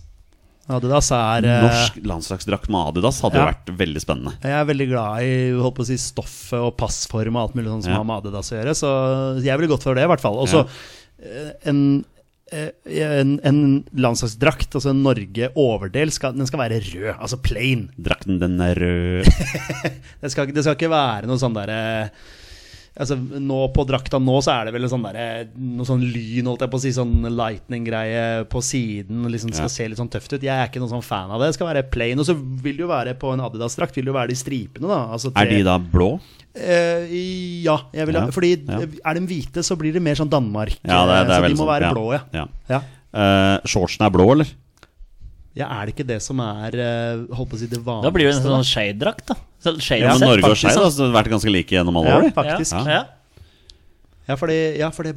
Speaker 1: Adidas er eh,
Speaker 3: Norsk landslagsdrakt med Adidas hadde jo
Speaker 1: ja.
Speaker 3: vært veldig spennende.
Speaker 1: Jeg er veldig glad i holdt på å si, stoffet og passform og alt mulig sånt som
Speaker 3: Ja.
Speaker 1: har med Adidas å gjøre, så jeg ville gått for det, i hvert fall. Og så eh, en, eh, en, en landslagsdrakt, altså en Norge-overdel, skal, den skal være rød, altså plain.
Speaker 3: Drakten den er rød [LAUGHS]
Speaker 1: Det skal, ikke- det skal ikke være noe sånn derre Altså, nå På drakta nå så er det vel en sånn derre- noe sånn lyn, holdt jeg på å si, sånn lightning-greie på siden. og liksom Skal
Speaker 3: Ja.
Speaker 1: se litt sånn tøft ut. Jeg er ikke noen sånn fan av det. Det skal være plain. Og så vil det jo være på en Adidas-drakt, vil det jo være de stripene, da. Altså,
Speaker 3: Er de da blå?
Speaker 1: Eh, ja, jeg vil ha,
Speaker 3: Ja,
Speaker 1: fordi
Speaker 3: ja.
Speaker 1: er de hvite, så blir det mer sånn Danmark.
Speaker 3: Ja, det, det er
Speaker 1: så
Speaker 3: veldig
Speaker 1: de må
Speaker 3: sånn,
Speaker 1: være
Speaker 3: ja.
Speaker 1: blå, ja.
Speaker 3: ja.
Speaker 1: ja.
Speaker 3: Eh, shortsen er blå, eller?
Speaker 1: Ja, Er det ikke det som er eh, holdt på å si det vanligste?
Speaker 2: Da blir det en
Speaker 1: da?
Speaker 2: sånn Skeid-drakt, da. Så Skeid
Speaker 3: Ja, men
Speaker 2: sett,
Speaker 3: Norge og
Speaker 2: faktisk,
Speaker 3: Skeid
Speaker 2: da.
Speaker 3: har altså vært ganske like gjennom alle
Speaker 1: Ja,
Speaker 3: år. de.
Speaker 1: faktisk.
Speaker 2: Ja.
Speaker 1: Ja,
Speaker 2: Ja.
Speaker 1: fordi, ja, fordi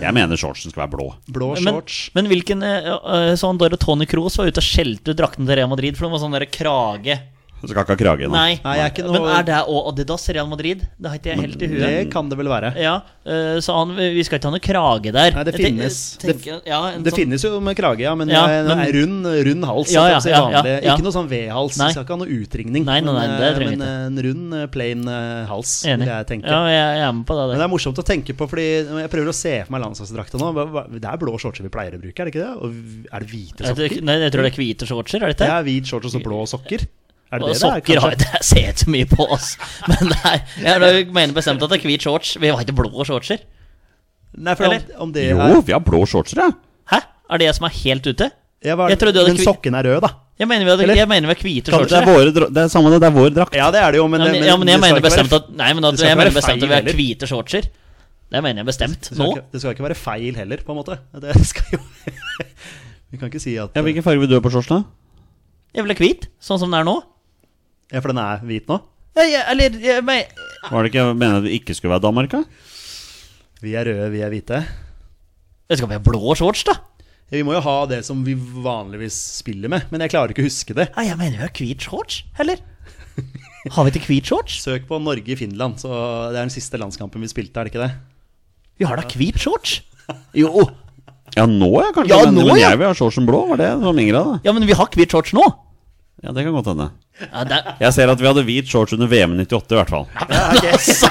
Speaker 3: Jeg mener shortsen skal være blå.
Speaker 1: blå
Speaker 2: Men,
Speaker 1: shorts
Speaker 2: men hvilken eh, eh, Sånn Dora Tony Kroos var ute og skjelte ut drakten til Real Madrid, for den var sånn der krage.
Speaker 3: Så skal ikke ha krage. nå.
Speaker 2: Nei.
Speaker 1: Nei, jeg er ikke
Speaker 2: Men
Speaker 1: noe
Speaker 2: er det òg Adidas Real Madrid? Det har ikke jeg helt i huet.
Speaker 1: Det kan det vel være.
Speaker 2: Ja, eh, så han, vi skal ikke ha noe krage der.
Speaker 1: Nei, det
Speaker 2: Jeg tenk-
Speaker 1: finnes-
Speaker 2: jeg tenker- ja, en
Speaker 1: Det
Speaker 2: sånn-
Speaker 1: finnes jo med krage, ja, men,
Speaker 2: Ja,
Speaker 1: jeg-
Speaker 2: men-
Speaker 1: jeg er rund, rund hals.
Speaker 2: Ja,
Speaker 1: holdt jeg
Speaker 2: ja,
Speaker 1: på å si,
Speaker 2: ja, ja,
Speaker 1: vanlig.
Speaker 2: ja.
Speaker 1: Ikke noe sånn V-hals.
Speaker 2: Nei.
Speaker 1: Vi skal ikke ha noe utringning.
Speaker 2: Nei, nei, nei,
Speaker 1: men,
Speaker 2: det trenger vi
Speaker 1: men en rund, eh, plain eh, hals,
Speaker 2: Enig.
Speaker 1: vil jeg tenke.
Speaker 2: Ja, jeg, jeg er med på det. det.
Speaker 1: Men det er morsomt å tenke på, fordi jeg prøver å se for meg landslagsdrakta nå. Hva- hva- Det er blå shortser vi pleier å bruke, er det ikke det? Og er det hvite
Speaker 2: Jeg,
Speaker 1: sokker?
Speaker 2: tror- nei, jeg tror det er hvite shortser, er det ikke?
Speaker 1: Ja, hvit shorts og så blå sokker. Er det
Speaker 2: og
Speaker 1: det det
Speaker 2: sokker
Speaker 1: er,
Speaker 2: har
Speaker 1: kanskje?
Speaker 2: jeg jeg ser ikke så mye på, oss. [LAUGHS] Men det er, jeg da mener bestemt at det er hvit shorts. Vi har ikke blå shortser.
Speaker 1: Nei, for om,
Speaker 2: Eller?
Speaker 1: om det er
Speaker 3: Jo, vi har blå shortser, ja!
Speaker 2: Hæ? Er det jeg som er helt ute?
Speaker 1: Ja, hva
Speaker 2: Jeg
Speaker 1: er det-
Speaker 2: trodde du hadde
Speaker 1: Men
Speaker 2: kvi-
Speaker 1: sokken er rød, da.
Speaker 2: Jeg mener vi, hadde,
Speaker 1: Eller?
Speaker 2: jeg mener vi har hvite
Speaker 3: Det er,
Speaker 2: shortser. jeg.
Speaker 3: våre, dra- det er samme det, det er vår drakt.
Speaker 1: Ja, det er det jo, men,
Speaker 2: Ja, men,
Speaker 1: men
Speaker 2: ja, men
Speaker 1: det
Speaker 2: jeg mener
Speaker 1: skal ikke være-
Speaker 2: bestemt at Nei, men at,
Speaker 1: det
Speaker 2: jeg
Speaker 1: skal ikke
Speaker 2: mener
Speaker 1: være
Speaker 2: bestemt at vi
Speaker 1: feil
Speaker 2: har
Speaker 1: heller.
Speaker 2: hvite shortser. Det mener jeg bestemt.
Speaker 1: det skal,
Speaker 2: Nå
Speaker 1: ikke, det skal ikke være feil heller, på en måte. Det skal jo [LAUGHS] Vi kan ikke si at
Speaker 3: Ja, Hvilken farge vil du ha på shortsen? da?
Speaker 2: Jeg vil ha hvit, sånn som det er nå.
Speaker 1: Ja, for den er hvit nå?
Speaker 2: Ja, jeg, eller jeg, men,
Speaker 3: Var det ikke meningen at det ikke skulle være Danmark? da?
Speaker 1: Vi er røde, vi er hvite.
Speaker 2: Det skal være blå shorts, da.
Speaker 1: Ja, Vi må jo ha det som vi vanligvis spiller med, men jeg klarer ikke å huske det.
Speaker 2: Ja, jeg mener vi har hvit shorts, eller? Har vi ikke hvit shorts?
Speaker 1: Søk på Norge i Finland, så det er den siste landskampen vi spilte, er det ikke det?
Speaker 2: Vi har da hvit shorts!
Speaker 1: [LAUGHS]
Speaker 2: Jo!
Speaker 3: Ja, nå ja, kanskje.
Speaker 2: Ja,
Speaker 3: men,
Speaker 2: nå,
Speaker 3: men
Speaker 2: ja.
Speaker 3: jeg vil ha shortsen blå. Var det som Ingrid hadde?
Speaker 2: Ja, men vi har hvit shorts nå!
Speaker 3: Ja, det kan godt hende.
Speaker 2: Ja, det er,
Speaker 3: Jeg ser at vi hadde hvit shorts under VM 98, i hvert fall.
Speaker 1: [LAUGHS]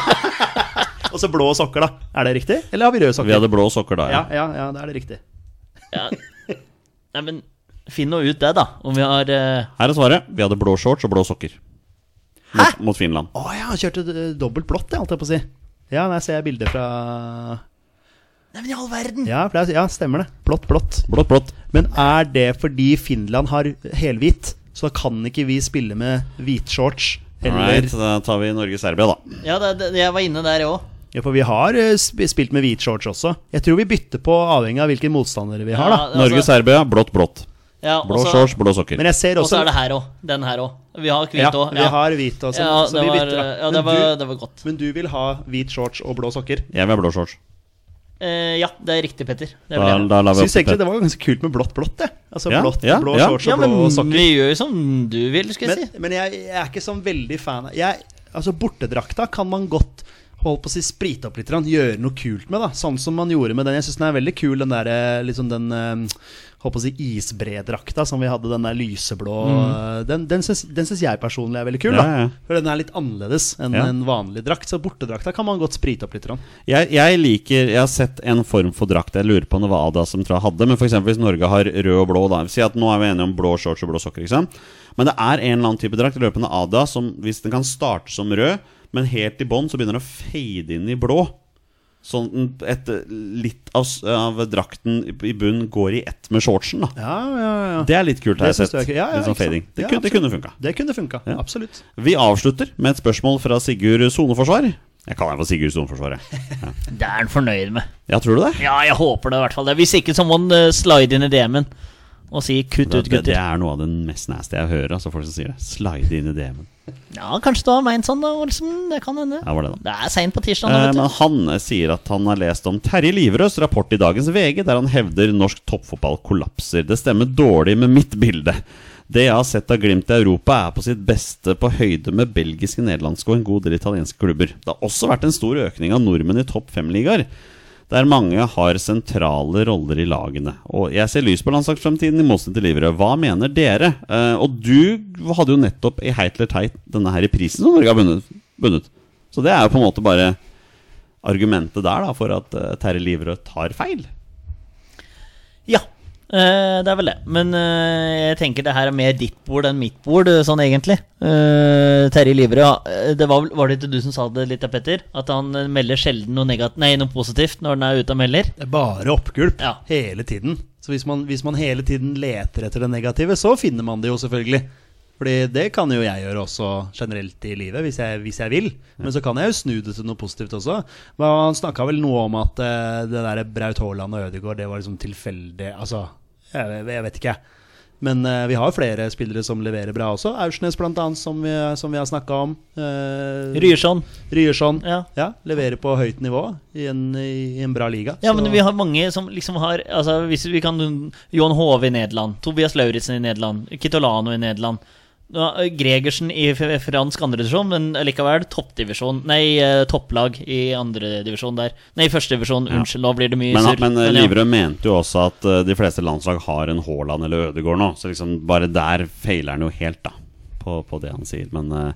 Speaker 1: Og så blå sokker, da. Er det riktig? Eller har vi røde sokker?
Speaker 3: Vi hadde blå sokker da.
Speaker 1: ja, ja, ja, da er det riktig.
Speaker 2: ja. Nei, men finn nå ut det, da. Om vi har eh,
Speaker 3: Her er svaret. Vi hadde blå shorts og blå sokker. Mot, mot Finland.
Speaker 1: Å ja, han kjørte eh, dobbelt blått, jeg holdt jeg på å si. Ja, der ser jeg bilder fra
Speaker 2: Nei, men i all verden!
Speaker 1: Ja, for det er, ja stemmer det. Blått, blått.
Speaker 3: Blått, blått.
Speaker 1: Men er det fordi Finland har helhvit, så da kan ikke vi spille med hvitshorts? Eller
Speaker 3: Alright, da tar vi Norge-Serbia, da.
Speaker 2: Ja, det, det, jeg var inne der, jeg òg.
Speaker 1: Ja, for vi har eh, sp spilt med hvitshorts også. Jeg tror vi bytter på avhengig av hvilke motstandere vi har, da.
Speaker 3: Norge-Serbia, blått, blått.
Speaker 2: altså- ja, altså-
Speaker 3: Blå
Speaker 2: også-
Speaker 3: shorts, blå sokker.
Speaker 1: Men jeg ser
Speaker 2: Og så
Speaker 1: også
Speaker 2: er det her òg. Den her òg. Vi har
Speaker 1: ja,
Speaker 2: hvit òg.
Speaker 1: Vi har hvit også,
Speaker 2: ja,
Speaker 1: så
Speaker 2: det
Speaker 1: vi
Speaker 2: var,
Speaker 1: bytter. da.
Speaker 2: ja, det
Speaker 1: men,
Speaker 2: var,
Speaker 1: du,
Speaker 2: det var godt.
Speaker 1: men du vil ha hvit shorts og blå sokker?
Speaker 3: Jeg vil ha blå shorts.
Speaker 2: Eh, ja, det er riktig, Petter.
Speaker 3: Da,
Speaker 2: Det vil jeg.
Speaker 3: da lar vi
Speaker 1: Syns
Speaker 3: opp til
Speaker 1: egentlig det var ganske kult med blått blått, jeg. Altså
Speaker 3: Ja,
Speaker 1: blått,
Speaker 3: ja,
Speaker 1: blå
Speaker 3: ja.
Speaker 1: shorts og
Speaker 2: Ja, men
Speaker 1: blå sokker.
Speaker 2: vi gjør jo som du vil, skal jeg
Speaker 1: Men,
Speaker 2: si.
Speaker 1: men jeg, jeg er ikke sånn veldig fan av jeg, Altså, bortedrakta kan man godt Holdt på å si sprite opp litt, grann, gjøre noe kult med, da. Sånn som man gjorde med den. Jeg syns den er veldig kul, den der eh, liksom den eh, Holdt på å si isbredrakta som vi hadde, den der lyseblå eh, Den, den syns den syns jeg personlig er veldig
Speaker 3: Mm.
Speaker 1: kul,
Speaker 3: Ja,
Speaker 1: da.
Speaker 3: ja, ja.
Speaker 1: For den er litt annerledes enn
Speaker 3: Ja.
Speaker 1: en vanlig drakt. Så bortedrakta kan man godt sprite opp litt. Grann.
Speaker 3: Jeg, jeg liker Jeg har sett en form for drakt. Jeg lurer på om det var Ada som tror jeg hadde. Men for eksempel hvis Norge har rød og blå, da. Si at nå er vi enige om blå shorts og blå sokker. Ikke sant? Men det er en eller annen type drakt i løpet av Ada som hvis den kan starte som rød, men helt i bånn så begynner den å fade inn i blå. Sånn at den- et, litt av, s- av drakten i bunnen går i ett med shortsen. da
Speaker 1: Ja, ja, ja.
Speaker 3: Det er litt kult, har jeg
Speaker 1: Det synes
Speaker 3: sett.
Speaker 1: du er kult. Ja, ja,
Speaker 3: litt sånn
Speaker 1: ikke sant?
Speaker 3: fading. Det,
Speaker 1: Ja,
Speaker 3: kunne- det kunne funka.
Speaker 1: Det kunne funka.
Speaker 3: Ja.
Speaker 1: Absolutt.
Speaker 3: Vi avslutter med et spørsmål fra Sigurd Soneforsvar. Jeg kaller ham for Sigurd Soneforsvar, jeg.
Speaker 2: Det er han fornøyd med.
Speaker 3: Ja, tror du det?
Speaker 2: Ja, jeg håper det, i hvert fall. Hvis ikke, så må han eh, slide inn i DM-en og si 'kutt
Speaker 3: Det,
Speaker 2: ut,
Speaker 3: det, det
Speaker 2: gutter'.
Speaker 3: er noe av den mest nasty jeg hører. Altså folk som sier det. Slide inn i DM-en.
Speaker 2: Ja, kanskje du har meint sånn, da, Olsen. Det kan hende.
Speaker 3: Ja, var det da.
Speaker 2: Det er seint på tirsdag
Speaker 3: Eh,
Speaker 2: nå, sånn,
Speaker 3: men
Speaker 2: vet du.
Speaker 3: han sier at han har lest om Terje Liverøds rapport i dagens VG, der han hevder norsk toppfotball kollapser. Det stemmer dårlig med mitt bilde. Det jeg har sett av Glimt i Europa, er på sitt beste på høyde med belgiske, nederlandske og en god del italienske klubber. Det har også vært en stor økning av nordmenn i topp fem-ligaer, der mange har sentrale roller i lagene. Og jeg ser lys på landslagsfremtiden i motstand til Liverød. Hva mener dere? Eh, og du hadde jo nettopp i Heit eller teit denne her i prisen som Norge har vunnet- vunnet. Så det er jo på en måte bare argumentet der da for at eh, Terje Liverød tar feil.
Speaker 2: Ja, eh, det er vel det. Men eh, jeg tenker det her er mer ditt bord enn mitt bord, eh, sånn egentlig. Eh, Terje Livre, ja, eh, det var, vel- var det ikke du som sa det litt, da, Petter? At han eh, melder sjelden noe, negat nei, noe positivt når han er ute og melder?
Speaker 1: Det er bare oppgulp
Speaker 2: Ja.
Speaker 1: hele tiden. Så hvis man, hvis man hele tiden leter etter det negative, så finner man det jo selvfølgelig. Fordi det kan jo jeg gjøre også generelt i livet, hvis jeg, hvis jeg vil. Men så kan jeg jo snu det til noe positivt også. Men han snakka vel noe om at eh, det der Braut Haaland og Ødegaard, det var liksom tilfeldig Altså, jeg, jeg vet ikke. Men eh, vi har flere spillere som leverer bra også. Aursnes blant annet, som vi, som vi har snakka om. Eh,
Speaker 2: Ryerson.
Speaker 1: Ryerson.
Speaker 2: Ja.
Speaker 1: Ja, leverer på høyt nivå i en, i en bra liga.
Speaker 2: Ja,
Speaker 1: Så-
Speaker 2: men vi har mange som liksom har altså, hvis vi kan, Johan Hove i Nederland, Tobias Lauritzen i Nederland, Kitolano i Nederland. Ja, Gregersen i f- fransk andredivisjon, men likevel toppdivisjon Nei, eh, topplag i andredivisjon der. Nei, førstedivisjon.
Speaker 3: Ja.
Speaker 2: Unnskyld, nå blir det mye
Speaker 3: Men,
Speaker 2: surr.
Speaker 3: men, eh,
Speaker 2: ja.
Speaker 3: Liverød mente jo også at eh, de fleste landslag har en Haaland eller Ødegaard nå. Så liksom bare der feiler han jo helt, da, på, på det han sier. Men eh,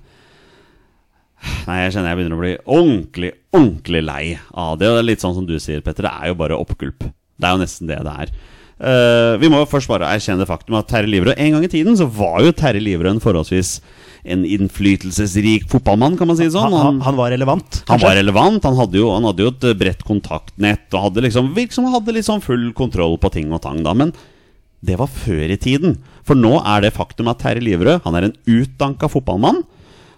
Speaker 3: Nei, jeg kjenner jeg begynner å bli ordentlig, ordentlig lei av det. Og det er litt sånn som du sier, Petter. Det er jo bare oppgulp. Det er jo nesten det det er. Eh, vi må jo først bare erkjenne det faktum at Terje Liverød En gang i tiden så var jo Terje Liverød en forholdsvis en innflytelsesrik fotballmann, kan man si det sånn.
Speaker 1: han, han, han var relevant.
Speaker 3: Han var relevant, han hadde jo, han hadde jo et eh, bredt kontaktnett og hadde liksom, virket som han hadde litt sånn full kontroll på ting og tang, da. Men det var før i tiden. For nå er det faktum at Terje Liverød han er en utdanka fotballmann.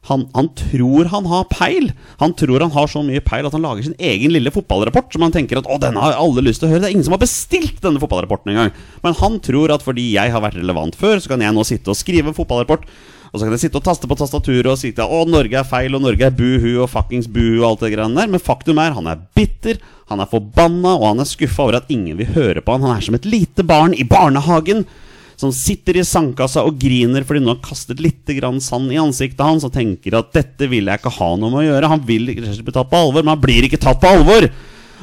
Speaker 3: Han, han tror han har peil. Han tror han har så mye peil at han lager sin egen lille fotballrapport som han tenker at å, denne har alle lyst til å høre. Det er ingen som har bestilt denne fotballrapporten engang. Men han tror at fordi jeg har vært relevant før, så kan jeg nå sitte og skrive en fotballrapport. Og så kan jeg sitte og taste på tastaturet og si at å, Norge er feil, og Norge er buhu og fuckings buhu og alt det greiene der. Men faktum er, han er bitter, han er forbanna, og han er skuffa over at ingen vil høre på han. Han er som et lite barn i barnehagen som sitter i sandkassa og griner fordi noen har kastet litt grann sand i ansiktet hans og tenker at 'dette vil jeg ikke ha noe med å gjøre'. Han vil ikke rett og slett bli tatt på alvor, men han blir ikke tatt på alvor!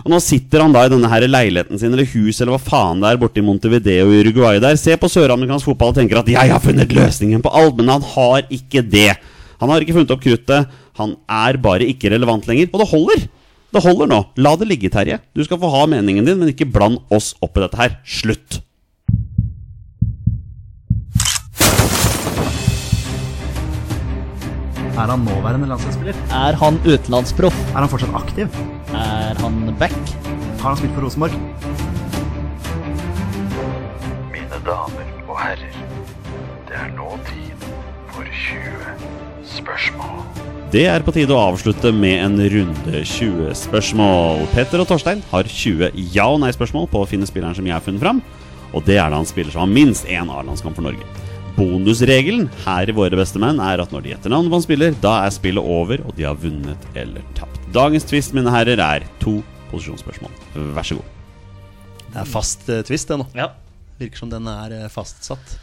Speaker 3: Og nå sitter han da i denne her leiligheten sin eller huset eller hva faen det er borte i Montevideo i Uruguay der, ser på søramerikansk fotball og tenker at 'jeg har funnet løsningen på alt', men han har ikke det. Han har ikke funnet opp kruttet. Han er bare ikke relevant lenger. Og det holder! Det holder nå. La det ligge, Terje. Du skal få ha meningen din, men ikke bland oss opp i dette her. Slutt!
Speaker 1: Er han nåværende landslagsspiller?
Speaker 2: Er han utenlandsproff?
Speaker 1: Er han fortsatt aktiv?
Speaker 2: Er han back?
Speaker 1: Har han spilt for Rosenborg?
Speaker 5: Mine damer og herrer, det er nå tid for 20 spørsmål.
Speaker 3: Det er på tide å avslutte med en runde 20 spørsmål. Petter og Torstein har 20 ja- og nei-spørsmål på å finne spilleren som jeg har funnet fram. Og det er da en spiller som har minst én A-landskamp for Norge. Bonusregelen her i Våre beste menn er at når de gjetter navnet på en spiller, da er spillet over, og de har vunnet eller tapt. Dagens twist, mine herrer, er to posisjonsspørsmål. Vær så god.
Speaker 1: Det er fast eh, twist, det nå.
Speaker 2: Ja.
Speaker 1: Virker som den er eh, fastsatt.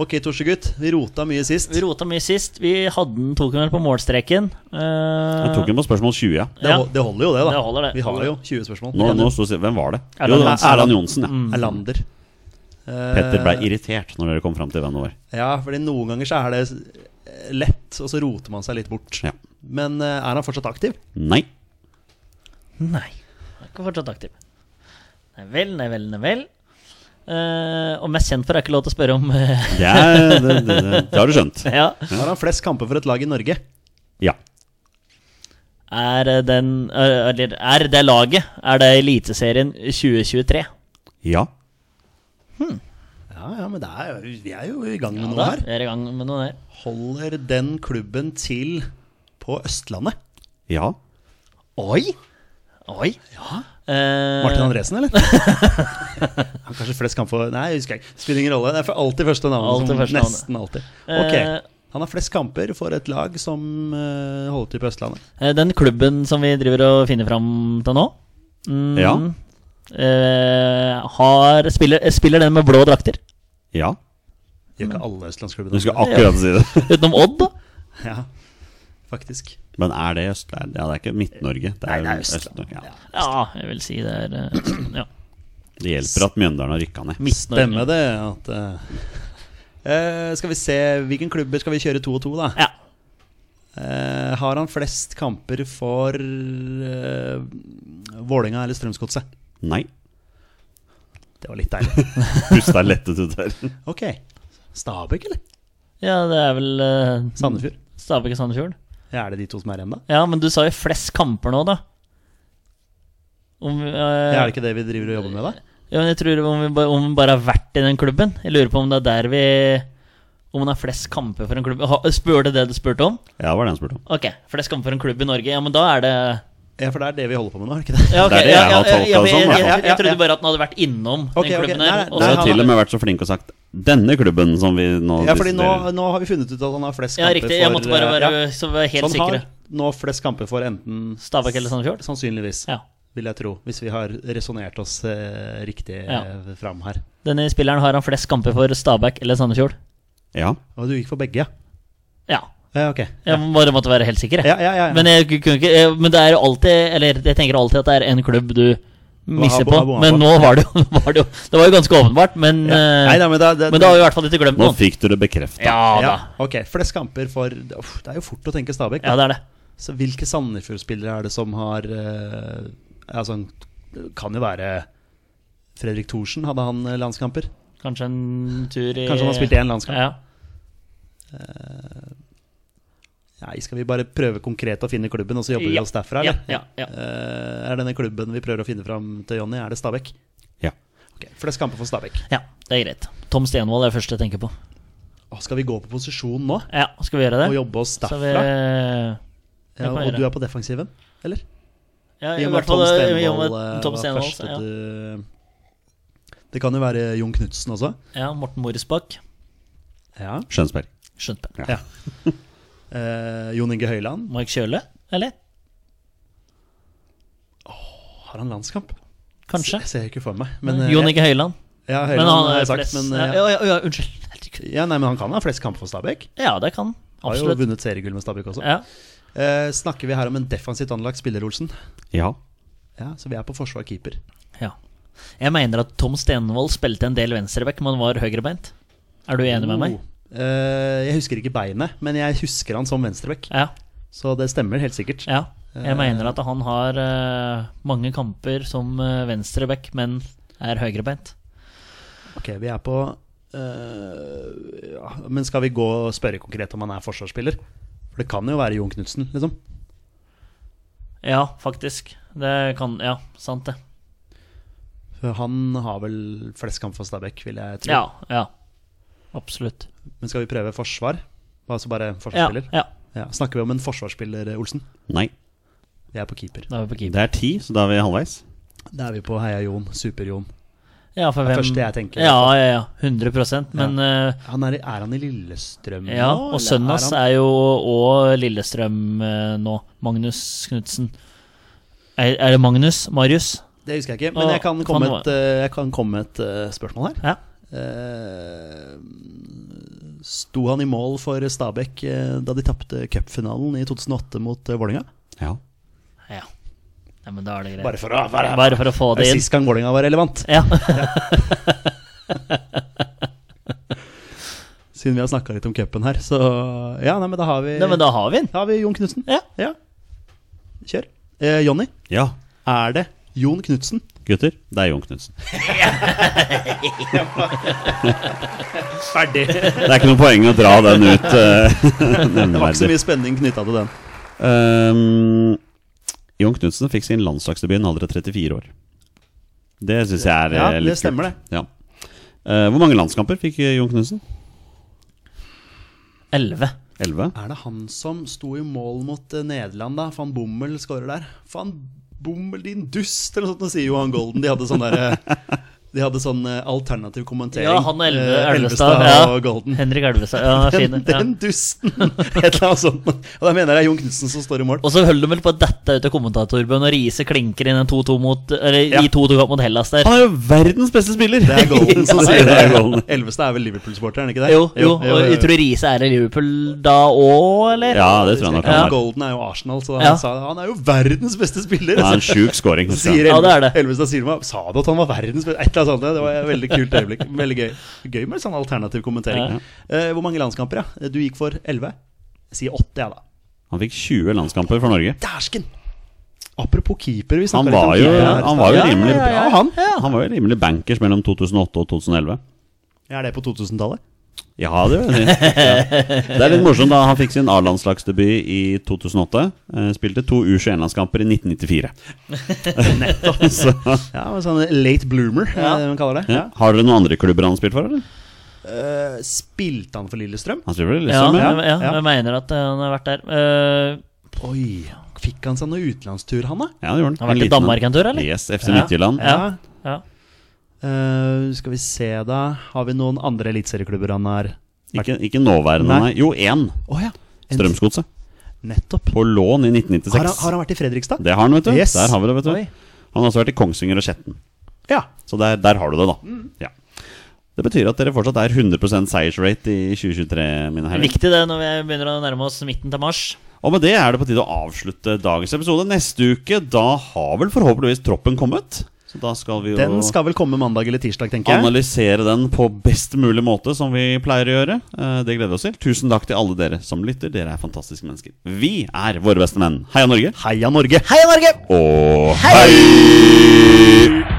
Speaker 1: Ok, Torsegutt. Vi rota mye sist.
Speaker 2: Vi rota mye sist. Vi hadde den tok den vel på målstreken.
Speaker 3: Jeg tok
Speaker 2: Eh,
Speaker 3: den på spørsmål 20, ja.
Speaker 1: Det,
Speaker 2: Ja.
Speaker 1: hol- det holder jo, det. da
Speaker 2: Det holder det.
Speaker 1: Vi har jo 20 spørsmål.
Speaker 3: Nå, nå stod, hvem var det? Jo,
Speaker 2: Erland
Speaker 3: det var
Speaker 2: Johnsen.
Speaker 3: Erland Johnsen, ja.
Speaker 1: Mm. Erlander. Eh,
Speaker 3: Petter ble irritert når dere kom fram til vennen vår.
Speaker 1: Ja, fordi noen ganger så er det eh, lett, og så roter man seg litt bort.
Speaker 3: Ja.
Speaker 1: Men eh, er han fortsatt aktiv?
Speaker 3: Nei.
Speaker 2: Nei. Han er ikke fortsatt aktiv. Nei vel, nei vel, nei vel. Eh, og mest kjent for er ikke lov til å spørre om eh, [LAUGHS]
Speaker 3: Det, er, det, det, det, det har du skjønt.
Speaker 2: Ja.
Speaker 1: Har han flest kamper for et lag i Norge?
Speaker 3: Ja.
Speaker 2: Er eh, den eh, Eller er det laget? Er det Eliteserien 2023?
Speaker 3: Ja.
Speaker 1: Ja, ja, men det er, jo- vi er jo i gang med
Speaker 2: Ja,
Speaker 1: noe
Speaker 2: da
Speaker 1: her.
Speaker 2: er i gang med noe der.
Speaker 1: Holder den klubben til på Østlandet?
Speaker 3: Ja.
Speaker 1: Oi!
Speaker 2: Oi. Eh,
Speaker 1: Martin Andresen,
Speaker 2: [LAUGHS]
Speaker 1: eller? Han har kanskje flest kamper for Nei, jeg husker jeg ikke. Spiller ingen rolle. Det er for alltid første navn.
Speaker 2: Alltid
Speaker 1: som-
Speaker 2: første navnet.
Speaker 1: nesten alltid.
Speaker 2: Eh.
Speaker 1: Ok. Han har flest kamper for et lag som eh, holder til på Østlandet.
Speaker 2: eh, Den klubben som vi driver og finner fram til nå mm,
Speaker 3: Ja.
Speaker 2: eh, har, spiller, eh, spiller den med blå drakter?
Speaker 3: Ja.
Speaker 1: Gjør
Speaker 2: Mm.
Speaker 1: ikke alle østlandsklubbene
Speaker 3: Du skal akkurat si det.
Speaker 2: Utenom Odd, da?
Speaker 1: Ja, faktisk.
Speaker 3: Men er det øst... Ja, det er ikke Midt-Norge. Det
Speaker 1: Nei,
Speaker 3: er,
Speaker 1: det er
Speaker 3: Øst-Norge. Ja.
Speaker 2: Ja, jeg vil si det er eh, ja.
Speaker 3: Det hjelper at Mjøndalen har rykka ned.
Speaker 2: Midt-Norge.
Speaker 1: Stemmer det at eh, eh, Skal vi se Hvilken klubber skal vi kjøre to og to, da?
Speaker 2: Ja.
Speaker 1: Eh, har han flest kamper for uh, Vålerenga eller Strømsgodset?
Speaker 3: Nei.
Speaker 1: Det var litt deilig. [LAUGHS]
Speaker 3: Pusta lettet ut der.
Speaker 1: Ok. Stabæk, eller?
Speaker 2: Ja, det er vel eh,
Speaker 1: Sandefjord.
Speaker 2: Stabæk og Sandefjord.
Speaker 1: Ja, er det de to som er igjen, da?
Speaker 2: Ja, men du sa jo flest kamper nå, da. Om, vi, eh,
Speaker 1: Ja, er det ikke det vi driver og jobber med, da?
Speaker 2: ja, men jeg tror om vi, bare, om vi bare har vært i den klubben. Jeg lurer på om det er der vi Om man har flest kamper for en klubb. Ha, spør det det du spurte om?
Speaker 3: Ja, var det han spurte om.
Speaker 2: Ok, flest kamper for en klubb i Norge. Ja, men da er det
Speaker 1: Ja, for det er det vi holder på med nå, er det ikke det?
Speaker 2: ja, ok,
Speaker 3: Det er det jeg
Speaker 2: ja,
Speaker 3: har
Speaker 2: ja, ja,
Speaker 3: tolket
Speaker 2: ja,
Speaker 3: det som, i
Speaker 2: Jeg,
Speaker 3: hvert
Speaker 2: jeg,
Speaker 3: fall.
Speaker 2: jeg, jeg trodde bare at den hadde vært innom
Speaker 1: Ok, ok,
Speaker 2: den klubben
Speaker 1: nei,
Speaker 2: her.
Speaker 1: nei,
Speaker 2: og
Speaker 3: Du
Speaker 2: så-
Speaker 3: har
Speaker 1: han
Speaker 3: til
Speaker 1: har-
Speaker 3: og med vært så flink og sagt 'denne klubben' som vi nå
Speaker 1: Ja, fordi nå,
Speaker 3: diskuterer.
Speaker 1: nå har vi funnet ut at han har flest
Speaker 2: ja,
Speaker 1: kamper
Speaker 2: riktig. Jeg måtte bare
Speaker 1: eh,
Speaker 2: være
Speaker 1: ja.
Speaker 2: så være helt
Speaker 1: Så han
Speaker 2: sikre.
Speaker 1: har nå flest kamper for enten
Speaker 2: Stabæk eller Sandefjord?
Speaker 1: Sannsynligvis,
Speaker 2: Ja.
Speaker 1: vil jeg tro. Hvis vi har resonnert oss eh, riktig
Speaker 2: Ja.
Speaker 1: eh, fram her.
Speaker 2: Denne spilleren har han flest kamper for Stabæk eller Sandefjord.
Speaker 3: Ja.
Speaker 1: Og du gikk for begge, ja?
Speaker 2: Ja.
Speaker 1: Ja, ok.
Speaker 2: Jeg bare måtte være helt sikker. jeg.
Speaker 1: Ja, ja, ja. ja.
Speaker 2: Men jeg kunne ikke eh, Men det er jo alltid Eller jeg tenker alltid at det er en klubb du misser
Speaker 1: Hva har- hva
Speaker 2: på.
Speaker 1: har bomma
Speaker 2: Men
Speaker 1: på?
Speaker 2: nå var det jo [LAUGHS] var det jo- Det var jo ganske åpenbart, men
Speaker 1: ja. Nei,
Speaker 2: eh,
Speaker 1: da, men da, det,
Speaker 2: Men da har vi i hvert fall ikke glemt
Speaker 3: Nå
Speaker 2: noen.
Speaker 3: fikk du det bekrefta.
Speaker 2: Ja da.
Speaker 1: ja, ok, flest kamper for uff, Det er jo fort å tenke Stabæk.
Speaker 2: Ja,
Speaker 1: da.
Speaker 2: det er det.
Speaker 1: Så hvilke Sandefjord-spillere er det som har eh, Altså, han kan jo være Fredrik Thorsen, hadde han eh, landskamper?
Speaker 2: Kanskje en tur i
Speaker 1: Kanskje han har spilt én landskamp?
Speaker 2: Ja.
Speaker 1: Nei, skal vi bare prøve konkret å finne klubben, og så jobber vi
Speaker 2: Ja,
Speaker 1: oss derfra,
Speaker 2: ja,
Speaker 1: eller?
Speaker 2: ja, ja.
Speaker 1: Eh, er denne klubben vi prøver å finne fram til Jonny, er det Stabæk?
Speaker 3: Ja.
Speaker 1: Ok, Flest kamper for Stabæk.
Speaker 2: ja, det er greit. Tom Stenvold er det første jeg tenker på.
Speaker 1: Å, skal vi gå på posisjon nå,
Speaker 2: Ja, skal vi gjøre det?
Speaker 1: og jobbe oss
Speaker 2: Så vi,
Speaker 1: derfra?
Speaker 2: vi
Speaker 1: ja,
Speaker 2: kan
Speaker 1: og
Speaker 2: gjøre
Speaker 1: du
Speaker 2: det.
Speaker 1: er på defensiven, eller?
Speaker 2: ja,
Speaker 1: I
Speaker 2: i
Speaker 1: og med
Speaker 2: hvert
Speaker 1: at Tom
Speaker 2: fall, eh, i og med
Speaker 1: Stenvold eh,
Speaker 2: Tom
Speaker 1: var
Speaker 2: Stenvold,
Speaker 1: første
Speaker 2: ja.
Speaker 1: du Det kan jo være Jon Knutsen også.
Speaker 2: ja, Morten Morisbakk.
Speaker 1: Ja.
Speaker 3: Skjønsberg.
Speaker 2: Skjønte det.
Speaker 1: Eh, Jon Inge Høyland.
Speaker 2: Mark Kjøle, eller?
Speaker 1: Har han landskamp?
Speaker 2: Kanskje.
Speaker 1: Jeg ser ikke for meg. Men eh,
Speaker 2: Jon Inge Høiland.
Speaker 1: jeg, Ja,
Speaker 2: Men
Speaker 1: Høyland
Speaker 2: han
Speaker 1: har
Speaker 2: er
Speaker 1: jeg sagt,
Speaker 2: flest.
Speaker 1: men,
Speaker 2: ja,
Speaker 1: eh,
Speaker 2: ja, ja, ja,
Speaker 1: [LAUGHS]
Speaker 2: unnskyld. Herregud.
Speaker 1: ja, nei, men han kan ha flest kamper for Stabæk.
Speaker 2: Ja, det kan
Speaker 1: Har jo
Speaker 2: Absolutt.
Speaker 1: vunnet seriegull med Stabæk også.
Speaker 2: Ja.
Speaker 1: Eh, snakker vi her om en defensivt anlagt spiller, Olsen?
Speaker 3: Ja.
Speaker 1: Ja, Så vi er på forsvar keeper.
Speaker 2: ja. Jeg mener at Tom Stenvold spilte en del venstreback, men var høyrebeint. Er du enig med meg?
Speaker 1: Oh. Eh, jeg husker ikke beinet, men jeg husker han som venstrebekk.
Speaker 2: Ja.
Speaker 1: Så det stemmer helt sikkert.
Speaker 2: ja.
Speaker 1: Eh.
Speaker 2: Jeg mener at han har eh, mange kamper som eh, venstreback, men er høyrebeint.
Speaker 1: Ok, vi er på eh, ja, Men skal vi gå og spørre konkret om han er forsvarsspiller? For det kan jo være Jon Knutsen, liksom.
Speaker 2: Ja, faktisk. Det kan Ja, sant det.
Speaker 1: For han har vel flest kamp for Stabæk, vil jeg tro.
Speaker 2: Ja. ja. Absolutt.
Speaker 1: Men skal vi prøve forsvar? Altså bare
Speaker 2: Ja,
Speaker 1: forsvarsspiller?
Speaker 2: ja.
Speaker 1: Ja. Snakker vi om en forsvarsspiller, eh, Olsen?
Speaker 3: Nei.
Speaker 1: Vi er på keeper.
Speaker 2: Da er vi på keeper.
Speaker 3: Det er ti, så da er vi halvveis.
Speaker 1: Da er vi på Heia Jon, Super-Jon.
Speaker 2: Ja, for
Speaker 1: Det er
Speaker 2: hvem
Speaker 1: første jeg tenker, i
Speaker 2: Ja,
Speaker 1: hvert
Speaker 2: ja, ja. 100 Men eh,
Speaker 1: Han er, i- er han i Lillestrøm
Speaker 2: Ja,
Speaker 1: nå?
Speaker 2: og sønnen hans er jo òg Lillestrøm eh, nå. Magnus Knutsen. Er, er det Magnus? Marius?
Speaker 1: Det husker jeg ikke, men jeg kan
Speaker 2: Å,
Speaker 1: komme
Speaker 2: han
Speaker 1: et, eh, jeg kan komme et eh, spørsmål her.
Speaker 2: Ja.
Speaker 1: Eh, Sto han i mål for Stabæk eh, da de tapte cupfinalen i 2008 mot eh, Vålerenga?
Speaker 3: Ja.
Speaker 2: ja. Nei, men da er det greit.
Speaker 1: Bare for å være
Speaker 2: Bare for å få det inn.
Speaker 1: Sist gang Vålerenga var relevant,
Speaker 2: Ja. [LAUGHS]
Speaker 1: siden vi har snakka litt om cupen her. Så ja, nei, men da har vi,
Speaker 2: Nei, men da har vi den.
Speaker 1: Da har vi Jon Knutsen.
Speaker 2: Ja.
Speaker 1: Kjør. Eh, Jonny,
Speaker 3: Ja.
Speaker 1: er det Jon Knutsen?
Speaker 3: Gutter, det er Jon Knutsen.
Speaker 1: Ferdig. Det
Speaker 3: Det er ikke noe poeng å dra den ut eh, [LAUGHS]
Speaker 1: var ikke så
Speaker 3: nevneverdig.
Speaker 1: mye spenning knytta til den.
Speaker 3: Ehm, Jon Knutsen fikk sin landslagsdebut i en alder av 34 år. Det syns jeg er
Speaker 1: Ja,
Speaker 3: eh,
Speaker 1: det
Speaker 3: litt
Speaker 1: stemmer
Speaker 3: kult. Ja. Eh, hvor mange landskamper fikk eh, Jon Knutsen?
Speaker 2: 11.
Speaker 3: Elleve?
Speaker 1: Er det han som sto i mål mot eh, Nederland, da? Van Bommel skårer der. Van Bommel, din dust! Eller noe sånt, nå sier Johan Golden. De hadde sånn der eh, De hadde sånn eh, alternativ kommentering.
Speaker 2: Ja, han og Elve-
Speaker 1: Eh,
Speaker 2: Elvestad, ja.
Speaker 1: og Golden.
Speaker 2: Henrik Elvestad. [LAUGHS]
Speaker 1: [LAUGHS]
Speaker 2: Ja, fin.
Speaker 1: Den,
Speaker 2: Ja.
Speaker 1: den dusten! [LAUGHS] Et eller annet sånt. Og da mener jeg det er Jon Knutsen som står i
Speaker 2: [LAUGHS]
Speaker 1: mål.
Speaker 2: Og så holder de vel på å dette ut av kommentatorbøen og Riise klinker inn en 2-2 mot Eller
Speaker 1: Ja.
Speaker 2: i 2-2-kamp mot Hellas der.
Speaker 3: Han er jo verdens beste spiller!
Speaker 1: Det er Golden
Speaker 3: [LAUGHS]
Speaker 1: som
Speaker 3: Ja,
Speaker 1: sier
Speaker 3: det er Golden.
Speaker 1: det. Elvestad er vel Liverpool-supporter, er han ikke det?
Speaker 2: Jo, jo, og jeg tror Riise er i Liverpool da òg, eller?
Speaker 3: Ja, det tror jeg nok
Speaker 1: Ja.
Speaker 3: han er.
Speaker 1: Golden er jo Arsenal, så han
Speaker 2: Ja.
Speaker 1: sa han er jo verdens beste spiller!
Speaker 3: Det er en sjuk scoring.
Speaker 1: Så Sier
Speaker 2: Ja,
Speaker 1: Elvestad,
Speaker 2: det er det.
Speaker 1: Elvestad sier meg Sa du at han var verdens beste? Et eller annet sånt. ja. Det var et veldig kult
Speaker 3: [LAUGHS]
Speaker 1: øyeblikk. Veldig gøy. Gøy med sånn alternativ kommentering. Eh, hvor mange landskamper, ja? Du gikk for 11? Jeg sier 8, jeg, da.
Speaker 3: Han fikk 20 landskamper for Norge.
Speaker 1: Dæsken! Apropos keeper. Vi
Speaker 3: Han
Speaker 1: snakket
Speaker 3: var jo,
Speaker 1: keeper
Speaker 3: han
Speaker 1: her i stad.
Speaker 3: var jo
Speaker 2: Ja, ja,
Speaker 3: rimelig
Speaker 2: ja,
Speaker 3: bra,
Speaker 2: ja.
Speaker 3: han. Han var jo rimelig bankers mellom 2008 og 2011.
Speaker 1: Er det på 2000-tallet?
Speaker 3: Ja, det vil jeg
Speaker 2: [LAUGHS]
Speaker 3: si. Ja. Det er litt morsomt, da. Han fikk sin A-landslagsdebut i 2008. eh, Spilte to U21-landskamper i
Speaker 2: [LAUGHS]
Speaker 3: 1994. Nettopp. [LAUGHS] Så,
Speaker 1: Ja, han var sånn late bloomer, ja. det man kaller det.
Speaker 3: ja. Har dere noen andre klubber han har spilt for, eller?
Speaker 1: Eh, spilte han for Lillestrøm?
Speaker 3: Han spiller for
Speaker 2: Ja,
Speaker 3: Lillestrøm, ja.
Speaker 2: jeg, ja,
Speaker 1: ja.
Speaker 2: jeg mener at eh, han har vært der. Eh,
Speaker 1: Oi, fikk han seg noen utenlandstur, han, da?
Speaker 3: ja det gjorde han.
Speaker 2: Han har vært
Speaker 3: En
Speaker 2: i
Speaker 3: liten
Speaker 2: Danmark en tur, eller?
Speaker 3: Yes, FC Midtjylland.
Speaker 2: Ja. ja.
Speaker 1: Eh, skal vi se, da. Har vi noen andre eliteserieklubber han har
Speaker 3: Ikke, ikke nåværende,
Speaker 1: Nei.
Speaker 3: nei. Jo, én.
Speaker 1: Å ja. en-
Speaker 3: Strømsgodset.
Speaker 1: Nettopp.
Speaker 3: På lån i
Speaker 1: Har han,
Speaker 3: 1996.
Speaker 1: har han vært i Fredrikstad?
Speaker 3: Det har han, vet du.
Speaker 1: Yes.
Speaker 3: Der har vi det, vet
Speaker 1: Oi.
Speaker 3: du. Han har også vært i Kongsvinger og Skjetten.
Speaker 1: Ja.
Speaker 3: Så der, der har du det, da.
Speaker 2: Mm.
Speaker 3: Ja. Det betyr at dere fortsatt er 100 seiersrate i 2023, mine herrer.
Speaker 2: Viktig det når vi begynner å nærme oss midten til mars.
Speaker 3: Og med det er det på tide å avslutte dagens episode. Neste uke, da har vel forhåpentligvis troppen kommet? Så da skal vi jo
Speaker 1: Den skal vel komme mandag eller tirsdag, tenker jeg.
Speaker 3: analysere den på best mulig måte, som vi pleier å gjøre. Eh, Det gleder vi oss til. Tusen takk til alle dere som lytter. Dere er fantastiske mennesker. Vi er våre beste menn. Heia Norge.
Speaker 1: Heia Norge!
Speaker 2: Heia Norge!
Speaker 3: Og
Speaker 2: Hei!
Speaker 3: hei!